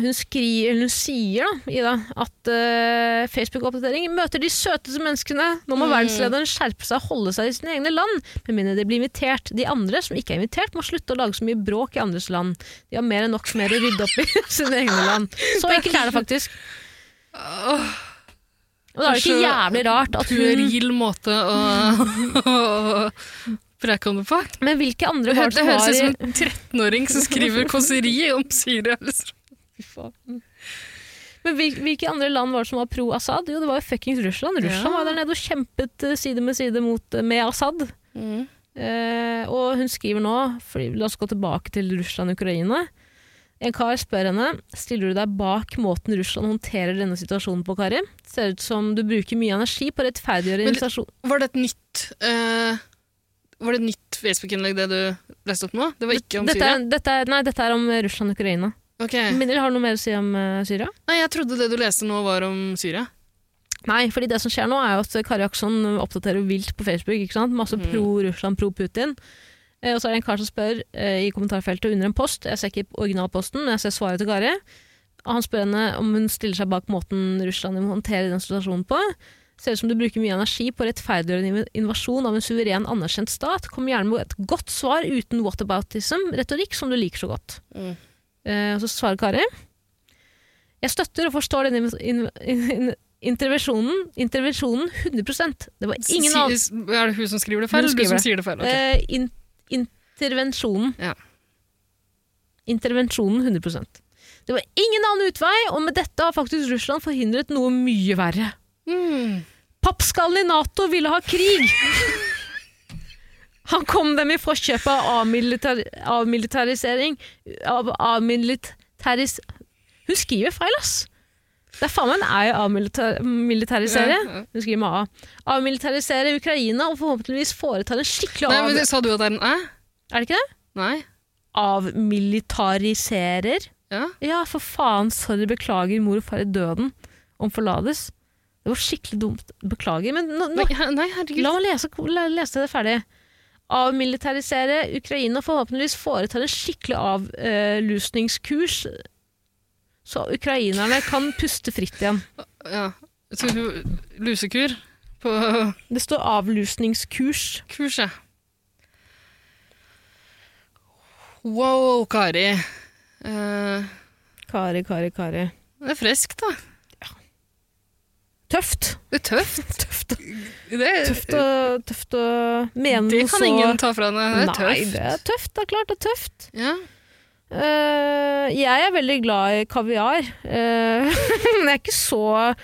S2: hun, skri, eller hun sier da, Ida, at eh, Facebook-oppdatering møter de søteste menneskene. Nå må
S3: Mm.
S2: verdenslederen skjerpe seg og holde seg i sine egne land, med mindre de blir invitert. De andre som ikke er invitert, må slutte å lage så mye bråk i andres land. De har mer enn nok mer å rydde opp i sine egne land. Så enkelt er det faktisk.
S3: altså, Åh,
S2: Og da er det ikke
S3: Kanskje
S2: jævlig rart at hun
S3: Pueril måte å, å preike om det på.
S2: Men hvilke andre
S3: Det, hø
S2: var
S3: det
S2: det som
S3: høres
S2: var
S3: ut som
S2: i
S3: en 13-åring som skriver kåseri om Syria. Liksom.
S2: Fy faen. Men hvil, hvilke andre land var det som var pro Assad? Jo, det var jo fuckings Russland. Russland
S3: Ja.
S2: var der nede og kjempet eh, side med side mot, med Assad. Mm. Eh, og hun skriver nå, fordi, la oss gå tilbake til Russland og Ukraina. En kar spør henne stiller du deg bak måten Russland håndterer denne situasjonen på. Kari? Det ser ut som du bruker mye energi på å rettferdiggjøre
S3: Men-
S2: invitasjon.
S3: Var det et nytt eh, Var det et nytt Facebook-innlegg det du leste opp nå? Det var ikke om
S2: Dette
S3: Syria?
S2: er, dette er, nei, dette er om eh, Russland og Ukraina.
S3: Ok.
S2: Mindre har du noe mer å si om eh, Syria?
S3: Nei, jeg trodde det du leste nå, var om Syria.
S2: Nei, fordi det som skjer nå er jo at Kari Akson oppdaterer vilt på Facebook. ikke sant? Masse
S3: Mm.
S2: pro Russland, pro Putin. Eh, og så er det en kar som spør eh, i kommentarfeltet under en post. Jeg ser ikke originalposten, men jeg ser svaret til Kari. Og han spør henne om hun stiller seg bak måten Russland håndterer den situasjonen på. Ser ut som du bruker mye energi på å rettferdiggjøre en inv- invasjon av en suveren, anerkjent stat. Kom gjerne med et godt svar uten whataboutism-retorikk som du liker så godt.
S3: Mm.
S2: Eh, og så svarer Kari. Jeg støtter og forstår denne inv- inv- in- intervensjonen, intervensjonen 100 Det var ingen annen
S3: Si- Er det hun som skriver det feil,
S2: Hun
S3: eller du
S2: skriver
S3: som sier det feil? Ok.
S2: eh, in, Intervensjonen.
S3: Ja.
S2: Intervensjonen 100 Det var ingen annen utvei, og med dette har faktisk Russland forhindret noe mye verre.
S3: Mm.
S2: Pappskallen i Nato ville ha krig! Han kom dem i forkjøpet av avmilitar avmilitarisering av, Avmilitaris... Hun skriver feil, ass! Det er faen meg en æ i avmilitarisere.
S3: Ja, ja.
S2: Hun skriver med A. Avmilitarisere Ukraina og forhåpentligvis foreta en skikkelig
S3: Nei,
S2: av...
S3: men Sa du at det er en æ?
S2: Er det ikke det?
S3: Nei?
S2: Avmilitariserer?
S3: Ja?
S2: Ja, for faen, sorry, beklager, mor og far i døden. Om forlates. Det var skikkelig dumt. Beklager, men nå, nå
S3: Nei, her- nei herregud.
S2: La meg lese, la, lese det ferdig. Avmilitarisere Ukraina og forhåpentligvis foretar en skikkelig avlusningskurs, så ukrainerne kan puste fritt igjen.
S3: Ja. Så hun- Lusekur på
S2: Det står avlusningskurs.
S3: kurset. Wow, Kari. Eh,
S2: Kari, Kari, Kari.
S3: det er friskt, da.
S2: Tøft.
S3: Det er tøft.
S2: Tøft,
S3: Det, er-
S2: tøft, å, tøft å mene
S3: det
S2: noe
S3: kan
S2: så
S3: ingen ta fra henne. Det er
S2: Nei,
S3: tøft.
S2: det er tøft. Det er klart det er tøft.
S3: Ja.
S2: Eh, jeg er veldig glad i kaviar. eh, men jeg er ikke så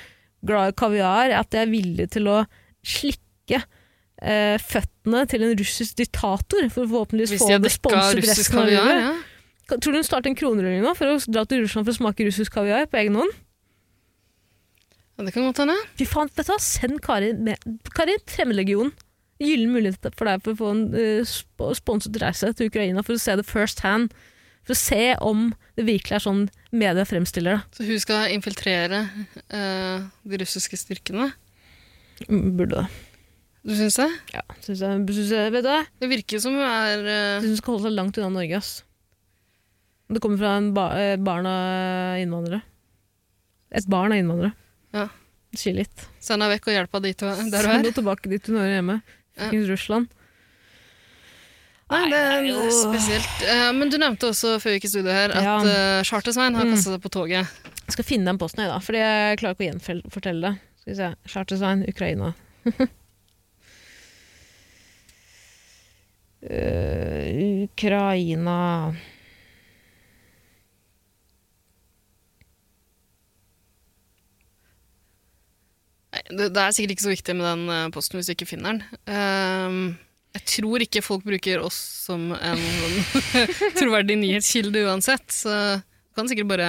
S2: glad i kaviar at jeg er villig til å slikke eh, føttene til en russisk diktator for å forhåpentligvis
S3: Hvis
S2: få
S3: de har
S2: det
S3: dekka
S2: sponset
S3: russisk
S2: resten av
S3: kaviar.
S2: livet.
S3: Ja.
S2: Kan- Tror du hun starter en kronerulling nå for å dra til Russland for å smake russisk kaviar på egen hånd?
S3: Ja, det kan godt hende.
S2: Fy faen, vet du hva? Send Karin med. Karin, fremmedlegion. Gyllen mulighet for deg for å få en eh, sp- sponset reise til Ukraina for å se det first hand. For å se om det virkelig er sånn media fremstiller det.
S3: Så hun skal infiltrere eh, de russiske styrkene.
S2: Burde det.
S3: Du syns det?
S2: Ja, synes jeg, synes jeg, vet du, hva?
S3: Det virker som hun er
S2: jeg
S3: eh,
S2: synes hun skal holde seg langt unna Norge. Ass. Det kommer fra en ba eh, barn av innvandrere. Et barn av innvandrere.
S3: Ja.
S2: Det sier litt.
S3: Send deg vekk og hjelp av de to der du
S2: Send
S3: er.
S2: henne tilbake dit hun hører hjemme.
S3: Ja.
S2: Fuckings Russland.
S3: Nei, det er
S2: jo-
S3: spesielt. Eh, men du nevnte også før vi gikk i studio her at
S2: Ja.
S3: eh, Charter-Svein har
S2: Mm.
S3: kasta seg på toget.
S2: Jeg skal finne den posten, jeg, da, fordi jeg klarer ikke å gjenfortelle det. Skal vi se. Chartersvein, Ukraina. Eh, Ukraina
S3: Nei, Det, det er sikkert ikke så viktig med den eh, posten hvis du ikke finner den. Ehm, jeg tror ikke folk bruker oss som en troverdig nyhetskilde uansett, så du kan sikkert bare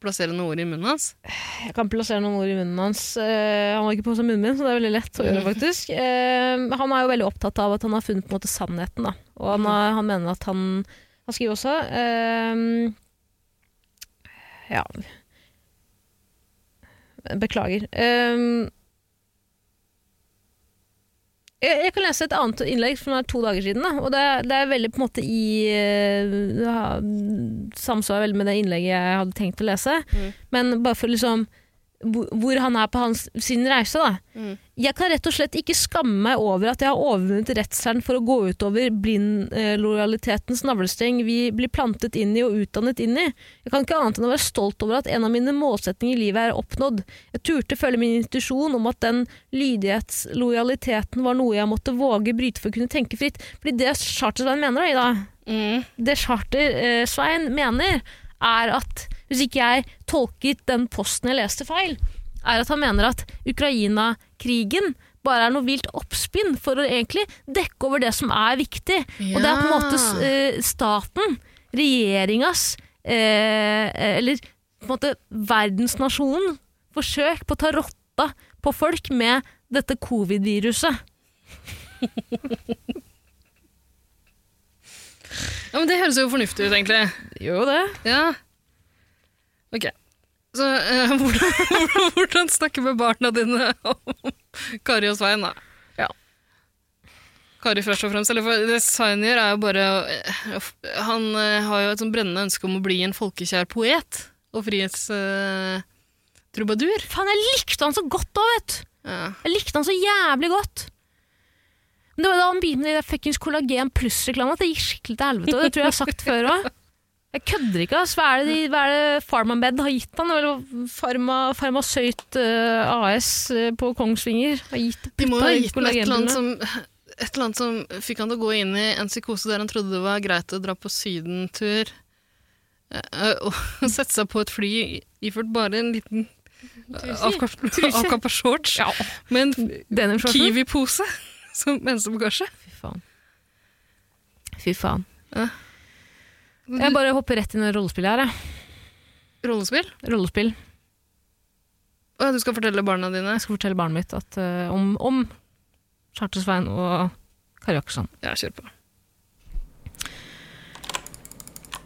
S3: plassere noen ord i munnen hans.
S2: Jeg kan plassere noen ord i munnen hans. Eh, han var ikke på seg munnen min, så det er veldig lett å gjøre, faktisk. Eh, han er jo veldig opptatt av at han har funnet på en måte sannheten, da. Og han, har, han mener at han Han skriver også eh, Ja Beklager. Eh, Jeg, jeg kan lese et annet innlegg fra to dager siden. Da. Og det, er- det er veldig på en måte i eh, ja, Samsvar veldig med det innlegget jeg hadde tenkt å lese.
S3: Mm.
S2: Men bare for liksom hvor- hvor han er på hans, sin reise, da.
S3: Mm.
S2: Jeg kan rett og slett ikke skamme meg over at jeg har overvunnet redselen for å gå utover blindlojalitetens navlestreng vi blir plantet inn i og utdannet inn i. Jeg kan ikke annet enn å være stolt over at en av mine målsetninger i livet er oppnådd. Jeg turte følge min intuisjon om at den lydighetslojaliteten var noe jeg måtte våge bryte for å kunne tenke fritt. Fordi det Charter-Svein mener, da, Ida,
S3: Mm.
S2: det Charter-Svein mener, er at Hvis ikke jeg tolket den posten jeg leste feil, er at han mener at Ukraina-krigen bare er noe vilt oppspinn for å egentlig dekke over det som er viktig. Og det er på en måte
S3: Ja.
S2: eh, staten, regjeringas, eh, eller på en måte verdensnasjonen, forsøk på å ta rotta på folk med dette covid-viruset.
S3: Ja, men Det høres jo fornuftig ut, egentlig.
S2: Gjør jo det.
S3: Ja. Ok. Så eh, hvordan, hvordan- hvordan snakke med barna dine om Kari og Svein, da?
S2: Ja.
S3: Kari først og fremst. Eller for det Svein gjør, er jo bare eh, f- Han eh, har jo et sånn brennende ønske om å bli en folkekjær poet og eh, frihetstrubadur.
S2: Faen, jeg likte han så godt da, vet du.
S3: ja.
S2: Jeg likte han så jævlig godt. Men det var da han begynte med det fuckings kollagen pluss-reklama at det gikk skikkelig til helvete. Og det tror jeg jeg har sagt før òg. Jeg kødder ikke. ass. Hva er det, de- hva er det Pharmamed har gitt han? Eller Pharma, Pharmasøyt eh, AS eh, på Kongsvinger har gitt
S3: De må jo
S2: putta
S3: ha
S2: i
S3: gitt ham et eller
S2: kollagenpulver.
S3: annet som et eller annet som fikk han til å gå inn i en psykose der han trodde det var greit å dra på sydentur eh, og sette seg på et fly iført bare en liten avkappa avkappa shorts
S2: Ja,
S3: med en
S2: denim
S3: Kiwi-pose som eneste
S2: Fy faen. Fy faen.
S3: Ja.
S2: Jeg bare hopper rett inn i rollespillet her. jeg.
S3: Rollespill?
S2: Rollespill.
S3: Å ja, du skal fortelle barna dine?
S2: Jeg skal fortelle barnet mitt at, eh, om, om Charter-Svein og Kari Jakkesson.
S3: Ja, kjør på.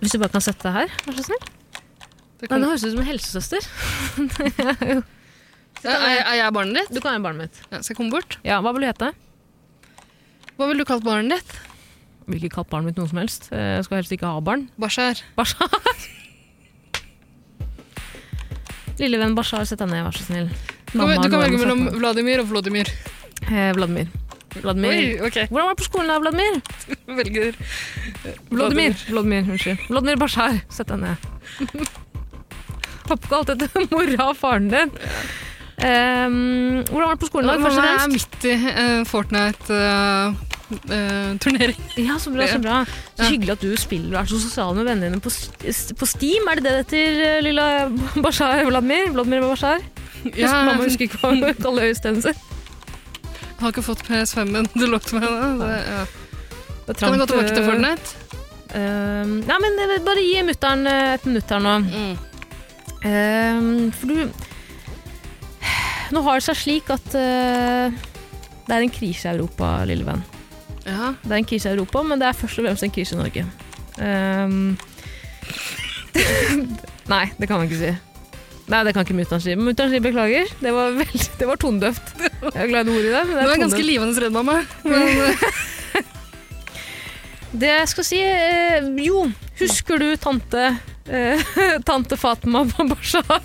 S2: Hvis du bare kan sette deg her, vær så snill.
S3: Det
S2: Nei,
S3: kan,
S2: det høres ut som en helsesøster.
S3: Ja, Eh, er, er jeg barnet ditt?
S2: Du kan være barnet mitt.
S3: Ja, skal jeg komme bort?
S2: Ja, Hva vil du hete?
S3: Hva ville du kalt barnet ditt?
S2: Jeg vil ikke kalle barnet mitt noe som helst. Eh, Jeg skal helst ikke ha barn.
S3: Bashar.
S2: Bashar. Lille venn Bashar, sett deg ned, vær så snill.
S3: Du kan, du kan
S2: Norman,
S3: velge
S2: sett
S3: mellom
S2: deg ned.
S3: Vladimir og Vladimir.
S2: Eh, Vladimir. Vladimir.
S3: Oi, ok.
S2: Hvordan var det på skolen da, Vladimir?
S3: Velger
S2: Vladimir. Vladimir, unnskyld. Vladimir Bashar, sett deg ned. Oppkalt etter mora og faren din. Ehm, hvordan var det på skolen i dag, først og
S3: Mamma er
S2: fremst?
S3: midt i eh, Fortnite-turnering.
S2: Ja, så bra, så bra. Så
S3: Ja.
S2: hyggelig at du spiller og er så sosial med vennene dine på, s- på Steam. Er det det det heter, eh, lilla Bashar Vladimir? Vladimir Bashar?
S3: ja,
S2: Husker, mamma
S3: jeg
S2: husker ikke hva hun kaller øyestensen sin.
S3: har ikke fått PS5-en du lovte meg. da. eh, Det, ja.
S2: Det er
S3: Kan jeg gå
S2: trangt,
S3: tilbake til
S2: eh,
S3: Fortnite?
S2: ehm, nei, men eh, bare gi mutter'n eh, et minutt her nå.
S3: mm.
S2: Ehm, for du Nå har det seg slik at eh, det er en krise i Europa, lille venn.
S3: Ja.
S2: Det er en krise i Europa, men det er først og fremst en krise i Norge. Ehm, Nei, det kan man ikke si. Nei, det kan ikke mutter'n si. Mutter'n sier beklager. Det var, veldig, det var tondøvt. Jeg er glad i ordet i det. Men
S3: Du
S2: det, er
S3: er ganske
S2: tondøvt.
S3: livende redd, mamma. Men, eh,
S2: det jeg skal si eh, Jo, husker du tante eh, Tante Fatma Bashar?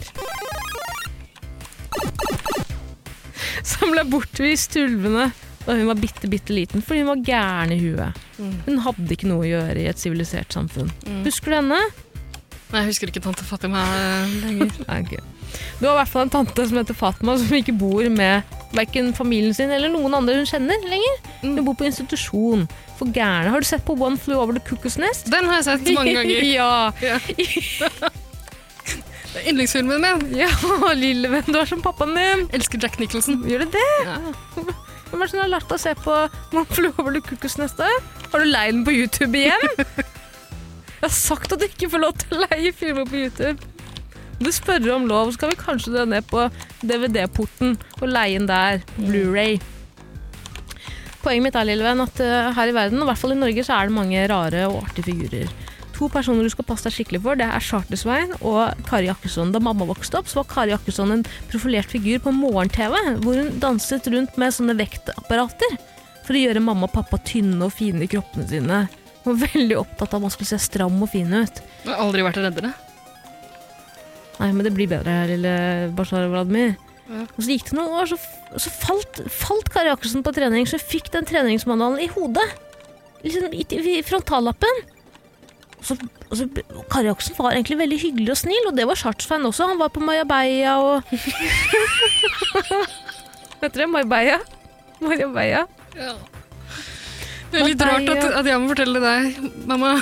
S2: Som ble bortvist til ulvene da hun var bitte, bitte liten fordi hun var gæren i huet. Hun hadde ikke noe å gjøre i et sivilisert samfunn.
S3: Mm.
S2: Husker du henne?
S3: Nei, jeg husker ikke tante Fatima eh, lenger.
S2: Nei, ok. Du har i hvert fall en tante som heter Fatma, som ikke bor med verken familien sin eller noen andre hun kjenner lenger. Hun
S3: Mm.
S2: bor på institusjon for gærne. Har du sett på One Flew Over the Cuckoo's Nest?
S3: Den har jeg sett mange ganger.
S2: ja.
S3: Ja. Det er Yndlingsfilmen min.
S2: ja, lille venn, du er som pappaen din.
S3: Elsker Jack Nicholson.
S2: Gjør du det?
S3: Ja.
S2: Hvem er det som har lagt deg å se på One Flew Over the Cuckoo's Nest? da? Har du lei den på YouTube igjen? Jeg har sagt at du ikke får lov til å leie filmer på YouTube. Om du spør om lov, så kan vi kanskje dra ned på DVD-porten og leie den der. Blu-ray. Poenget mitt er, lille venn, at eh, her i verden, og i hvert fall i Norge, så er det mange rare og artige figurer. To personer du skal passe deg skikkelig for, det er Chartersveien og Kari Jakkesson. Da mamma vokste opp, så var Kari Jakkesson en profilert figur på morgen-TV, hvor hun danset rundt med sånne vektapparater for å gjøre mamma og pappa tynne og fine i kroppene sine. Hun var veldig opptatt av at man skulle se stram og fin ut.
S3: Jeg har aldri vært reddere.
S2: Nei, men det blir bedre her, lille Bashar Vladimir.
S3: Ja.
S2: Og så gikk det noen år, så, f- så falt, falt Kari Akselsen på trening, så hun fikk den treningsmanualen i hodet. Liksom i, i frontallappen. Og så, og så, Kari Akselsen var egentlig veldig hyggelig og snill, og det var Chartsvein også. Han var på Mayabeia og Vet dere, Mayabeia? Mayabeia.
S3: Ja. Det er litt rart at, at jeg må fortelle deg, mamma,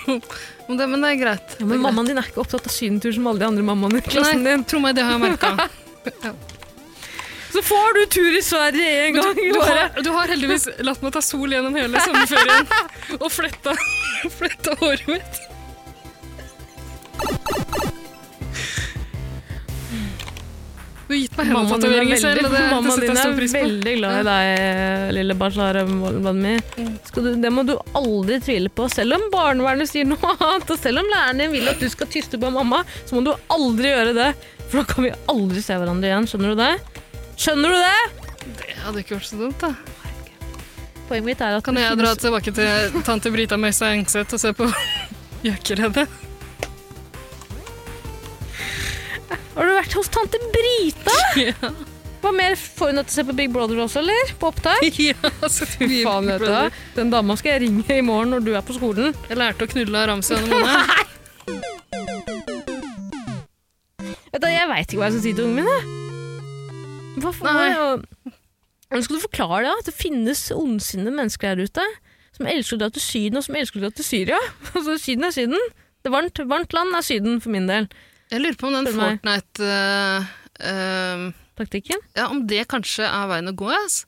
S3: om det, men det er greit.
S2: Ja, men mammaen din er ikke opptatt av sydentur som alle de andre mammaene i klassen
S3: Nei,
S2: din.
S3: tro meg, det har jeg merka.
S2: Så får du tur i Sverige en gang i
S3: Du,
S2: året!
S3: har- du har heldigvis latt meg ta sol gjennom hele sommerferien og fletta, fletta håret mitt. Du har gitt meg
S2: Mammaen din er
S3: hendetatoveringer selv,
S2: veldig,
S3: og det, det
S2: mammaen
S3: setter
S2: din
S3: jeg
S2: er
S3: stor pris på.
S2: veldig glad i deg, lille Bashar Vladimir.
S3: Mm.
S2: Skal du- Det må du aldri tvile på. Selv om barnevernet sier noe annet, og selv om læreren din vil at du skal tyste på mamma, så må du aldri gjøre det. For da kan vi aldri se hverandre igjen. Skjønner du det? Skjønner du det?
S3: Det hadde ikke vært så dumt, da.
S2: Poenget mitt er at
S3: Kan
S2: det
S3: jeg
S2: finnes-
S3: dra tilbake til tante Brita Møysa Engseth og se på Gjøkeredet?
S2: Har du vært hos tante Brita?
S3: Ja.
S2: Hva mer får hun deg til å se på Big Brother også, eller? På opptak?
S3: ja, så
S2: Fy faen, vet du. hva? Den dama skal jeg ringe i morgen når du er på skolen.
S3: Jeg lærte å knulle av Ramsi og Anne Mone.
S2: Vet du, jeg veit ikke hva jeg skal si til ungene mine. Hva for,
S3: Nei.
S2: hva- Hvordan skal du forklare det? At det finnes ondsinnede mennesker der ute som elsker å dra til Syden, og som elsker å dra til Syria. Altså, Syden er Syden. Det varmt, varmt land er Syden, for min del.
S3: Jeg lurer på om den
S2: Spør meg.
S3: Fortnite eh, eh,
S2: Taktikken.
S3: Ja, om det kanskje er veien å gå, ass.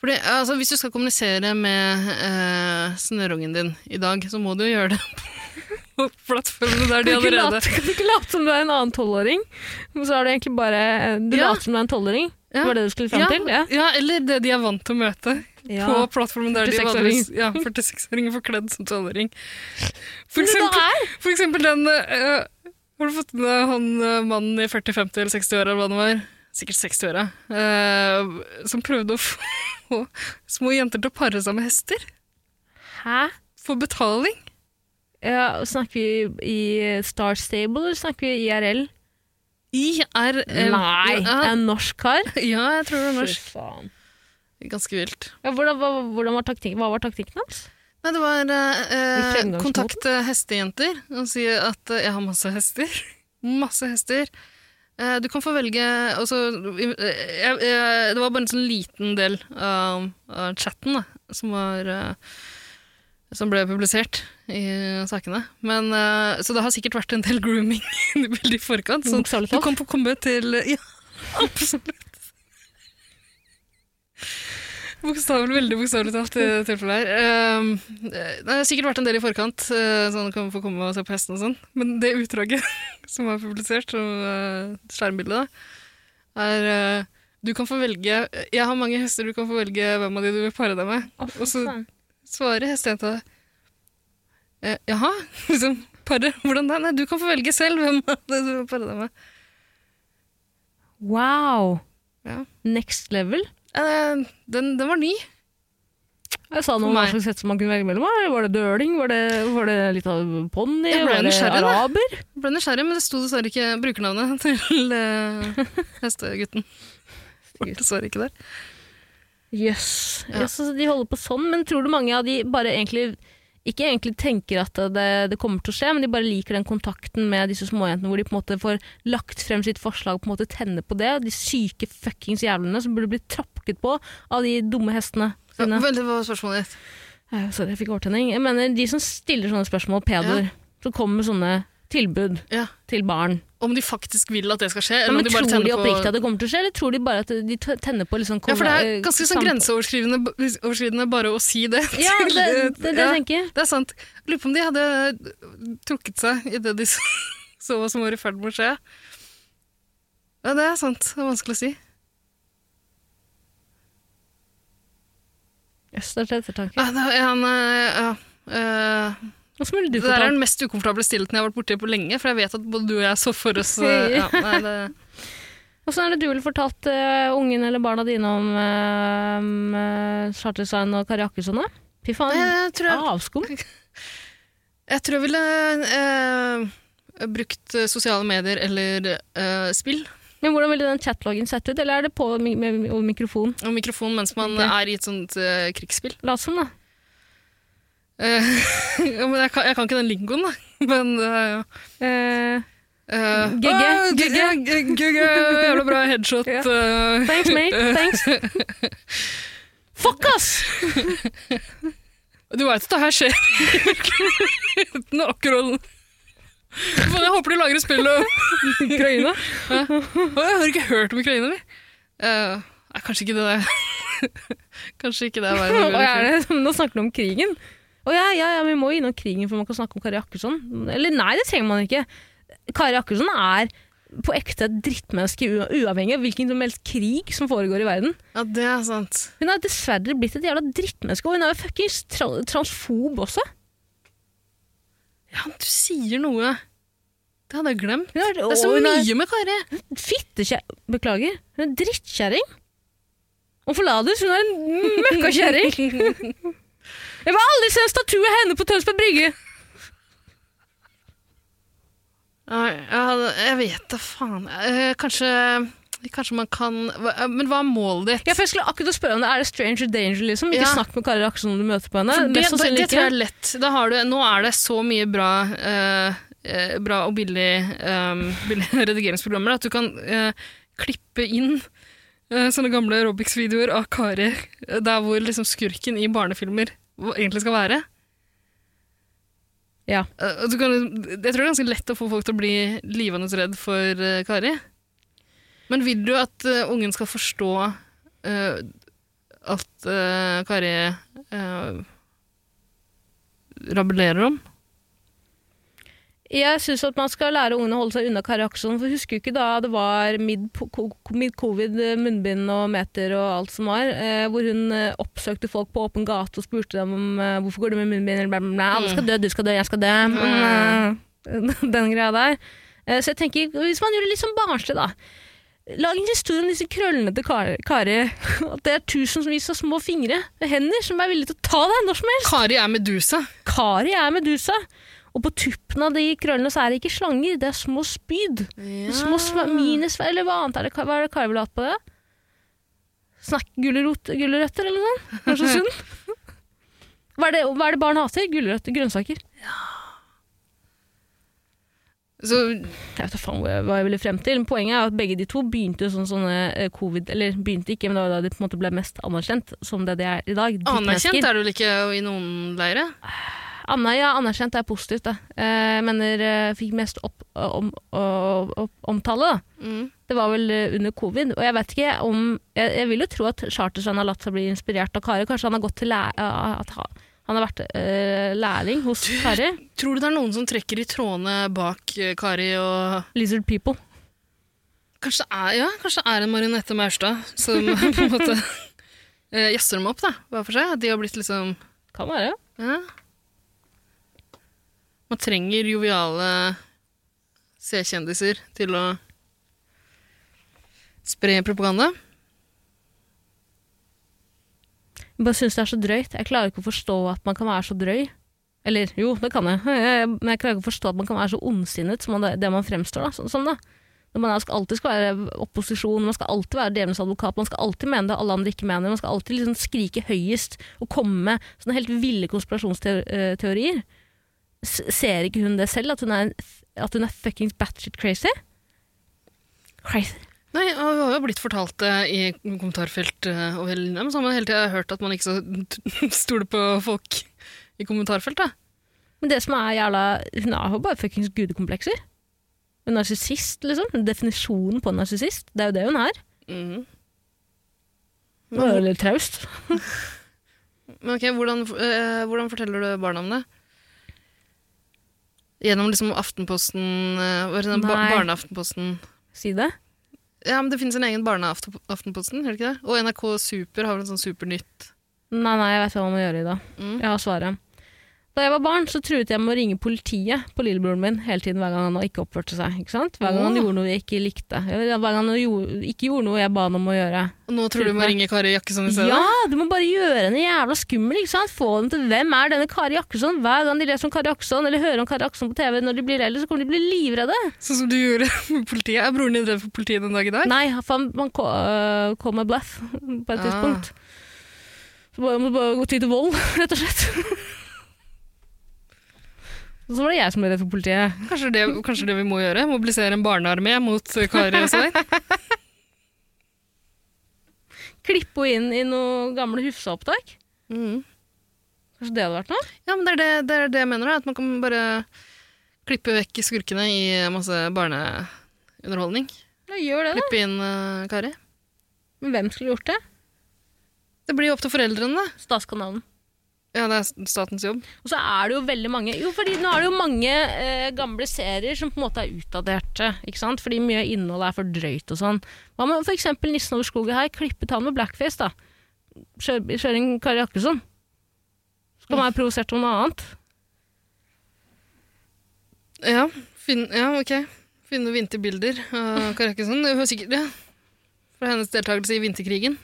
S3: Fordi, altså, hvis du skal kommunisere med eh, snørungen din i dag, så må du jo gjøre det på plattformene der de
S2: Kan du ikke
S3: allerede
S2: late- kan du ikke late som du er en annen tolvåring? Men Så er du egentlig bare Du
S3: Ja.
S2: later som du er en tolvåring.
S3: Ja.
S2: Det var det du skulle fram til?
S3: ja,
S2: Ja.
S3: ja, eller det de er vant til å møte på
S2: Ja.
S3: plattformen der de
S2: 46-åringer.
S3: vanligvis Ja, 46-åringer forkledd som 12-åring.
S2: Men
S3: For
S2: det da
S3: eksempel,
S2: er
S3: for eksempel den eh, Har du fått med deg han eh, mannen i 40, 50 eller 60 år, eller hva det var? Sikkert 60-åra. eh, som prøvde å få små jenter til å pare seg med hester.
S2: Hæ?
S3: For betaling?
S2: Ja, snakker vi i Star Stable, eller snakker vi IRL?
S3: IRL.
S2: Nei!
S3: Eh, Ja,
S2: En norsk kar?
S3: ja, jeg tror det var norsk.
S2: Fy faen.
S3: Ganske vilt.
S2: Ja, hvordan, hva, hvordan var taktikken, hva var taktikken hans?
S3: Nei, det var eh, eh,
S2: fremgangsmåten?
S3: kontakt eh, hestejenter og si at eh, jeg har masse hester. Masse hester. Eh, du kan få velge altså, eh, jeg, jeg, Det var bare en sånn liten del av, av chatten da, som var eh, som ble publisert i sakene. Men, eh, så det har sikkert vært en del grooming i forkant. Sånn,
S2: Bokstavelig
S3: du
S2: talt.
S3: kan få komme til Ja, absolutt. Bokstavelig, veldig bokstavelig talt i dette tilfellet her. Um, det har sikkert vært en del i forkant, eh, sånn kan man få komme og se på hesten og sånn. Men det utdraget som er publisert, som eh, skjermbildet, da, er eh, du kan få velge Jeg har mange hester, du kan få velge hvem av de du vil pare deg med.
S2: Å, fy
S3: Og så-
S2: faen.
S3: Svarer hestejenta eh, Jaha? Liksom, pare? Hvordan da? Nei, du kan få velge selv hvem av de du vil pare deg med.
S2: Wow!
S3: Ja.
S2: Next level?
S3: Eh, den, den var ny.
S2: Jeg sa noe
S3: For
S2: om hva
S3: meg.
S2: slags hest man kunne velge mellom. Var det døling? Var det, var det litt av ponni?
S3: Jeg ble
S2: Var det
S3: nysgjerrig, da.
S2: araber?
S3: Jeg ble nysgjerrig, men det sto dessverre ikke brukernavnet til eh, hestegutten. Det var Dessverre ikke der.
S2: Jøss. Yes.
S3: Ja.
S2: så de holder på sånn, men tror du mange av de bare egentlig ikke egentlig tenker at det, det kommer til å skje, men de bare liker den kontakten med disse småjentene hvor de på en måte får lagt frem sitt forslag og på en måte tenner på det. De syke fuckings jævlene som burde bli trappket på av de dumme hestene
S3: Ja,
S2: sine.
S3: veldig hva var spørsmålet ditt.
S2: Eh, Sorry, jeg fikk overtenning. Jeg mener, de som stiller sånne spørsmål, pedoer, som kommer med sånne tilbud
S3: Ja.
S2: til barn.
S3: Om de faktisk vil at det skal skje,
S2: Ja,
S3: eller
S2: men
S3: om de bare
S2: tror
S3: tenner
S2: de
S3: på
S2: oppriktig at det kommer til å skje, eller tror de bare at de t- tenner på liksom
S3: Ja, for det er
S2: eh,
S3: ganske sånn
S2: samtale?
S3: grenseoverskridende overskridende bare å si det.
S2: Ja,
S3: til-
S2: det, det, er det
S3: ja.
S2: jeg tenker.
S3: Det er sant. Jeg lurer på om de hadde eh, trukket seg i det de så så hva som var i ferd med å skje. Ja, det er sant. Det er vanskelig å si.
S2: Jøss, det er til ettertanke.
S3: Ja, Ah, det er en, eh, ja, eh,
S2: Hva skulle du
S3: det der er
S2: fortalt?
S3: den mest ukomfortable stillheten jeg har vært borti på lenge, for jeg vet at både du og jeg så for oss eh, ja, nei, det,
S2: Åssen er det du ville fortalt eh, ungen eller barna dine om uh, Charterstein og Kari Jakkesson, da? Fy faen, Ah,
S3: Jeg tror jeg,
S2: avskum.
S3: jeg, tror jeg ville eh, brukt sosiale medier eller eh, spill
S2: Men hvordan ville den chatloggen sett ut? Eller er det på mi- med, over mikrofon?
S3: og mikrofon mens man
S2: Ok.
S3: er i et sånt eh, krigsspill.
S2: Lat som, da.
S3: Eh, ja, men jeg, kan, jeg kan ikke den lingoen, da. Men eh,
S2: Eh,
S3: eh,
S2: Gugge,
S3: «Åh,
S2: gugge!»
S3: ja, gu- Gugge! Jævla bra headshot.
S2: Ja.
S3: eh.
S2: thanks, mate. Thanks. Fuck, ass!
S3: Du veit at det her skjer i virkeligheten, akkurat. Men jeg håper de lager et spill om
S2: Ukraina.
S3: Å, Jeg har ikke hørt om Ukraina, vi. Eh, nei, kanskje ikke det der. kanskje ikke det er veien å
S2: Hva
S3: gå. liksom.
S2: er det? Nå snakker du om krigen. Å ja, ja, ja, vi må jo innom krigen for man kan snakke om Kari Jakkesson. Eller nei, det trenger man ikke. Kari Jakkesson er på ekte et drittmenneske u- uavhengig av hvilken som helst krig som foregår i verden.
S3: Ja, det er sant.
S2: Hun er dessverre blitt et jævla drittmenneske, og hun er jo fuckings tra transfob også.
S3: Ja, du sier noe. Det hadde jeg glemt.
S2: Hun er,
S3: Det er så
S2: og hun er
S3: mye med Kari.
S2: fittekjæ... Beklager. Hun er drittkjerring. Og forladus, hun er en møkkakjerring. Jeg vil aldri se en statue av henne på Tønsberg brygge.
S3: Nei, ja, jeg vet da faen. Eh, kanskje, kanskje man kan hva- eh, Men hva er målet ditt?
S2: Ja, for jeg skulle akkurat å spørre om det er det stranger danger, liksom. Ikke
S3: Ja.
S2: snakk med Kari Akson når du møter på henne.
S3: For det,
S2: Mest
S3: det,
S2: sannsynlig
S3: det tror
S2: ikke.
S3: jeg er lett. Da har du, nå er det så mye bra, eh, eh, bra og billig, ehm, billige redigeringsprogrammer at du kan eh, klippe inn eh, sånne gamle Robix-videoer av Kari eh, der hvor liksom skurken i barnefilmer hvor egentlig skal være.
S2: Ja.
S3: Eh, og du kan, jeg tror det er ganske lett å få folk til å bli livende redd for eh, Kari. Men vil du at eh, ungen skal forstå eh, alt eh, Kari eh, rabulerer om.
S2: Jeg syns at man skal lære ungene å holde seg unna Kari Akson. For husker du ikke da det var mid-covid, eh, munnbind og meter og alt som var, eh, hvor hun eh, oppsøkte folk på åpen gate og spurte dem om eh, hvorfor går du med munnbind, eller bla, bla, bla. Alle skal dø, du skal dø, jeg skal dø.
S3: Mm.
S2: Den greia der. Eh, så jeg tenker, hvis man gjør det litt sånn barnslig, da. Lag en historie om disse krøllene til Kari. Kari. At det er tusenvis av små fingre og hender som er villige til å ta deg når som helst.
S3: Kari er Medusa.
S2: Kari er Medusa. Og på tuppen av de krøllene så er det ikke slanger, det er små spyd. Små sva- minisver, eller hva annet er det, hva er det Kari vil ha på det? Snakk gulrot, gulrøtter eller noe sånt? Det er så sunt. Hva er, det, hva er det barn hater? Gulrøtter, grønnsaker.
S3: Så,
S2: Jeg vet da faen hvor jeg- hva jeg ville frem til. men Poenget er at begge de to begynte jo sånn sånne eh, covid... Eller begynte ikke, men det var da de på en måte ble mest anerkjent som det de er i dag. Drittmennesker.
S3: anerkjent er du vel ikke i noen leire?
S2: Anna, ja, anerkjent er positivt. Da. Eh, mener eh, fikk mest opp, om, å- opp, omtale. Da.
S3: Mm.
S2: Det var vel eh, under covid. Og jeg vet ikke om Jeg, jeg vil jo tro at Chartersveien har latt seg bli inspirert av Kari. Kanskje han har gått til læ eh, at ha- han har vært eh, lærling hos Kari.
S3: Tror du det er noen som trekker i trådene bak eh, Kari og
S2: Lizard people.
S3: Kanskje det er, ja, kanskje det er en marionette Maurstad som på en måte eh, jazzer dem opp, da, hver for seg? At de har blitt liksom
S2: Kan være.
S3: ja. Man trenger joviale C-kjendiser til å spre propaganda.
S2: Jeg bare syns det er så drøyt. Jeg klarer ikke å forstå at man kan være så drøy. Eller jo, det kan jeg, Jeg- men jeg klarer ikke å forstå at man kan være så ondsinnet som man- det man fremstår da, sånn som. da. Når man er- skal alltid skal være opposisjon, man skal alltid være djevelens advokat, man skal alltid mene det alle andre ikke mener, man skal alltid liksom skrike høyest og komme med sånne helt ville konspirasjonsteorier. S ser ikke hun det selv, at hun er, en f- at hun er fuckings batshit crazy? Crazy.
S3: Nei, og Vi har jo blitt fortalt det i kommentarfelt eh, over hele linja, men så har man hele tida hørt at man ikke skal stole på folk i kommentarfelt. da.
S2: Men det som er jævla Hun har jo bare fuckings gudekomplekser. Hun er narsissist, liksom. Definisjonen på en narsissist. Det er jo det hun er. Det er jo litt traust.
S3: Men ok, hvordan, eh, hvordan forteller du barna om det? Gjennom liksom Aftenposten eh, hva er det, den ba
S2: Nei.
S3: Barneaftenposten.
S2: Si det.
S3: Ja, men Det finnes en egen Barneaftenposten, gjør det ikke det? Og NRK Super har vel en sånn Supernytt.
S2: Nei, nei, jeg vet hva man må gjøre i dag.
S3: Mm.
S2: Jeg har svaret. Da jeg var barn, så truet jeg med å ringe politiet på lillebroren min hele tiden hver gang han ikke oppførte seg. ikke sant? Hver gang han
S3: Åh.
S2: gjorde noe jeg ikke likte. Hver gang han gjorde, ikke gjorde noe jeg ba han om å gjøre.
S3: Og nå tror du du må ringe Kari Jakkesson i stedet?
S2: Ja, du må bare gjøre henne jævla skummel. ikke sant? Få dem til hvem er denne Kari Jakkesson? Hver gang de leser om Kari Jakkesson eller hører om Kari Jakkesson på TV når de blir eldre, så kommer de til å bli livredde.
S3: Sånn som du gjorde med politiet. Er broren din redd for politiet den dag i dag?
S2: Nei, for han, han ko- øh, kom med blaff på et
S3: Ah.
S2: tidspunkt. Så bare, må bare gå ty til vold, rett og slett. Og så var det jeg som ble redd for politiet.
S3: Kanskje det, kanskje det vi må gjøre? Mobilisere en barnearmé mot eh, Kari og sånn?
S2: Klippe henne inn i noen gamle Hufsa-opptak. Kanskje det hadde vært noe?
S3: Ja, men det er det, det er det jeg mener, da, at man kan bare klippe vekk skurkene i masse barneunderholdning.
S2: Ja, gjør det, da.
S3: Klippe inn eh, Kari.
S2: Men hvem skulle gjort det?
S3: Det blir jo opp til foreldrene, da.
S2: Statskanalen.
S3: Ja, det er statens jobb.
S2: Og så er det jo veldig mange Jo, fordi nå er det jo mange eh, gamle serier som på en måte er utdaterte. ikke sant? Fordi mye av innholdet er for drøyt og sånn. Hva med f.eks. 'Nissen over skogen' her? Klippet han med blackface, da. Kjør, kjør inn Kari Jakkesson. Så kan man være provosert av noe annet.
S3: Ja, finn, ja ok. Finne vinterbilder av Kari Jakkesson. Det er sikkert det. Fra hennes deltakelse i vinterkrigen.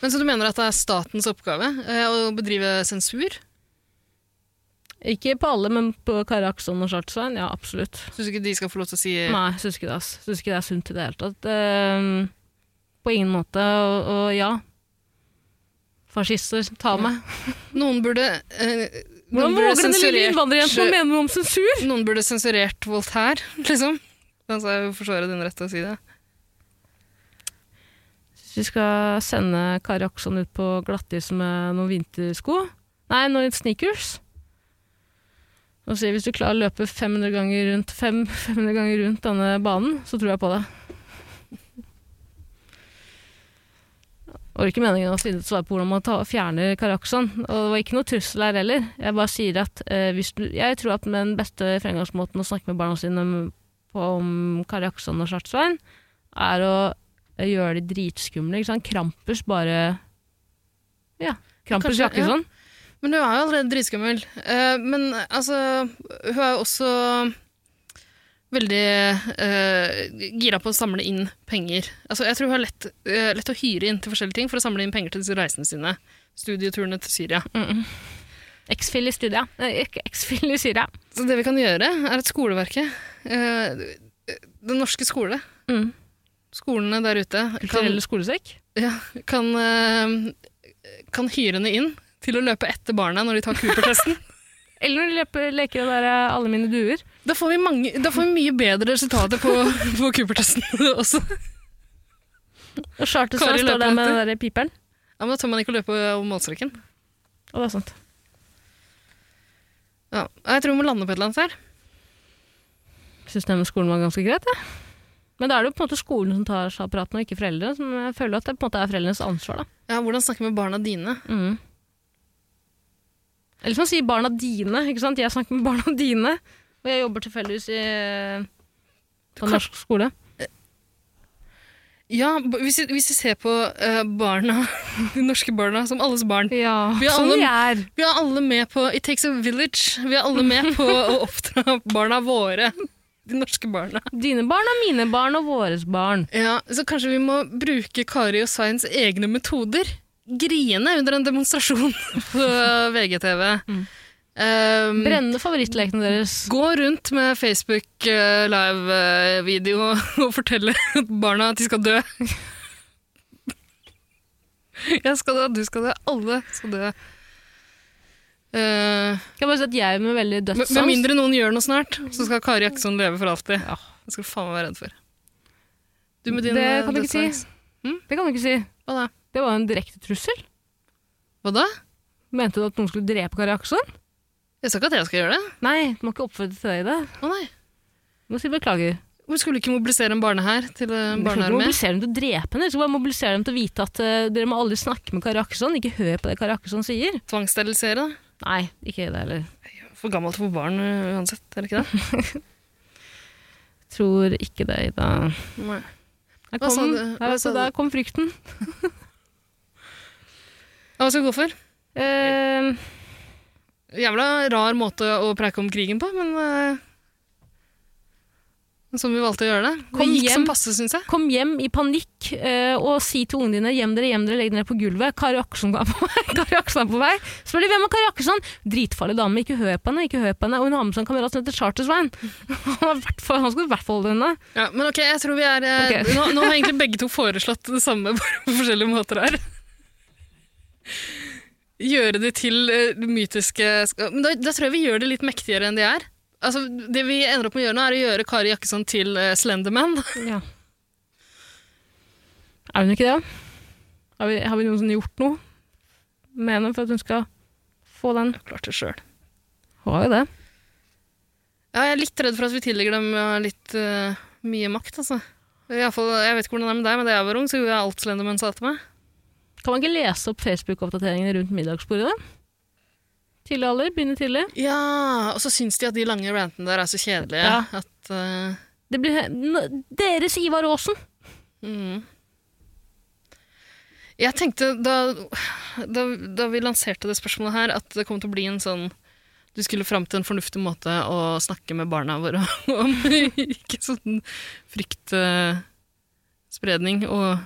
S3: Men Så du mener at det er statens oppgave eh, å bedrive sensur?
S2: Ikke på alle, men på Kari Jakkesson og Chartersveien. Ja, absolutt.
S3: Syns ikke de skal få lov til å si eh,
S2: Nei, syns ikke det. ass. Syns ikke det er sunt i det hele tatt. Ehm, på ingen måte. Og, og ja. Fascister, ta meg.
S3: Noen burde eh,
S2: Hvordan
S3: noen burde
S2: våger den lille
S3: sensurert-
S2: innvandrerjenten å mene noe om sensur?
S3: Noen burde sensurert Voltaire, liksom. Altså, jeg forsvarer din rett til å si det.
S2: Hvis vi skal sende Kari Akson ut på glattis med noen vintersko Nei, noen sneakers. Og sier hvis du klarer å løpe 500 ganger rundt, fem, 500 ganger rundt denne banen, så tror jeg på det. Det var ikke meningen å si- svare på hvordan man ta, fjerner Kari Akson. Og det var ikke noe trussel her heller. Jeg bare sier at eh, hvis du, jeg tror at med den beste fremgangsmåten å snakke med barna sine på om Kari Akson og Svartsvein, er å eh, gjøre de dritskumle. Ikke sant? Krampus bare Ja. sånn. Krampus
S3: Kanskje-
S2: Jakkesson.
S3: Men hun er jo allerede dritskummel. Eh, men altså, hun er jo også veldig eh, gira på å samle inn penger. Altså, jeg tror hun har lett, eh, lett å hyre inn til forskjellige ting for å samle inn penger til disse reisene sine. Studieturene til Syria.
S2: X-Fill i studia. Eh, ikke X-Fill i Syria.
S3: Så det vi kan gjøre, er at skoleverket eh, Den norske skole,
S2: Mm.
S3: skolene der ute, kan,
S2: Kulturelle skolesekk.
S3: ja, kan, eh, kan hyre henne inn til å løpe etter barna når de tar Cooper-testen.
S2: Eller når de løper, leker det der eh, Alle mine duer.
S3: Da får vi, mange, da får vi mye bedre resultater på, på Cooper-testen også.
S2: Og Charterson
S3: Kari
S2: står der med
S3: løper
S2: den der piperen.
S3: Ja, men da tør man ikke å løpe over målstreken.
S2: Og det er sant.
S3: Ja, jeg tror vi må lande på et eller annet her.
S2: Syns nemlig skolen var ganske greit, jeg. Men da er det jo på en måte skolen som tar seg av praten, og ikke foreldre. Som jeg føler at det på en måte er foreldrenes ansvar, da.
S3: Ja, Hvordan snakke med barna dine?
S2: Mm. Eller som han sier, barna dine. ikke sant? Jeg snakker med barna dine, og jeg jobber tilfeldigvis i eh, på
S3: kan-
S2: norsk skole.
S3: Ja, b- Hvis vi, hvis vi ser på eh, barna, de norske barna som alles barn
S2: Ja,
S3: Vi er
S2: som
S3: alle-
S2: vi er.
S3: Vi er alle med på It Takes a Village. Vi er alle med på å oppdra barna våre. De norske barna.
S2: Dine barn er mine barn og våres barn.
S3: Ja, Så kanskje vi må bruke Kari og Sveins egne metoder. Griene under en demonstrasjon på VGTV.
S2: Mm.
S3: Um,
S2: Brennende favorittlekene deres.
S3: Gå rundt med Facebook eh, live-video og fortelle barna at de skal dø. Jeg skal dø, du skal dø, alle skal dø. Eh,
S2: Kan jeg bare si at jeg med veldig
S3: med,
S2: dødssans
S3: med mindre noen gjør noe snart, så skal Kari Jakkesson leve for alltid. Det skal du faen meg være redd for. Du med din
S2: Det
S3: eh,
S2: kan du ikke si.
S3: dødsangst.
S2: Det kan du ikke si.
S3: Hva da?
S2: Det var jo en direkte trussel.
S3: Hva da?
S2: Mente du at noen skulle drepe Kari Akson?
S3: Jeg sa ikke at jeg skal gjøre det.
S2: Nei, du må ikke oppfordre til det i det.
S3: Å nei.
S2: Du må si beklager.
S3: Hvorfor skulle du ikke mobilisere en barne her til eh,
S2: Du skal
S3: en
S2: ikke
S3: barnearmé?
S2: mobilisere dem til å drepe henne. Du skal bare mobilisere dem til å vite at eh, dere må aldri snakke med Kari Akson. Ikke hør på det Kari Akson sier.
S3: Tvangssterilisere, da?
S2: Nei, ikke det heller.
S3: For gammelt for barn eh, uansett, er det ikke det?
S2: Tror ikke det, Ida.
S3: Nei.
S2: Der
S3: Hva sa
S2: kom,
S3: du?
S2: den.
S3: Hva
S2: Der, vet
S3: sa
S2: du,
S3: du?
S2: der kom frykten.
S3: Ja, Hva skal vi gå for?
S2: Eh,
S3: Jævla rar måte å preike om krigen på, men eh, men Som vi valgte å gjøre det. Det
S2: Kom
S3: gikk
S2: hjem.
S3: som passe, syns jeg.
S2: Kom hjem i panikk eh, og si til ungene dine hjem dere, hjem dere, legg dere ned på gulvet. Kari Akson er på vei. Kari Akson er på vei. Spør de hvem er Kari Akson? Dritfarlig dame, ikke hør på henne, ikke hør på henne. Og hun har med seg en kamerat som heter Charter-Svein. Han har i hvert fall- han skulle i hvert fall holde henne.
S3: Ja, men ok, jeg tror vi er eh,
S2: Ok.
S3: nå, nå har egentlig begge to foreslått det samme, bare på forskjellige måter her. Gjøre det til eh, det mytiske sk- Men da, da tror jeg vi gjør det litt mektigere enn de er. Altså, Det vi ender opp med å gjøre nå, er å gjøre Kari Jakkesson til eh, Slenderman.
S2: Ja. Er hun ikke det? Har vi, har vi noensinne gjort noe med henne for at hun skal få den?
S3: Klart det sjøl.
S2: Hun har jo det.
S3: Ja, jeg er litt redd for at vi tillegger dem eh, litt eh, mye makt, altså. I alle fall, jeg vet ikke hvordan det er med deg, men da jeg var ung, så gjorde jeg alt Slenderman sa til meg.
S2: Kan man ikke lese opp Facebook-oppdateringene rundt middagsbordet? da? Tidlig alder, begynne tidlig.
S3: Ja, og så syns de at de lange rantene der er så kjedelige.
S2: Ja.
S3: At, eh,
S2: Det blir n- deres Ivar Aasen.
S3: mm. Jeg tenkte da, da, da vi lanserte det spørsmålet her, at det kom til å bli en sånn Du skulle fram til en fornuftig måte å snakke med barna våre om. ikke sånn fryktspredning og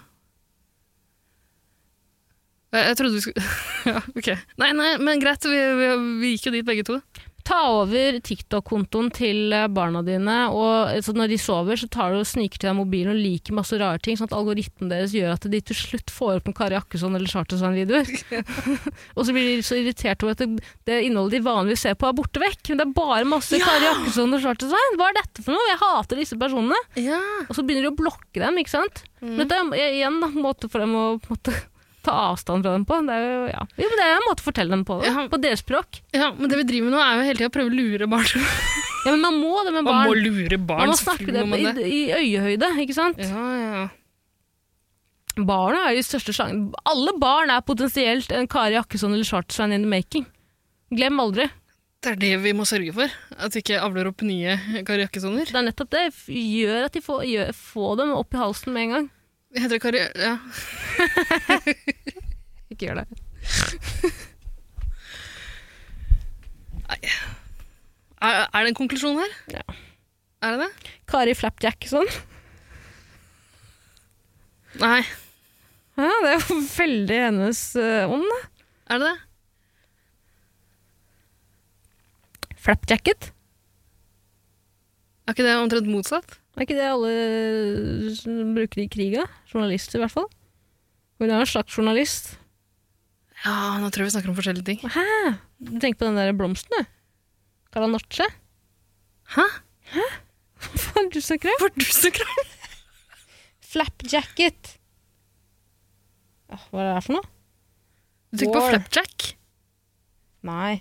S3: jeg, jeg trodde du skulle Ja, ok. Nei, nei, men greit. Vi, vi, vi gikk jo dit, begge to.
S2: Ta over TikTok-kontoen til eh, barna dine, og eh, så når de sover, så tar du og sniker til deg mobilen og liker masse rare ting, sånn at algoritmen deres gjør at de til slutt får opp en Kari Akkesson eller Chartersvein-videoer. og så blir de så irritert over at det, det innholdet de vanligvis ser på, er borte vekk. Men det er bare masse
S3: Ja!
S2: Kari Akkesson og Chartersvein. Hva er dette for noe? Jeg hater disse personene.
S3: Ja.
S2: Og så begynner de å blokke dem, ikke sant?
S3: Mm.
S2: Men dette er i- igjen da, en måte for dem å på en måte, ta avstand fra dem på. Det er jo, ja. jo, men det er en måte å fortelle dem på, da.
S3: Ja.
S2: på deres språk.
S3: Ja, men det vi driver med nå er jo hele tiden å prøve å lure barn.
S2: Ja, men man må det med
S3: Man må
S2: barn.
S3: lure barn,
S2: Man må snakke
S3: selvfølgelig må
S2: det
S3: man det.
S2: i, i øyehøyde, ikke sant?
S3: Ja, ja.
S2: Barna er jo de største sjansen. Alle barn er potensielt en Kari Akkesson eller Chartersvein in the making. Glem aldri.
S3: Det er det vi må sørge for. At vi ikke avler opp nye Kari Jakkessoner.
S2: Det er nettopp det. F- Gjør at de får, gjør, får dem opp i halsen med en gang.
S3: Heter det Kari... Ja.
S2: Ikke gjør det.
S3: Er, er det en konklusjon her?
S2: Ja.
S3: Er det det?
S2: Kari Flapjack sånn.
S3: Nei.
S2: Ja, det er jo veldig hennes eh, ånd, da.
S3: Er det det?
S2: Flapjacket.
S3: Er ikke det omtrent motsatt?
S2: Er ikke det alle som bruker i kriga? Journalister, i hvert fall. Hun er jo en slags journalist.
S3: Ja, nå tror jeg vi snakker om forskjellige ting.
S2: Hæ? Du tenker på den der blomsten, du? Kalanoche?
S3: Hæ?
S2: Hva faen er det du snakker om?
S3: Hva er det du snakker om?
S2: Flapjacket. Åh, Hva er det her for noe?
S3: Du tenker på
S2: War.
S3: flapjack?
S2: Nei.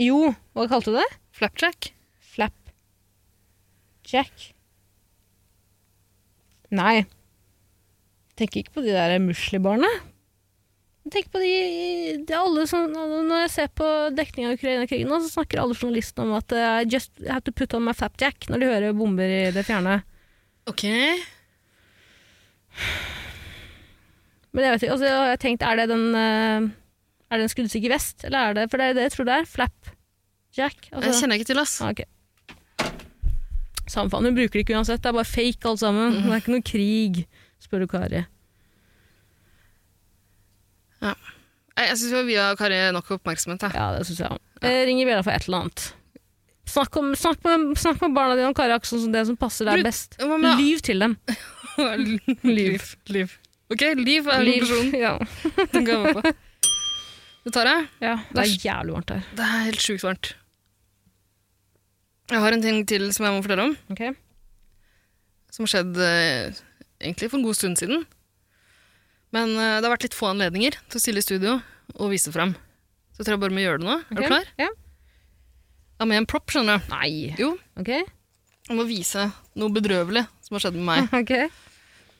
S2: Jo, hva kalte du det?
S3: Flapjack?
S2: Flapjack. Nei. Jeg tenker ikke på de der muslibarna. Jeg tenker på de, det er alle som, Når jeg ser på dekninga av Ukraina-krigen, nå, så snakker alle journalistene om at eh, I just have to put on my flapjack når de hører bomber i det fjerne.
S3: Ok.
S2: Men jeg vet ikke, altså, jeg har tenkt, er det den eh, Er det en skuddsikker vest, eller er det For det er det jeg tror det er. Flapjack.
S3: Det
S2: Altså.
S3: kjenner jeg ikke til, ass.
S2: Ah, ok. Samme faen, hun bruker det ikke uansett. Det er bare fake alt sammen.
S3: Mhm.
S2: Det er ikke noe krig, spør du Kari.
S3: Nei, Jeg syns vi har Kari nok oppmerksomhet. Jeg.
S2: Ja, det syns jeg òg.
S3: Ah.
S2: Eh, Ring i bjella for et eller annet. Snakk, om, snakk, med, snakk med barna dine om Kari Akson som det som passer deg
S3: Brut-
S2: best.
S3: Hva med
S2: Lyv til dem.
S3: Liv. Liv. Ok, Liv er
S2: Lyv.
S3: konklusjonen.
S2: Ja.
S3: Den ga jeg meg på. Det tar jeg.
S2: ja. Det er jævlig varmt her.
S3: Det er helt sjukt varmt. Jeg har en ting til som jeg må fortelle om,
S2: Ok.
S3: som har skjedd eh, egentlig for en god stund siden. Men eh, det har vært litt få anledninger til å stille i studio og vise frem. Så jeg tror jeg bare må gjøre det nå.
S2: Ok.
S3: Er du klar?
S2: Ja.
S3: Jeg har med en propp, skjønner du.
S2: Nei.
S3: Jo,
S2: Ok.
S3: jeg må vise noe bedrøvelig som har skjedd med meg.
S2: Ok.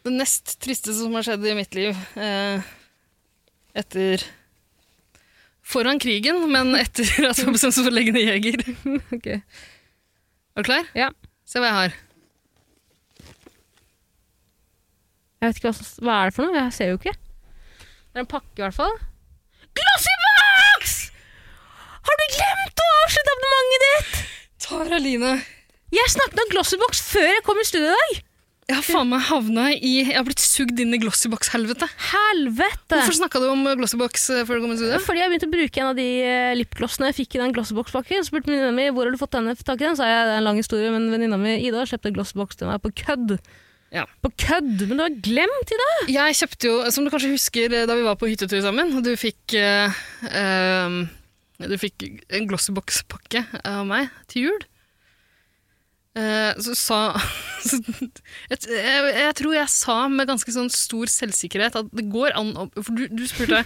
S3: Det nest tristeste som har skjedd i mitt liv eh, etter Foran krigen, men etter at jeg bestemte meg for å legge ned Jeger.
S2: Ok.
S3: Er du klar?
S2: Ja.
S3: Se hva jeg har.
S2: Jeg vet ikke hva, som- hva er det for noe? Jeg ser jo ikke. Det er en pakke, i hvert fall. Glossy box! Har du glemt å avslutte abonnementet ditt?!
S3: Tara Line.
S2: Jeg snakket om Glossybox før jeg kom i studio i dag!
S3: Jeg har faen meg havna i Jeg har blitt sugd inn i Glossybox-helvete.
S2: Helvete!
S3: Hvorfor snakka du om Glossybox eh, før du kom i studio?
S2: Fordi jeg begynte å bruke en av de eh, lipglossene jeg fikk i den glossbox-pakken. Så spurte venninna mi hvor har du fått denne tak i den. Så sa jeg det er en lang historie, men venninna mi Ida har kjøpt en glossbox til meg på kødd.
S3: Ja.
S2: På kødd! Men du har glemt Ida!
S3: Jeg kjøpte jo, som du kanskje husker eh, da vi var på hyttetur sammen, og du fikk eh, ehm, Du fikk en Glossybox-pakke av meg til jul. Eh, så sa så, jeg, jeg, jeg tror jeg sa med ganske sånn stor selvsikkerhet at det går an å For du, du spurte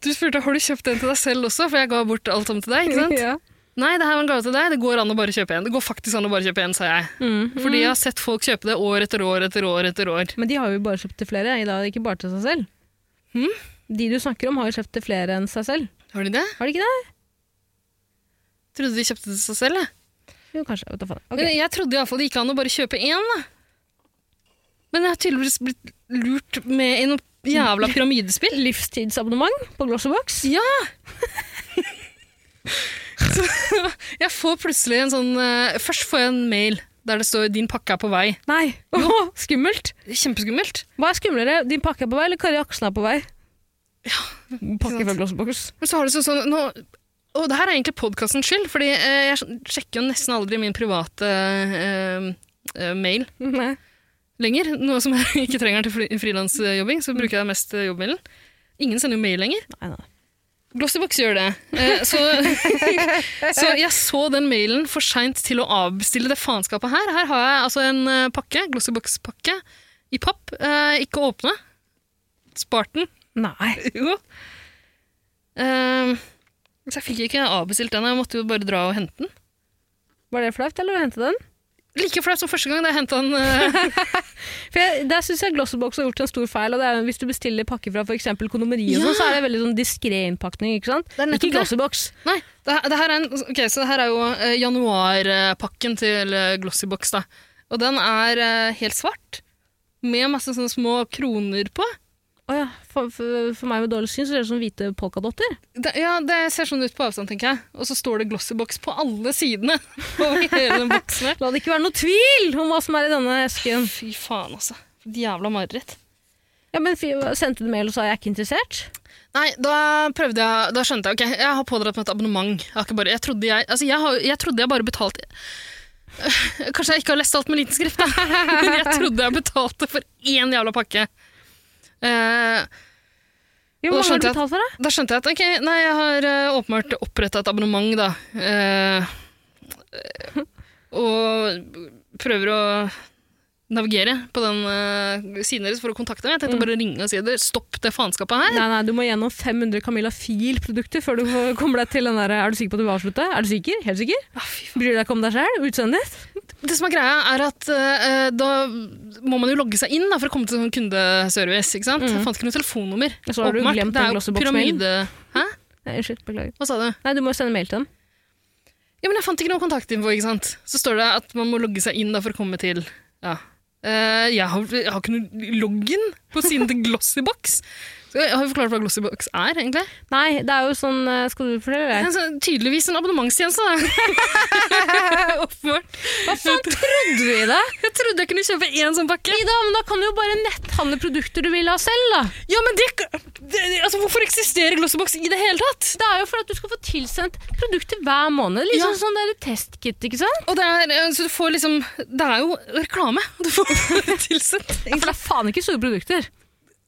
S3: Du spurte har du kjøpt en til deg selv også, for jeg ga bort alt sammen til deg. ikke sant?
S2: Ja.
S3: Nei, det her var en gave til deg. Det går an å bare kjøpe en. Det går faktisk an å bare kjøpe en, sa jeg.
S2: Mm.
S3: Fordi jeg har sett folk kjøpe det år etter år etter år etter år.
S2: Men de har jo bare kjøpt til flere, Ida, ikke bare til seg selv.
S3: Hm?
S2: De du snakker om, har jo kjøpt til flere enn seg selv.
S3: Har de det?
S2: Har de ikke det?
S3: Trodde de kjøpte det til seg selv, jeg.
S2: Jo, kanskje. Vet du faen. Ok.
S3: Men jeg trodde iallfall det gikk an å bare kjøpe én, da. Men jeg har tydeligvis blitt lurt med i noe jævla pyramidespill.
S2: Livstidsabonnement på Glossybox.
S3: Ja! Så jeg får plutselig en sånn eh, Først får jeg en mail der det står 'din pakke er på vei'.
S2: Nei! skummelt!
S3: Kjempeskummelt.
S2: Hva er skumlere? Din pakke er på vei, eller Kari Aksen er på vei? Pakke
S3: sant.
S2: fra Glossybox.
S3: Men så har det sånn, sånn nå, Og det her er egentlig podkastens skyld, fordi eh, jeg sjekker jo nesten aldri min private eh, eh, mail
S2: Nei.
S3: lenger. Noe som jeg ikke trenger til fri- frilansjobbing, så bruker jeg mest eh, jobbmailen. Ingen sender jo mail lenger.
S2: Nei, nei.
S3: Glossybox gjør det. Eh, så, så jeg så den mailen for seint til å avbestille det faenskapet her. Her har jeg altså en eh, pakke, Glossybox-pakke, i papp. Eh, ikke åpne. Spart den.
S2: Nei.
S3: Jo. Ehm, så jeg fikk ikke avbestilt den, jeg måtte jo bare dra og hente den.
S2: Var det flaut, eller å hente den?
S3: Like flaut som første gang da jeg henta den. eh,
S2: For jeg, Der syns jeg Glossybox har gjort en stor feil. og det er jo Hvis du bestiller pakke fra f.eks. kondomeri, og
S3: Ja.
S2: sånn, så er det veldig sånn diskré innpakning. Ikke sant?
S3: er nettopp
S2: Ikke
S3: det.
S2: Glossybox.
S3: Nei, det, her- det her er en, ok, så det her er jo eh, januarpakken til eh, Glossybox, da. Og den er eh, helt svart, med masse sånne små kroner på.
S2: Å ja, for, for, for meg med dårlig syn så ser det ut som hvite polkadotter.
S3: Det, ja, det ser sånn ut på avstand, tenker jeg. Og så står det Glossybox på alle sidene over hele den boksen her.
S2: La det ikke være noe tvil om hva som er i denne esken.
S3: Fy faen, altså. For et Jævla mareritt.
S2: Ja, men fy- Sendte du mail og sa jeg er ikke interessert?
S3: Nei, da prøvde jeg Da skjønte jeg, ok, jeg har pådratt meg et abonnement Jeg, har ikke bare, jeg, trodde, jeg, altså jeg, har, jeg trodde jeg bare betalte Kanskje jeg ikke har lest alt med liten skrift da. Men jeg trodde jeg betalte for én jævla pakke Eh,
S2: Jo, Hvor
S3: Og da
S2: mange har
S3: skjønte
S2: du
S3: jeg at-
S2: betalt for det?
S3: Da skjønte jeg at ok, nei, jeg har eh, åpenbart opprettet et abonnement da Eh, Og prøver å navigere på den eh, siden deres for å kontakte meg Jeg tenkte bare å ringe og si det Stopp det faenskapet her
S2: Nei, nei, Du må gjennom 500 Camilla Fil-produkter før du får- kommer deg til den der Er du sikker på at du vil avslutte? Er du sikker? Helt sikker?
S3: ah, fy
S2: Bryr du deg ikke om deg sjæl? Utseendet ditt?
S3: Det som er greia, er at eh, da må man jo logge seg inn da, for å komme til sånn kundeservice. ikke sant?
S2: Mhm.
S3: Jeg fant ikke noe telefonnummer.
S2: Så har du
S3: Åpenbart.
S2: glemt
S3: det
S2: den
S3: er jo
S2: Glossybox-mailen.
S3: pyramide... Hæ?
S2: Nei, Unnskyld, beklager.
S3: Hva sa du?
S2: Nei, du må jo sende mail til dem.
S3: Ja, men Jeg fant ikke noe kontaktinfo. ikke sant? Så står det at man må logge seg inn da, for å komme til ja. Eh, jeg, har, jeg har ikke noe login på siden til Glossybox. Så Jeg har jo forklart hva Glossybox er, egentlig.
S2: Nei, det er jo sånn eh, Skal du fortelle
S3: Det er
S2: det?
S3: en sånn- tydeligvis en abonnementstjeneste, da. Åpenbart.
S2: Hva faen trodde vi det?
S3: Jeg trodde jeg kunne kjøpe én sånn pakke.
S2: Ida, men da kan du jo bare netthandle produkter du vil ha selv, da.
S3: Ja, men det, det, altså, Hvorfor eksisterer Glossybox i det hele tatt?
S2: Det er jo for at du skal få tilsendt produkter hver måned. Litt
S3: Ja.
S2: sånn sånn der testkit, ikke sant?
S3: Og det er, eh, så du får liksom, det er jo reklame du får tilsendt.
S2: Ja, for det er faen ikke store produkter.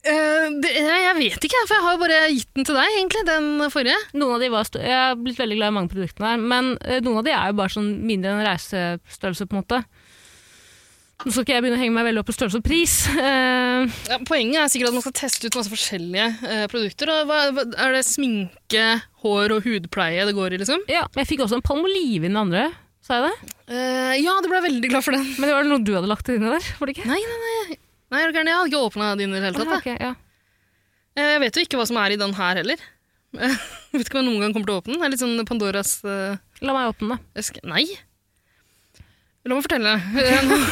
S3: Eh, det, jeg jeg vet ikke, for jeg har jo bare gitt den til deg, egentlig, den forrige.
S2: Noen av de var sto- Jeg har blitt veldig glad i mange produktene her, men eh, noen av de er jo bare sånn mindre enn reisestørrelse, på en måte. Nå skal ikke jeg begynne å henge meg veldig opp i størrelse og pris. Eh,
S3: Ja, poenget er sikkert at man skal teste ut masse forskjellige eh, produkter. Og hva, hva, er det sminke, hår og hudpleie det går i, liksom?
S2: ja, jeg fikk også en palmolive i den andre, sa jeg det?
S3: Eh, ja, du ble jeg veldig glad for den.
S2: Men det var noe du hadde lagt inni der, var det ikke?
S3: Nei, nei, nei. Nei, er du gæren? Jeg hadde ikke åpna din i det hele tatt.
S2: Ah,
S3: da.
S2: ok, ja.
S3: Eh, Jeg vet jo ikke hva som er i den her heller. vet ikke om jeg noen gang kommer til å åpne den. Det er litt sånn Pandoras eh,
S2: La meg åpne det.
S3: Jeg skal- Nei. La meg fortelle. Eh, nå-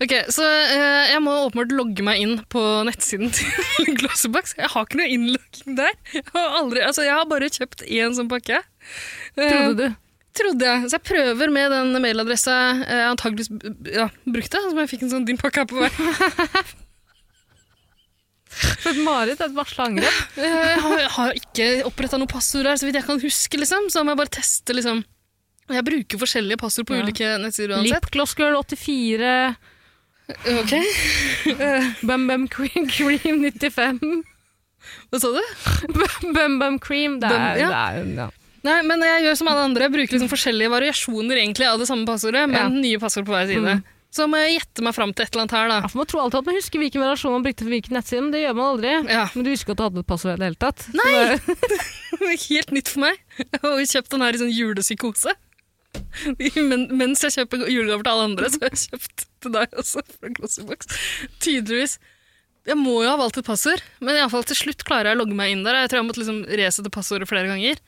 S3: Ok, Så eh, jeg må åpenbart logge meg inn på nettsiden til Glossybox. Jeg har ikke noe innlogging der. Jeg har, aldri, altså, jeg har bare kjøpt én sånn pakke. Eh,
S2: Trodde du?
S3: trodde jeg. Så jeg prøver med den mailadressa jeg antageligvis b- ja, brukte, som jeg fikk en sånn din pakke her på vei.
S2: For et mareritt, et varsla angrep.
S3: Eh, Jeg har, jeg har ikke oppretta noe passord her, så vidt jeg kan huske. liksom. Så da må jeg bare teste. liksom. Jeg bruker forskjellige passord på
S2: Ja.
S3: ulike nettsider uansett. Eh,
S2: Lipglossgirl84,
S3: Ok,
S2: BumBumCream Cream 95.
S3: Hva sa du?
S2: BumBumCream, det
S3: Bum-
S2: er,
S3: ja.
S2: det er ja.
S3: Nei, men Jeg gjør som alle andre, jeg bruker liksom forskjellige variasjoner egentlig av det samme passordet, men
S2: Ja.
S3: nye passord på hver side.
S2: Mm.
S3: Så må jeg gjette meg fram til et eller annet her. da.
S2: Ja, for Man tror alltid at man husker hvilken versjon man brukte for hvilken nettside, men det gjør man aldri.
S3: Ja,
S2: Men du husker at du hadde et passord i det hele tatt? Så
S3: Nei!
S2: det-
S3: Helt nytt for meg. Jeg har jo kjøpt den her i sånn julepsykose. Men, mens jeg kjøper julegaver til alle andre, så har jeg kjøpt til deg også. fra Glossybox. Tydeligvis. Jeg må jo ha valgt et passord, men i alle fall til slutt klarer jeg å logge meg inn der. Jeg tror jeg måtte liksom resette passordet flere ganger.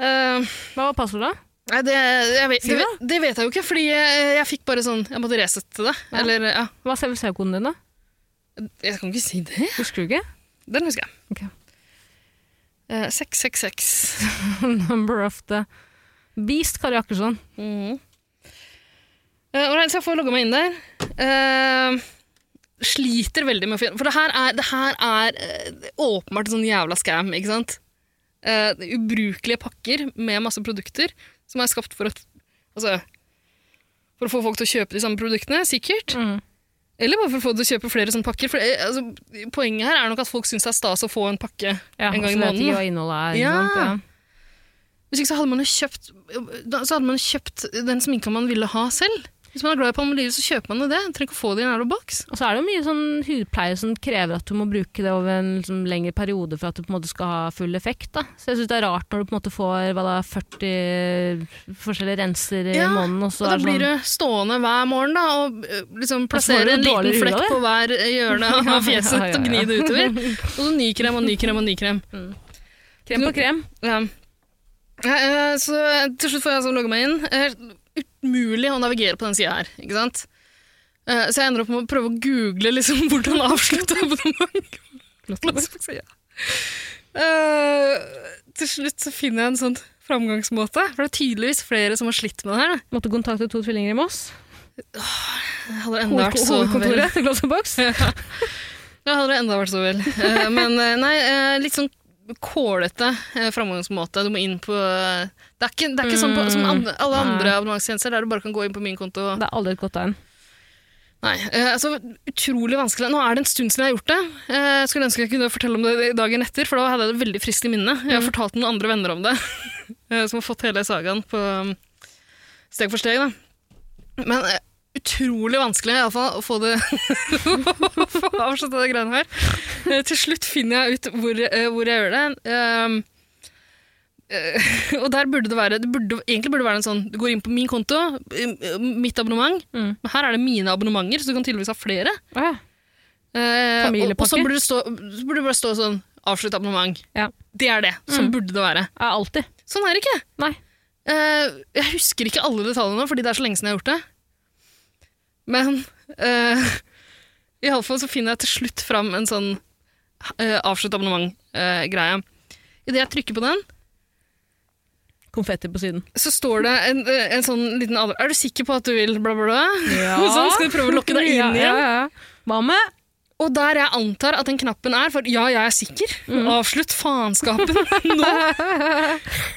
S3: Eh,
S2: Hva var passordet?
S3: Nei, det, jeg vet,
S2: Sier
S3: det,
S2: du
S3: vet- det vet jeg jo ikke, fordi jeg, jeg fikk bare sånn Jeg måtte resette det.
S2: Ja.
S3: Eller, ja.
S2: Hva er CVC-koden din, da?
S3: Jeg kan ikke si det.
S2: Husker du ikke?
S3: Den husker jeg.
S2: Ok.
S3: Eh, 666.
S2: Number of the Beast, Kari Akkerson.
S3: Mm. Eh, all right, så jeg får logge meg inn der. Eh, sliter veldig med å finne For det her er, det her er eh, åpenbart en sånn jævla scam, ikke sant? Eh, det er ubrukelige pakker med masse produkter som er skapt for at Altså For å få folk til å kjøpe de samme produktene, sikkert.
S2: Mm,
S3: Eller bare for å få deg til å kjøpe flere sånne pakker. For eh, altså, poenget her er nok at folk syns det er stas å få en pakke.
S2: Ja,
S3: En gang i
S2: så vet
S3: måneden,
S2: ikke
S3: da.
S2: hva innholdet er. ikke
S3: Ja.
S2: sant?
S3: Hvis ikke så hadde man jo kjøpt, da, så hadde man kjøpt den sminka man ville ha selv. Hvis man er glad i palmolive, så kjøper man jo det. Trenger ikke å få det i en jævla boks.
S2: Og så er det jo mye sånn hudpleie som krever at du må bruke det over en liksom, lengre periode for at det på en måte skal ha full effekt. Da. Så jeg syns det er rart når du på en måte får hva da, 40 forskjellige renser i
S3: Ja,
S2: måneden, og så
S3: Og da
S2: er det
S3: blir
S2: sånn
S3: du stående hver morgen da, og eh, liksom
S2: Og så får
S3: plassere
S2: du
S3: en liten
S2: dårlig hud av
S3: flekk
S2: det.
S3: på hver eh, hjørne
S2: Ja,
S3: av fjeset
S2: ja, ja,
S3: og gni det utover. Og så ny krem og ny krem og ny krem.
S2: krem på krem.
S3: Ja. Ja, eh, Så til slutt får jeg altså logge meg inn. Eh, Umulig å navigere på den sida her, ikke sant? Eh, Så jeg ender opp med å prøve å google liksom, hvordan avslutte abonnement. Blåsebukse, ja. Eh, til slutt så finner jeg en sånn framgangsmåte. For det er tydeligvis flere som har slitt med det her. da.
S2: Måtte kontakte to tvillinger i Moss.
S3: Jeg hadde enda vært så vel.
S2: Hovedkontoret til Glossybox.
S3: Jeg hadde enda vært så vel. Eh, Men eh, nei, eh, litt sånn kålete eh, framgangsmåte. Du må inn på eh, Det er ikke, det er ikke sånn på, som an- alle
S2: Nei.
S3: andre abonnementstjenester der du bare kan gå inn på min konto. og-
S2: Det er aldri et godt tegn.
S3: Nei, eh, altså utrolig vanskelig. Nå er det en stund siden jeg har gjort det. Eh, jeg skulle ønske jeg kunne fortelle om det dagen etter, for da hadde jeg det veldig friskt i minnet. Jeg har fortalt noen andre venner om det, eh, som har fått hele sagaen på um, steg for steg. Da. Men eh, utrolig vanskelig i alle fall, å få det å få avsluttet de greiene her. Eh, til slutt finner jeg ut hvor, eh, hvor jeg gjør det. Um, eh, og der burde det være det burde, Egentlig burde det være en sånn Du går inn på min konto, eh, mitt abonnement,
S2: Mm.
S3: men her er det mine abonnementer, så du kan tydeligvis ha flere.
S2: Å ja.
S3: Eh, og, og
S2: Familiepakke.
S3: så burde det, stå, så burde det bare stå sånn 'avslutt abonnement'.
S2: Ja.
S3: Det er det. Sånn burde det være.
S2: Ja, alltid.
S3: Sånn er det ikke.
S2: Nei.
S3: Eh, jeg husker ikke alle detaljene, fordi det er så lenge siden jeg har gjort det. Men eh, i alle fall så finner jeg til slutt fram en sånn eh, 'avslutt eh, abonnement'-greie. Idet jeg trykker på den,
S2: Konfetti på siden.
S3: så står det en, eh, en sånn liten advarsel. 'Er du sikker på at du vil bla, bla, bla?'
S2: Ja.
S3: Og sånn skal du prøve å lokke deg inn igjen.
S2: Ja, ja, ja. Hva med?
S3: Og der jeg antar at den knappen er for ja, jeg er sikker. Avslutt faenskapen nå.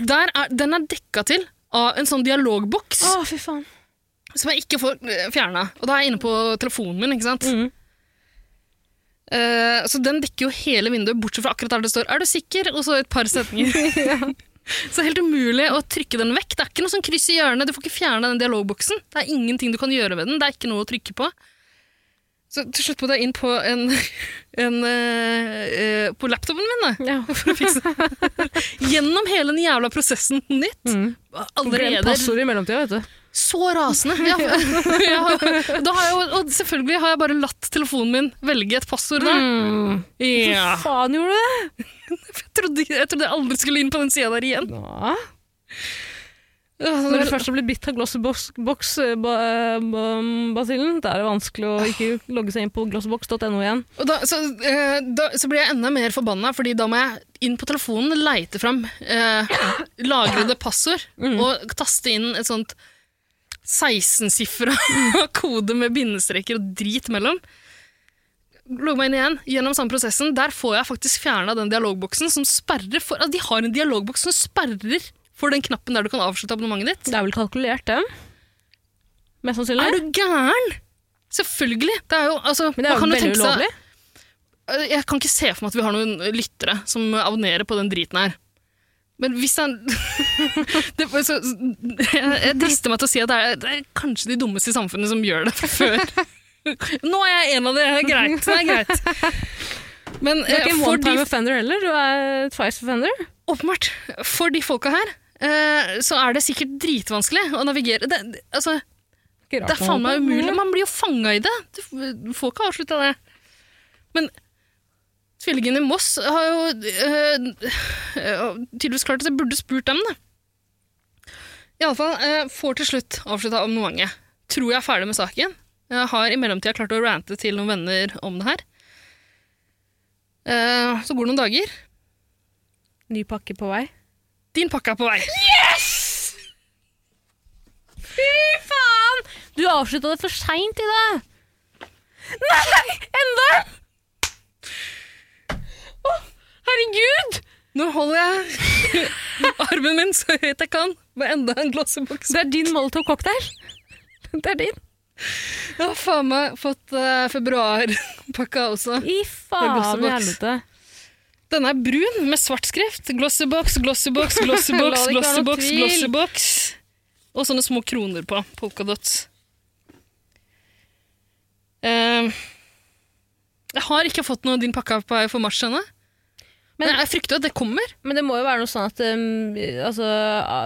S3: Der er, den er dekka til av en sånn dialogboks
S2: Å, fy faen.
S3: som jeg ikke får fjerna. Og da er jeg inne på telefonen min, ikke sant.
S2: Mhm.
S3: Eh, så den dekker jo hele vinduet, bortsett fra akkurat der det står 'er du sikker?' og så et par setninger. Så helt umulig å trykke den vekk. Det er ikke noe sånn kryss i hjørnet. Du får ikke fjerna den dialogboksen. Det er ingenting du kan gjøre med den. Det er ikke noe å trykke på. Så til slutt måtte jeg inn på en, en eh, eh, på laptopen min, da.
S2: Ja.
S3: For å fikse Gjennom hele den jævla prosessen på nytt.
S2: Mm. Glemt
S3: Allerede
S2: passord i mellomtida, vet du.
S3: så rasende. Ja, ja. Da har jeg, jo- og selvfølgelig har jeg bare latt telefonen min velge et passord. Da.
S2: Mm.
S3: Ja.
S2: Hva faen gjorde du det?
S3: Jeg, trodde, jeg trodde jeg aldri skulle inn på den sida der igjen.
S2: Nå.
S3: Ja, så
S2: Når
S3: det-
S2: du først har blitt bitt av eh, Glossbox-basillen, da er det vanskelig å ikke logge seg inn på glossbox.no igjen.
S3: Og da, så, eh, da, så blir jeg enda mer forbanna, fordi da må jeg inn på telefonen, leite fram eh, lagrede passord
S2: Mm.
S3: og taste inn et sånt 16-sifra kode med bindestreker og drit mellom. Logg meg inn igjen gjennom samme prosessen. Der får jeg faktisk fjerna den dialogboksen som sperrer for altså, De har en dialogboks som sperrer for den knappen der du kan avslutte abonnementet ditt.
S2: Det er vel kalkulert, det? Mest sannsynlig.
S3: Er du gæren?! Selvfølgelig! Det er jo, altså,
S2: Men det
S3: man
S2: er jo
S3: kan
S2: veldig
S3: tenke seg- Øh,
S2: ulovlig.
S3: Jeg kan ikke se for meg at vi har noen lyttere som abonnerer på den driten her. Men hvis han det, var så, jeg, jeg drister meg til å si at det er, det er kanskje de dummeste i samfunnet som gjør det fra før. Nå er jeg en av dere, det er greit. Det er greit. Men
S2: Du er ikke
S3: eh,
S2: en
S3: for de,
S2: one-time offender heller, du er twice offender.
S3: åpenbart, for de folka her, eh, så er det sikkert dritvanskelig å navigere. Det, det- altså,
S2: Ikke rart
S3: det er faen
S2: man
S3: meg
S2: holder på.
S3: umulig. Man blir jo fanga i det. Du f- du får ikke avslutta det. Men tvillingene i Moss har jo øh, øh, tydeligvis klart at jeg burde spurt dem, da. Iallfall øh, får til slutt avslutta abonnementet. Tror jeg er ferdig med saken. Jeg har i mellomtida klart å rante til noen venner om det her. Eh, så går det noen dager.
S2: Ny pakke på vei.
S3: Din pakke er på vei.
S2: Fy faen! Du avslutta det for seint i dag! Nei! Enda! Å, herregud!
S3: Nå holder jeg armen min så høyt jeg kan med enda en glasseboks.
S2: Det er din molotov cocktail. Det er din.
S3: Jeg har faen meg fått eh, februarpakka også.
S2: I faen i
S3: Glossbox.
S2: helvete.
S3: Den er brun med svart skrift. Glossybox, glossybox, glossybox,
S2: La det ikke være noe
S3: glossybox,
S2: tvil.
S3: glossybox. Og sånne små kroner på. Polkadots. Eh, jeg har ikke fått noe din pakke på vei for mars ennå. Men
S2: Men-
S3: jeg frykter at det kommer.
S2: Men det må jo være noe sånn at um, altså,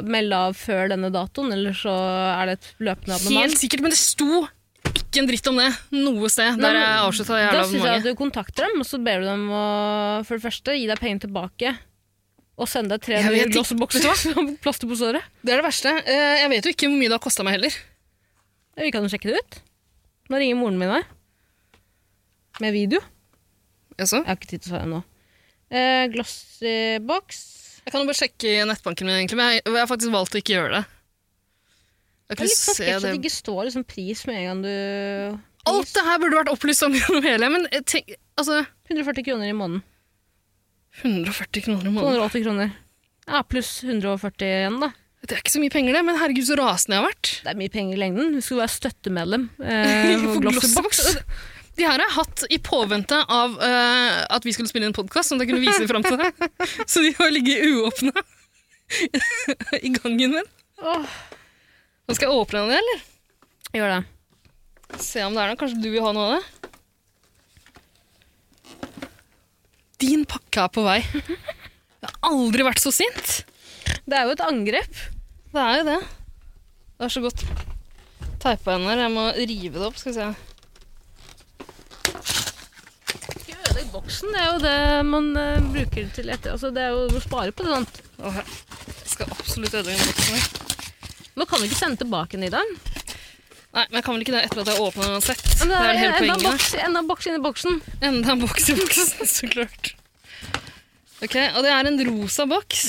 S2: melde av før denne datoen, eller så er det et løpende
S3: Helt
S2: abonnement.
S3: sikkert, Men det sto ikke en dritt om det noe sted
S2: Nei,
S3: der
S2: men
S3: jeg avslutta
S2: Da syns
S3: jævla
S2: jeg at
S3: abonnementet.
S2: du kontakter dem, og så ber du dem å for det første gi deg pengene tilbake. Og sende deg tre
S3: Jeg
S2: nye
S3: vet ikke-
S2: glassbokser som plaster på såret.
S3: Det er det verste. Eh, jeg vet jo ikke hvor mye det har kosta meg heller.
S2: Vi kan jo sjekke det ut. Nå ringer moren min meg. Med video.
S3: Altså.
S2: Jeg har ikke tid til å svare nå. Eh, Glassboks
S3: Jeg kan jo bare sjekke i nettbanken min, egentlig, men jeg, jeg har faktisk valgt å ikke gjøre det.
S2: Det
S3: Jeg
S2: er
S3: kunne
S2: litt sånn
S3: se
S2: sketsj at
S3: det.
S2: det ikke står liksom pris med en gang du
S3: Alt det her burde vært opplyst om gjennom hele, men jeg tenk, altså
S2: 140 kroner i måneden.
S3: 140 kroner i måneden.
S2: 280 kroner. Ja, pluss 140 igjen, da.
S3: Det er ikke så mye penger, det, men herregud, så rasende jeg har vært.
S2: Det er mye penger i lengden. Du skulle være støttemedlem. Eh,
S3: For
S2: for Glossybox.
S3: Glossybox. De her har jeg hatt i påvente av eh, at vi skulle spille en podkast som jeg kunne vise fram til deg. Så de har ligget uåpna i gangen min.
S2: Åh.
S3: Nå skal jeg åpne den, eller?
S2: Gjør det.
S3: Se om det er noe. Kanskje du vil ha noe av det? Din pakke er på vei. Jeg har aldri vært så sint.
S2: Det er jo et angrep.
S3: Det er jo det. Det er så godt teipa igjen her. Jeg må rive det opp. skal vi se.
S2: Ikke ødelegg boksen. Det er jo det man eh, bruker til etter. Altså, det er jo å spare på det. sånn. Sant?
S3: Åh, jeg skal absolutt ødelegge den boksen her.
S2: Nå kan vi ikke sende tilbake den i dag.
S3: Nei, men jeg kan vel ikke det etter at jeg åpna den uansett.
S2: Men
S3: Det er vel hele
S2: enda en
S3: poenget.
S2: boks, enda en boks inni boksen.
S3: Enda en boks i boksen, så klart. Ok, Og det er en rosa boks,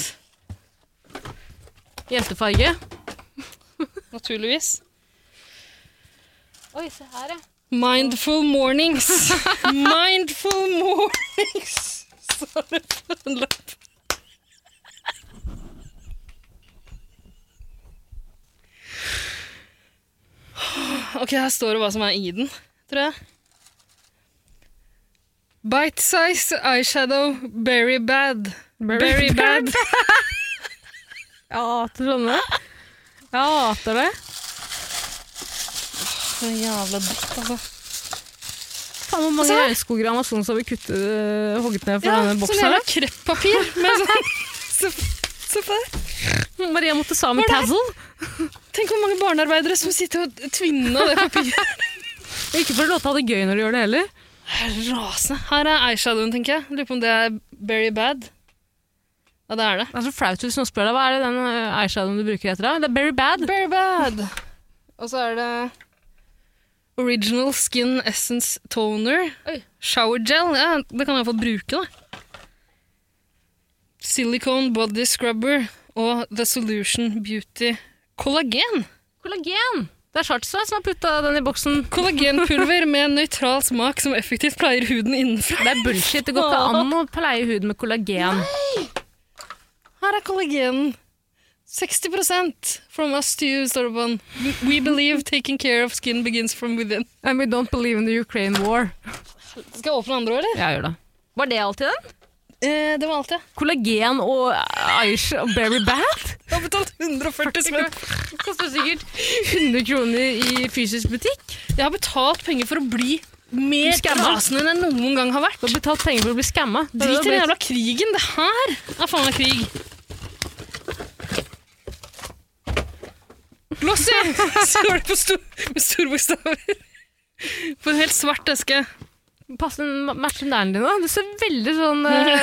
S2: Jentefarge.
S3: naturligvis.
S2: Oi, se her, ja.
S3: Mindful mornings. Mindful mornings. Står det på en lapp. Ok, her står det hva som er i den, tror jeg. Bite size eyeshadow, very bad. Very bad.
S2: Jeg hater sånne. Jeg hater det.
S3: Så jævla dritt, altså.
S2: Faen, hvor mange
S3: Altså,
S2: regnskoger i Amazonas har vi kuttet, øh, hogget ned fra
S3: Ja,
S2: denne
S3: sånn
S2: boksen? her,
S3: jævla kreppapir med sånn Se se på det.
S2: da? Maria Montesami
S3: Var det-
S2: Tazzle.
S3: Tenk hvor mange barnearbeidere som sitter og tvinner det papiret.
S2: Ikke for å låte ha det gøy når du gjør det heller.
S3: Rasende. Her er eyeshadowen, tenker jeg. Lurer på om det er very bad. Ja, det er det.
S2: Det er så flaut hvis noen spør deg hva er det den eh, eyeshadowen du bruker etter. da? Det er Berry Bad.
S3: Very bad. Og så er det Original Skin Essence Toner.
S2: Oi.
S3: Shower gel. Ja, det kan jeg iallfall bruke, da. Silicone Body Scrubber og The Solution Beauty Kollagen.
S2: Kollagen! Det er Chartstad som har putta den i boksen.
S3: Kollagenpulver med en nøytral smak som effektivt pleier huden innenfra.
S2: Det er bullshit. Det går ikke an å pleie huden med kollagen.
S3: Her er kollagenen. 60 from us to you, står det på den. We believe taking care of skin begins from within.
S2: And we don't believe in the Ukraine war.
S3: Skal jeg åpne andre, eller?
S2: Ja, gjør det. Var det alltid den?
S3: Eh, det var alt, ja.
S2: Kollagen og Aish og Berry Bad?
S3: Jeg har betalt 140 spenn.
S2: Koster sikkert 100 kroner i fysisk butikk.
S3: Jeg har betalt penger for å bli mer
S2: Skamma.
S3: rasende enn jeg noen gang har vært.
S2: Du har betalt penger for å bli skamma.
S3: Drit i den jævla krigen. Det her er faen meg krig. Glossy! Står det på stor, med store bokstaver. På en helt svart eske.
S2: Pass den matchen der dine. Du ser veldig sånn eh,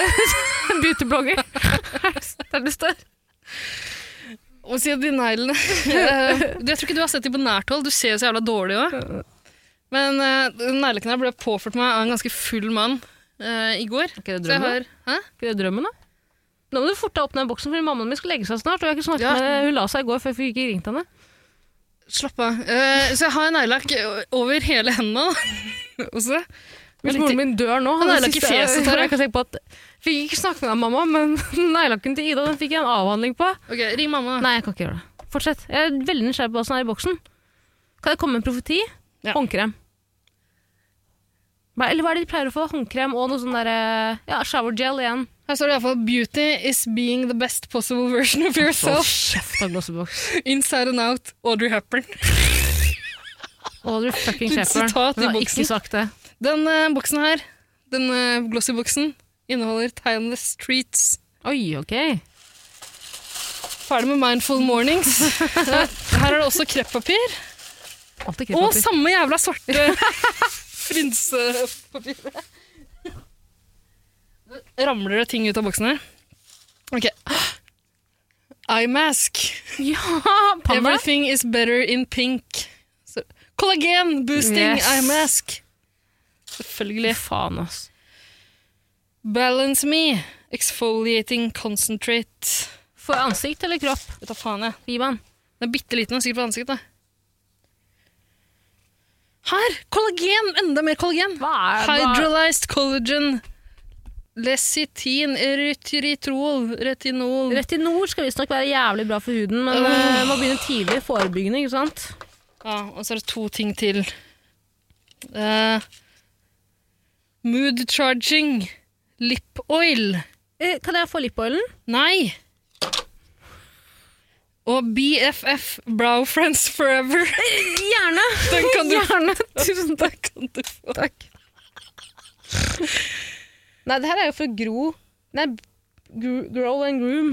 S2: beautyblogger. Der det står.
S3: Og si at de neglene Eh, Jeg tror ikke du har sett dem på nært hold. Du ser jo så jævla dårlig òg. Men uh, neglelakken her ble påført meg av en ganske full mann eh, i går.
S2: Ikke det
S3: Så jeg
S2: drømmen?
S3: har Hæ?
S2: Ikke det drømmen, da? Nå må du forte deg opp den boksen, for mammaen min skal legge seg snart. Og jeg har ikke snakket
S3: Ja.
S2: med henne. Hun la seg i går, for jeg fikk ikke ringt henne.
S3: Slapp av. Eh, så jeg har neglelakk over hele hendene. da. Og så
S2: Hvis moren min dør nå
S3: Han
S2: det
S3: neglelakk i
S2: siste-
S3: fjeset, Tara.
S2: Jeg kan tenke på at Fikk ikke snakket med deg, mamma, men neglelakken til Ida den fikk jeg en avhandling på.
S3: Ok, ring mamma.
S2: Nei, jeg kan ikke gjøre det. Fortsett. Jeg er veldig nysgjerrig på hva som er i boksen. Kan jeg komme med en profeti?
S3: Ja.
S2: Håndkrem. Hva- Eller hva er det de pleier å få? Håndkrem og noe sånn derre Ja, shower gel igjen.
S3: Her står det iallfall 'Beauty is being the best possible version of yourself'.
S2: kjeft av glossebox.
S3: Inside and out, Audrey Hepburn.
S2: Å, du fucking
S3: Et
S2: kjeffer.
S3: sitat i
S2: Hun har
S3: boksen.
S2: ikke sagt det.
S3: Den eh, boksen her, den eh, glossy-boksen, inneholder timeless treats.
S2: Oi, ok.
S3: Ferdig med Mindful Mornings. her er det også kreppapir.
S2: Alltid
S3: Og
S2: kreppapir.
S3: samme jævla svarte frynsepapiret. Ramler det ting ut av boksen her? Ok. Eye mask.
S2: Ja, panda.
S3: Everything is better in pink. Så- Kollagen boosting
S2: Yes.
S3: eye mask. Selvfølgelig.
S2: Faen, ass.
S3: Balance me. Exfoliating concentrate.
S2: For ansikt eller kropp?
S3: Vet da faen, jeg.
S2: Gi meg den.
S3: Den er bitte liten, sikkert på ansiktet. Her! Kollagen! Enda mer kollagen.
S2: Hva er hva-
S3: Hydrolyzed collagen. Lecitin, erytritrol, retinol
S2: Retinol skal visstnok være jævlig bra for huden, men uh, må begynne tidlig. Forebyggende, ikke sant?
S3: Ja, og så er det to ting til. Eh, mood charging. Lip oil.
S2: Eh, kan jeg få lipoilen?
S3: Nei. Og BFF, Brow Friends Forever.
S2: Gjerne!
S3: Den kan du,
S2: Gjerne! Tusen takk.
S3: kan du få.
S2: Nei, det her er jo for gro Nei, gro- grow and groom.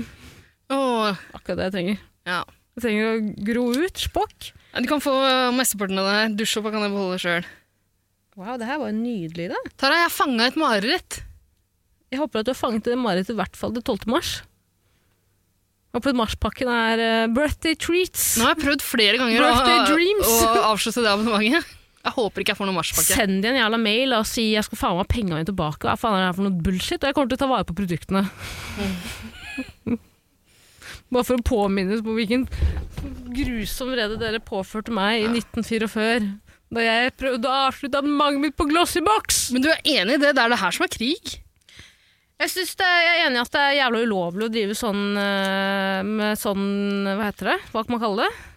S3: Åh,
S2: Akkurat det jeg trenger.
S3: ja.
S2: Jeg trenger å gro ut. Spokk.
S3: Ja, Du kan få eh, mesteparten av det her. Dusjsåpa kan jeg beholde sjøl.
S2: Wow, det her var jo nydelig, da.
S3: Tara, jeg fanga et mareritt.
S2: Jeg håper at du har fanget det marerittet i hvert fall til 12. mars. Håper at marspakken er eh, birthday treats.
S3: Nå har jeg prøvd flere ganger å,
S2: Birthday dreams.
S3: å avslutte det abonnementet. Jeg håper ikke jeg får noen marsjpakke.
S2: Send de en jævla mail og si jeg skal faen meg ha pengene mine tilbake. Hva faen er det her for noe bullshit? Og jeg kommer til å ta vare på produktene. Mm. Bare for å påminnes på hvilken grusom rede dere påførte meg i 1944. Da jeg prøvde å avslutte abonnementet mitt på Glossybox!
S3: Men du er enig i det? Det er det her som er krig?
S2: Jeg, synes det, jeg er enig i at det er jævla ulovlig å drive sånn eh, med sånn Hva heter det? Hva kan man kalle det?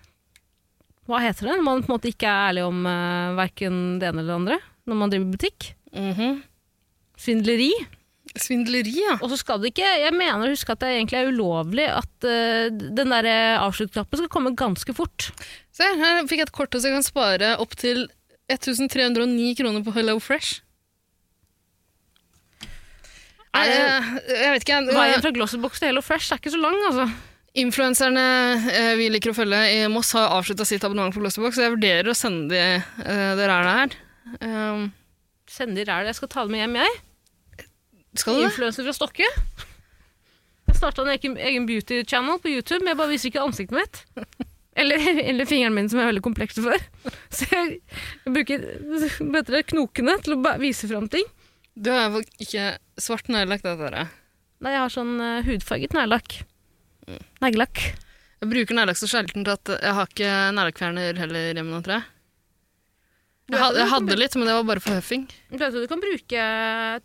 S2: Hva heter det når man på en måte ikke er ærlig om uh, verken det ene eller det andre når man driver butikk? Mhm. Svindleri.
S3: Svindleri, ja.
S2: Og så skal det ikke Jeg mener å huske at det egentlig er ulovlig at eh, den der eh, avsluttknappen skal komme ganske fort.
S3: Se, her fikk jeg et kort så jeg kan spare opptil 1309 kroner på Hello Fresh.
S2: Er det-
S3: Nei, eh, jeg vet ikke.
S2: Veien
S3: eh,
S2: fra Glossybox til Hello Fresh er ikke så lang, altså.
S3: Influenserne eh, vi liker å følge i Moss har avslutta sitt abonnement på Glossybox, så jeg vurderer å sende de, eh, det rælet her. Um,
S2: Sender er det. Jeg skal ta det med hjem, jeg.
S3: skal du det?
S2: Influenser fra Stokke. Jeg starta en egen, egen beauty channel på YouTube, men jeg bare viser ikke ansiktet mitt. Eller, eller fingeren min, som jeg er veldig kompleks for. Så jeg, jeg bruker bedre knokene til å ba- vise fram ting.
S3: Du har vel ikke svart neglelakk, dette her.
S2: Nei, jeg har sånn eh, hudfarget neglelakk. Neglelakk.
S3: Jeg bruker neglelakk så sjelden til at jeg har ikke neglelakkfjerner heller hjemme nå, tror jeg. Jeg hadde, jeg hadde litt, men det var bare for huffing.
S2: Du vet at du kan bruke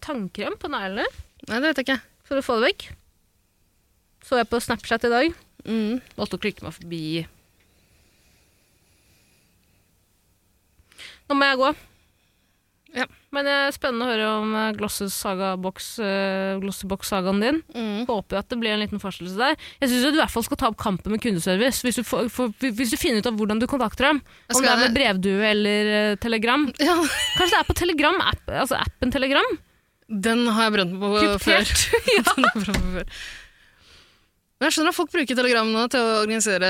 S2: tannkrem på neglene
S3: Nei, det vet jeg ikke.
S2: for å få det vekk. Så jeg på Snapchat i dag.
S3: Mm.
S2: Valgte å klikke meg forbi. Nå må jeg gå.
S3: Ja.
S2: Men det er spennende å høre om eh, Glosses saga box, eh, Glossebox-sagaen din.
S3: Mm.
S2: Håper jo at det blir en liten forskjell der. Jeg syns du i hvert fall skal ta opp kampen med kundeservice. Hvis du, får, får- hvis du finner ut av hvordan du kontakter dem. Om det
S3: Jeg skal-
S2: er med brevdue eller eh, telegram.
S3: Ja,
S2: Kanskje det er på telegram, app, altså appen Telegram?
S3: den har jeg brent på før.
S2: Kryptert.
S3: Den har jeg brent på før. Men jeg skjønner at folk bruker telegram nå til å organisere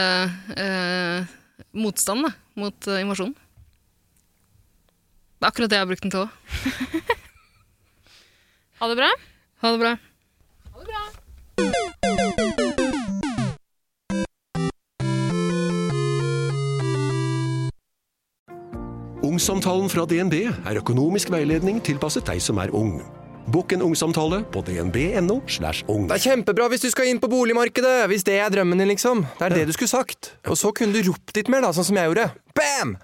S3: eh, motstand da, mot eh, invasjonen. Det er akkurat det jeg har brukt den til òg.
S2: Ha det bra.
S3: Ha det bra.
S4: Ungsamtalen fra DNB er økonomisk veiledning tilpasset deg som er ung. Bokk en ungsamtale på dnb.no. slash ung.
S5: Det er kjempebra hvis du skal inn på boligmarkedet, hvis det er drømmen din, liksom. Det er det du skulle sagt. Og så kunne du ropt litt mer, da, sånn som jeg gjorde. Bam!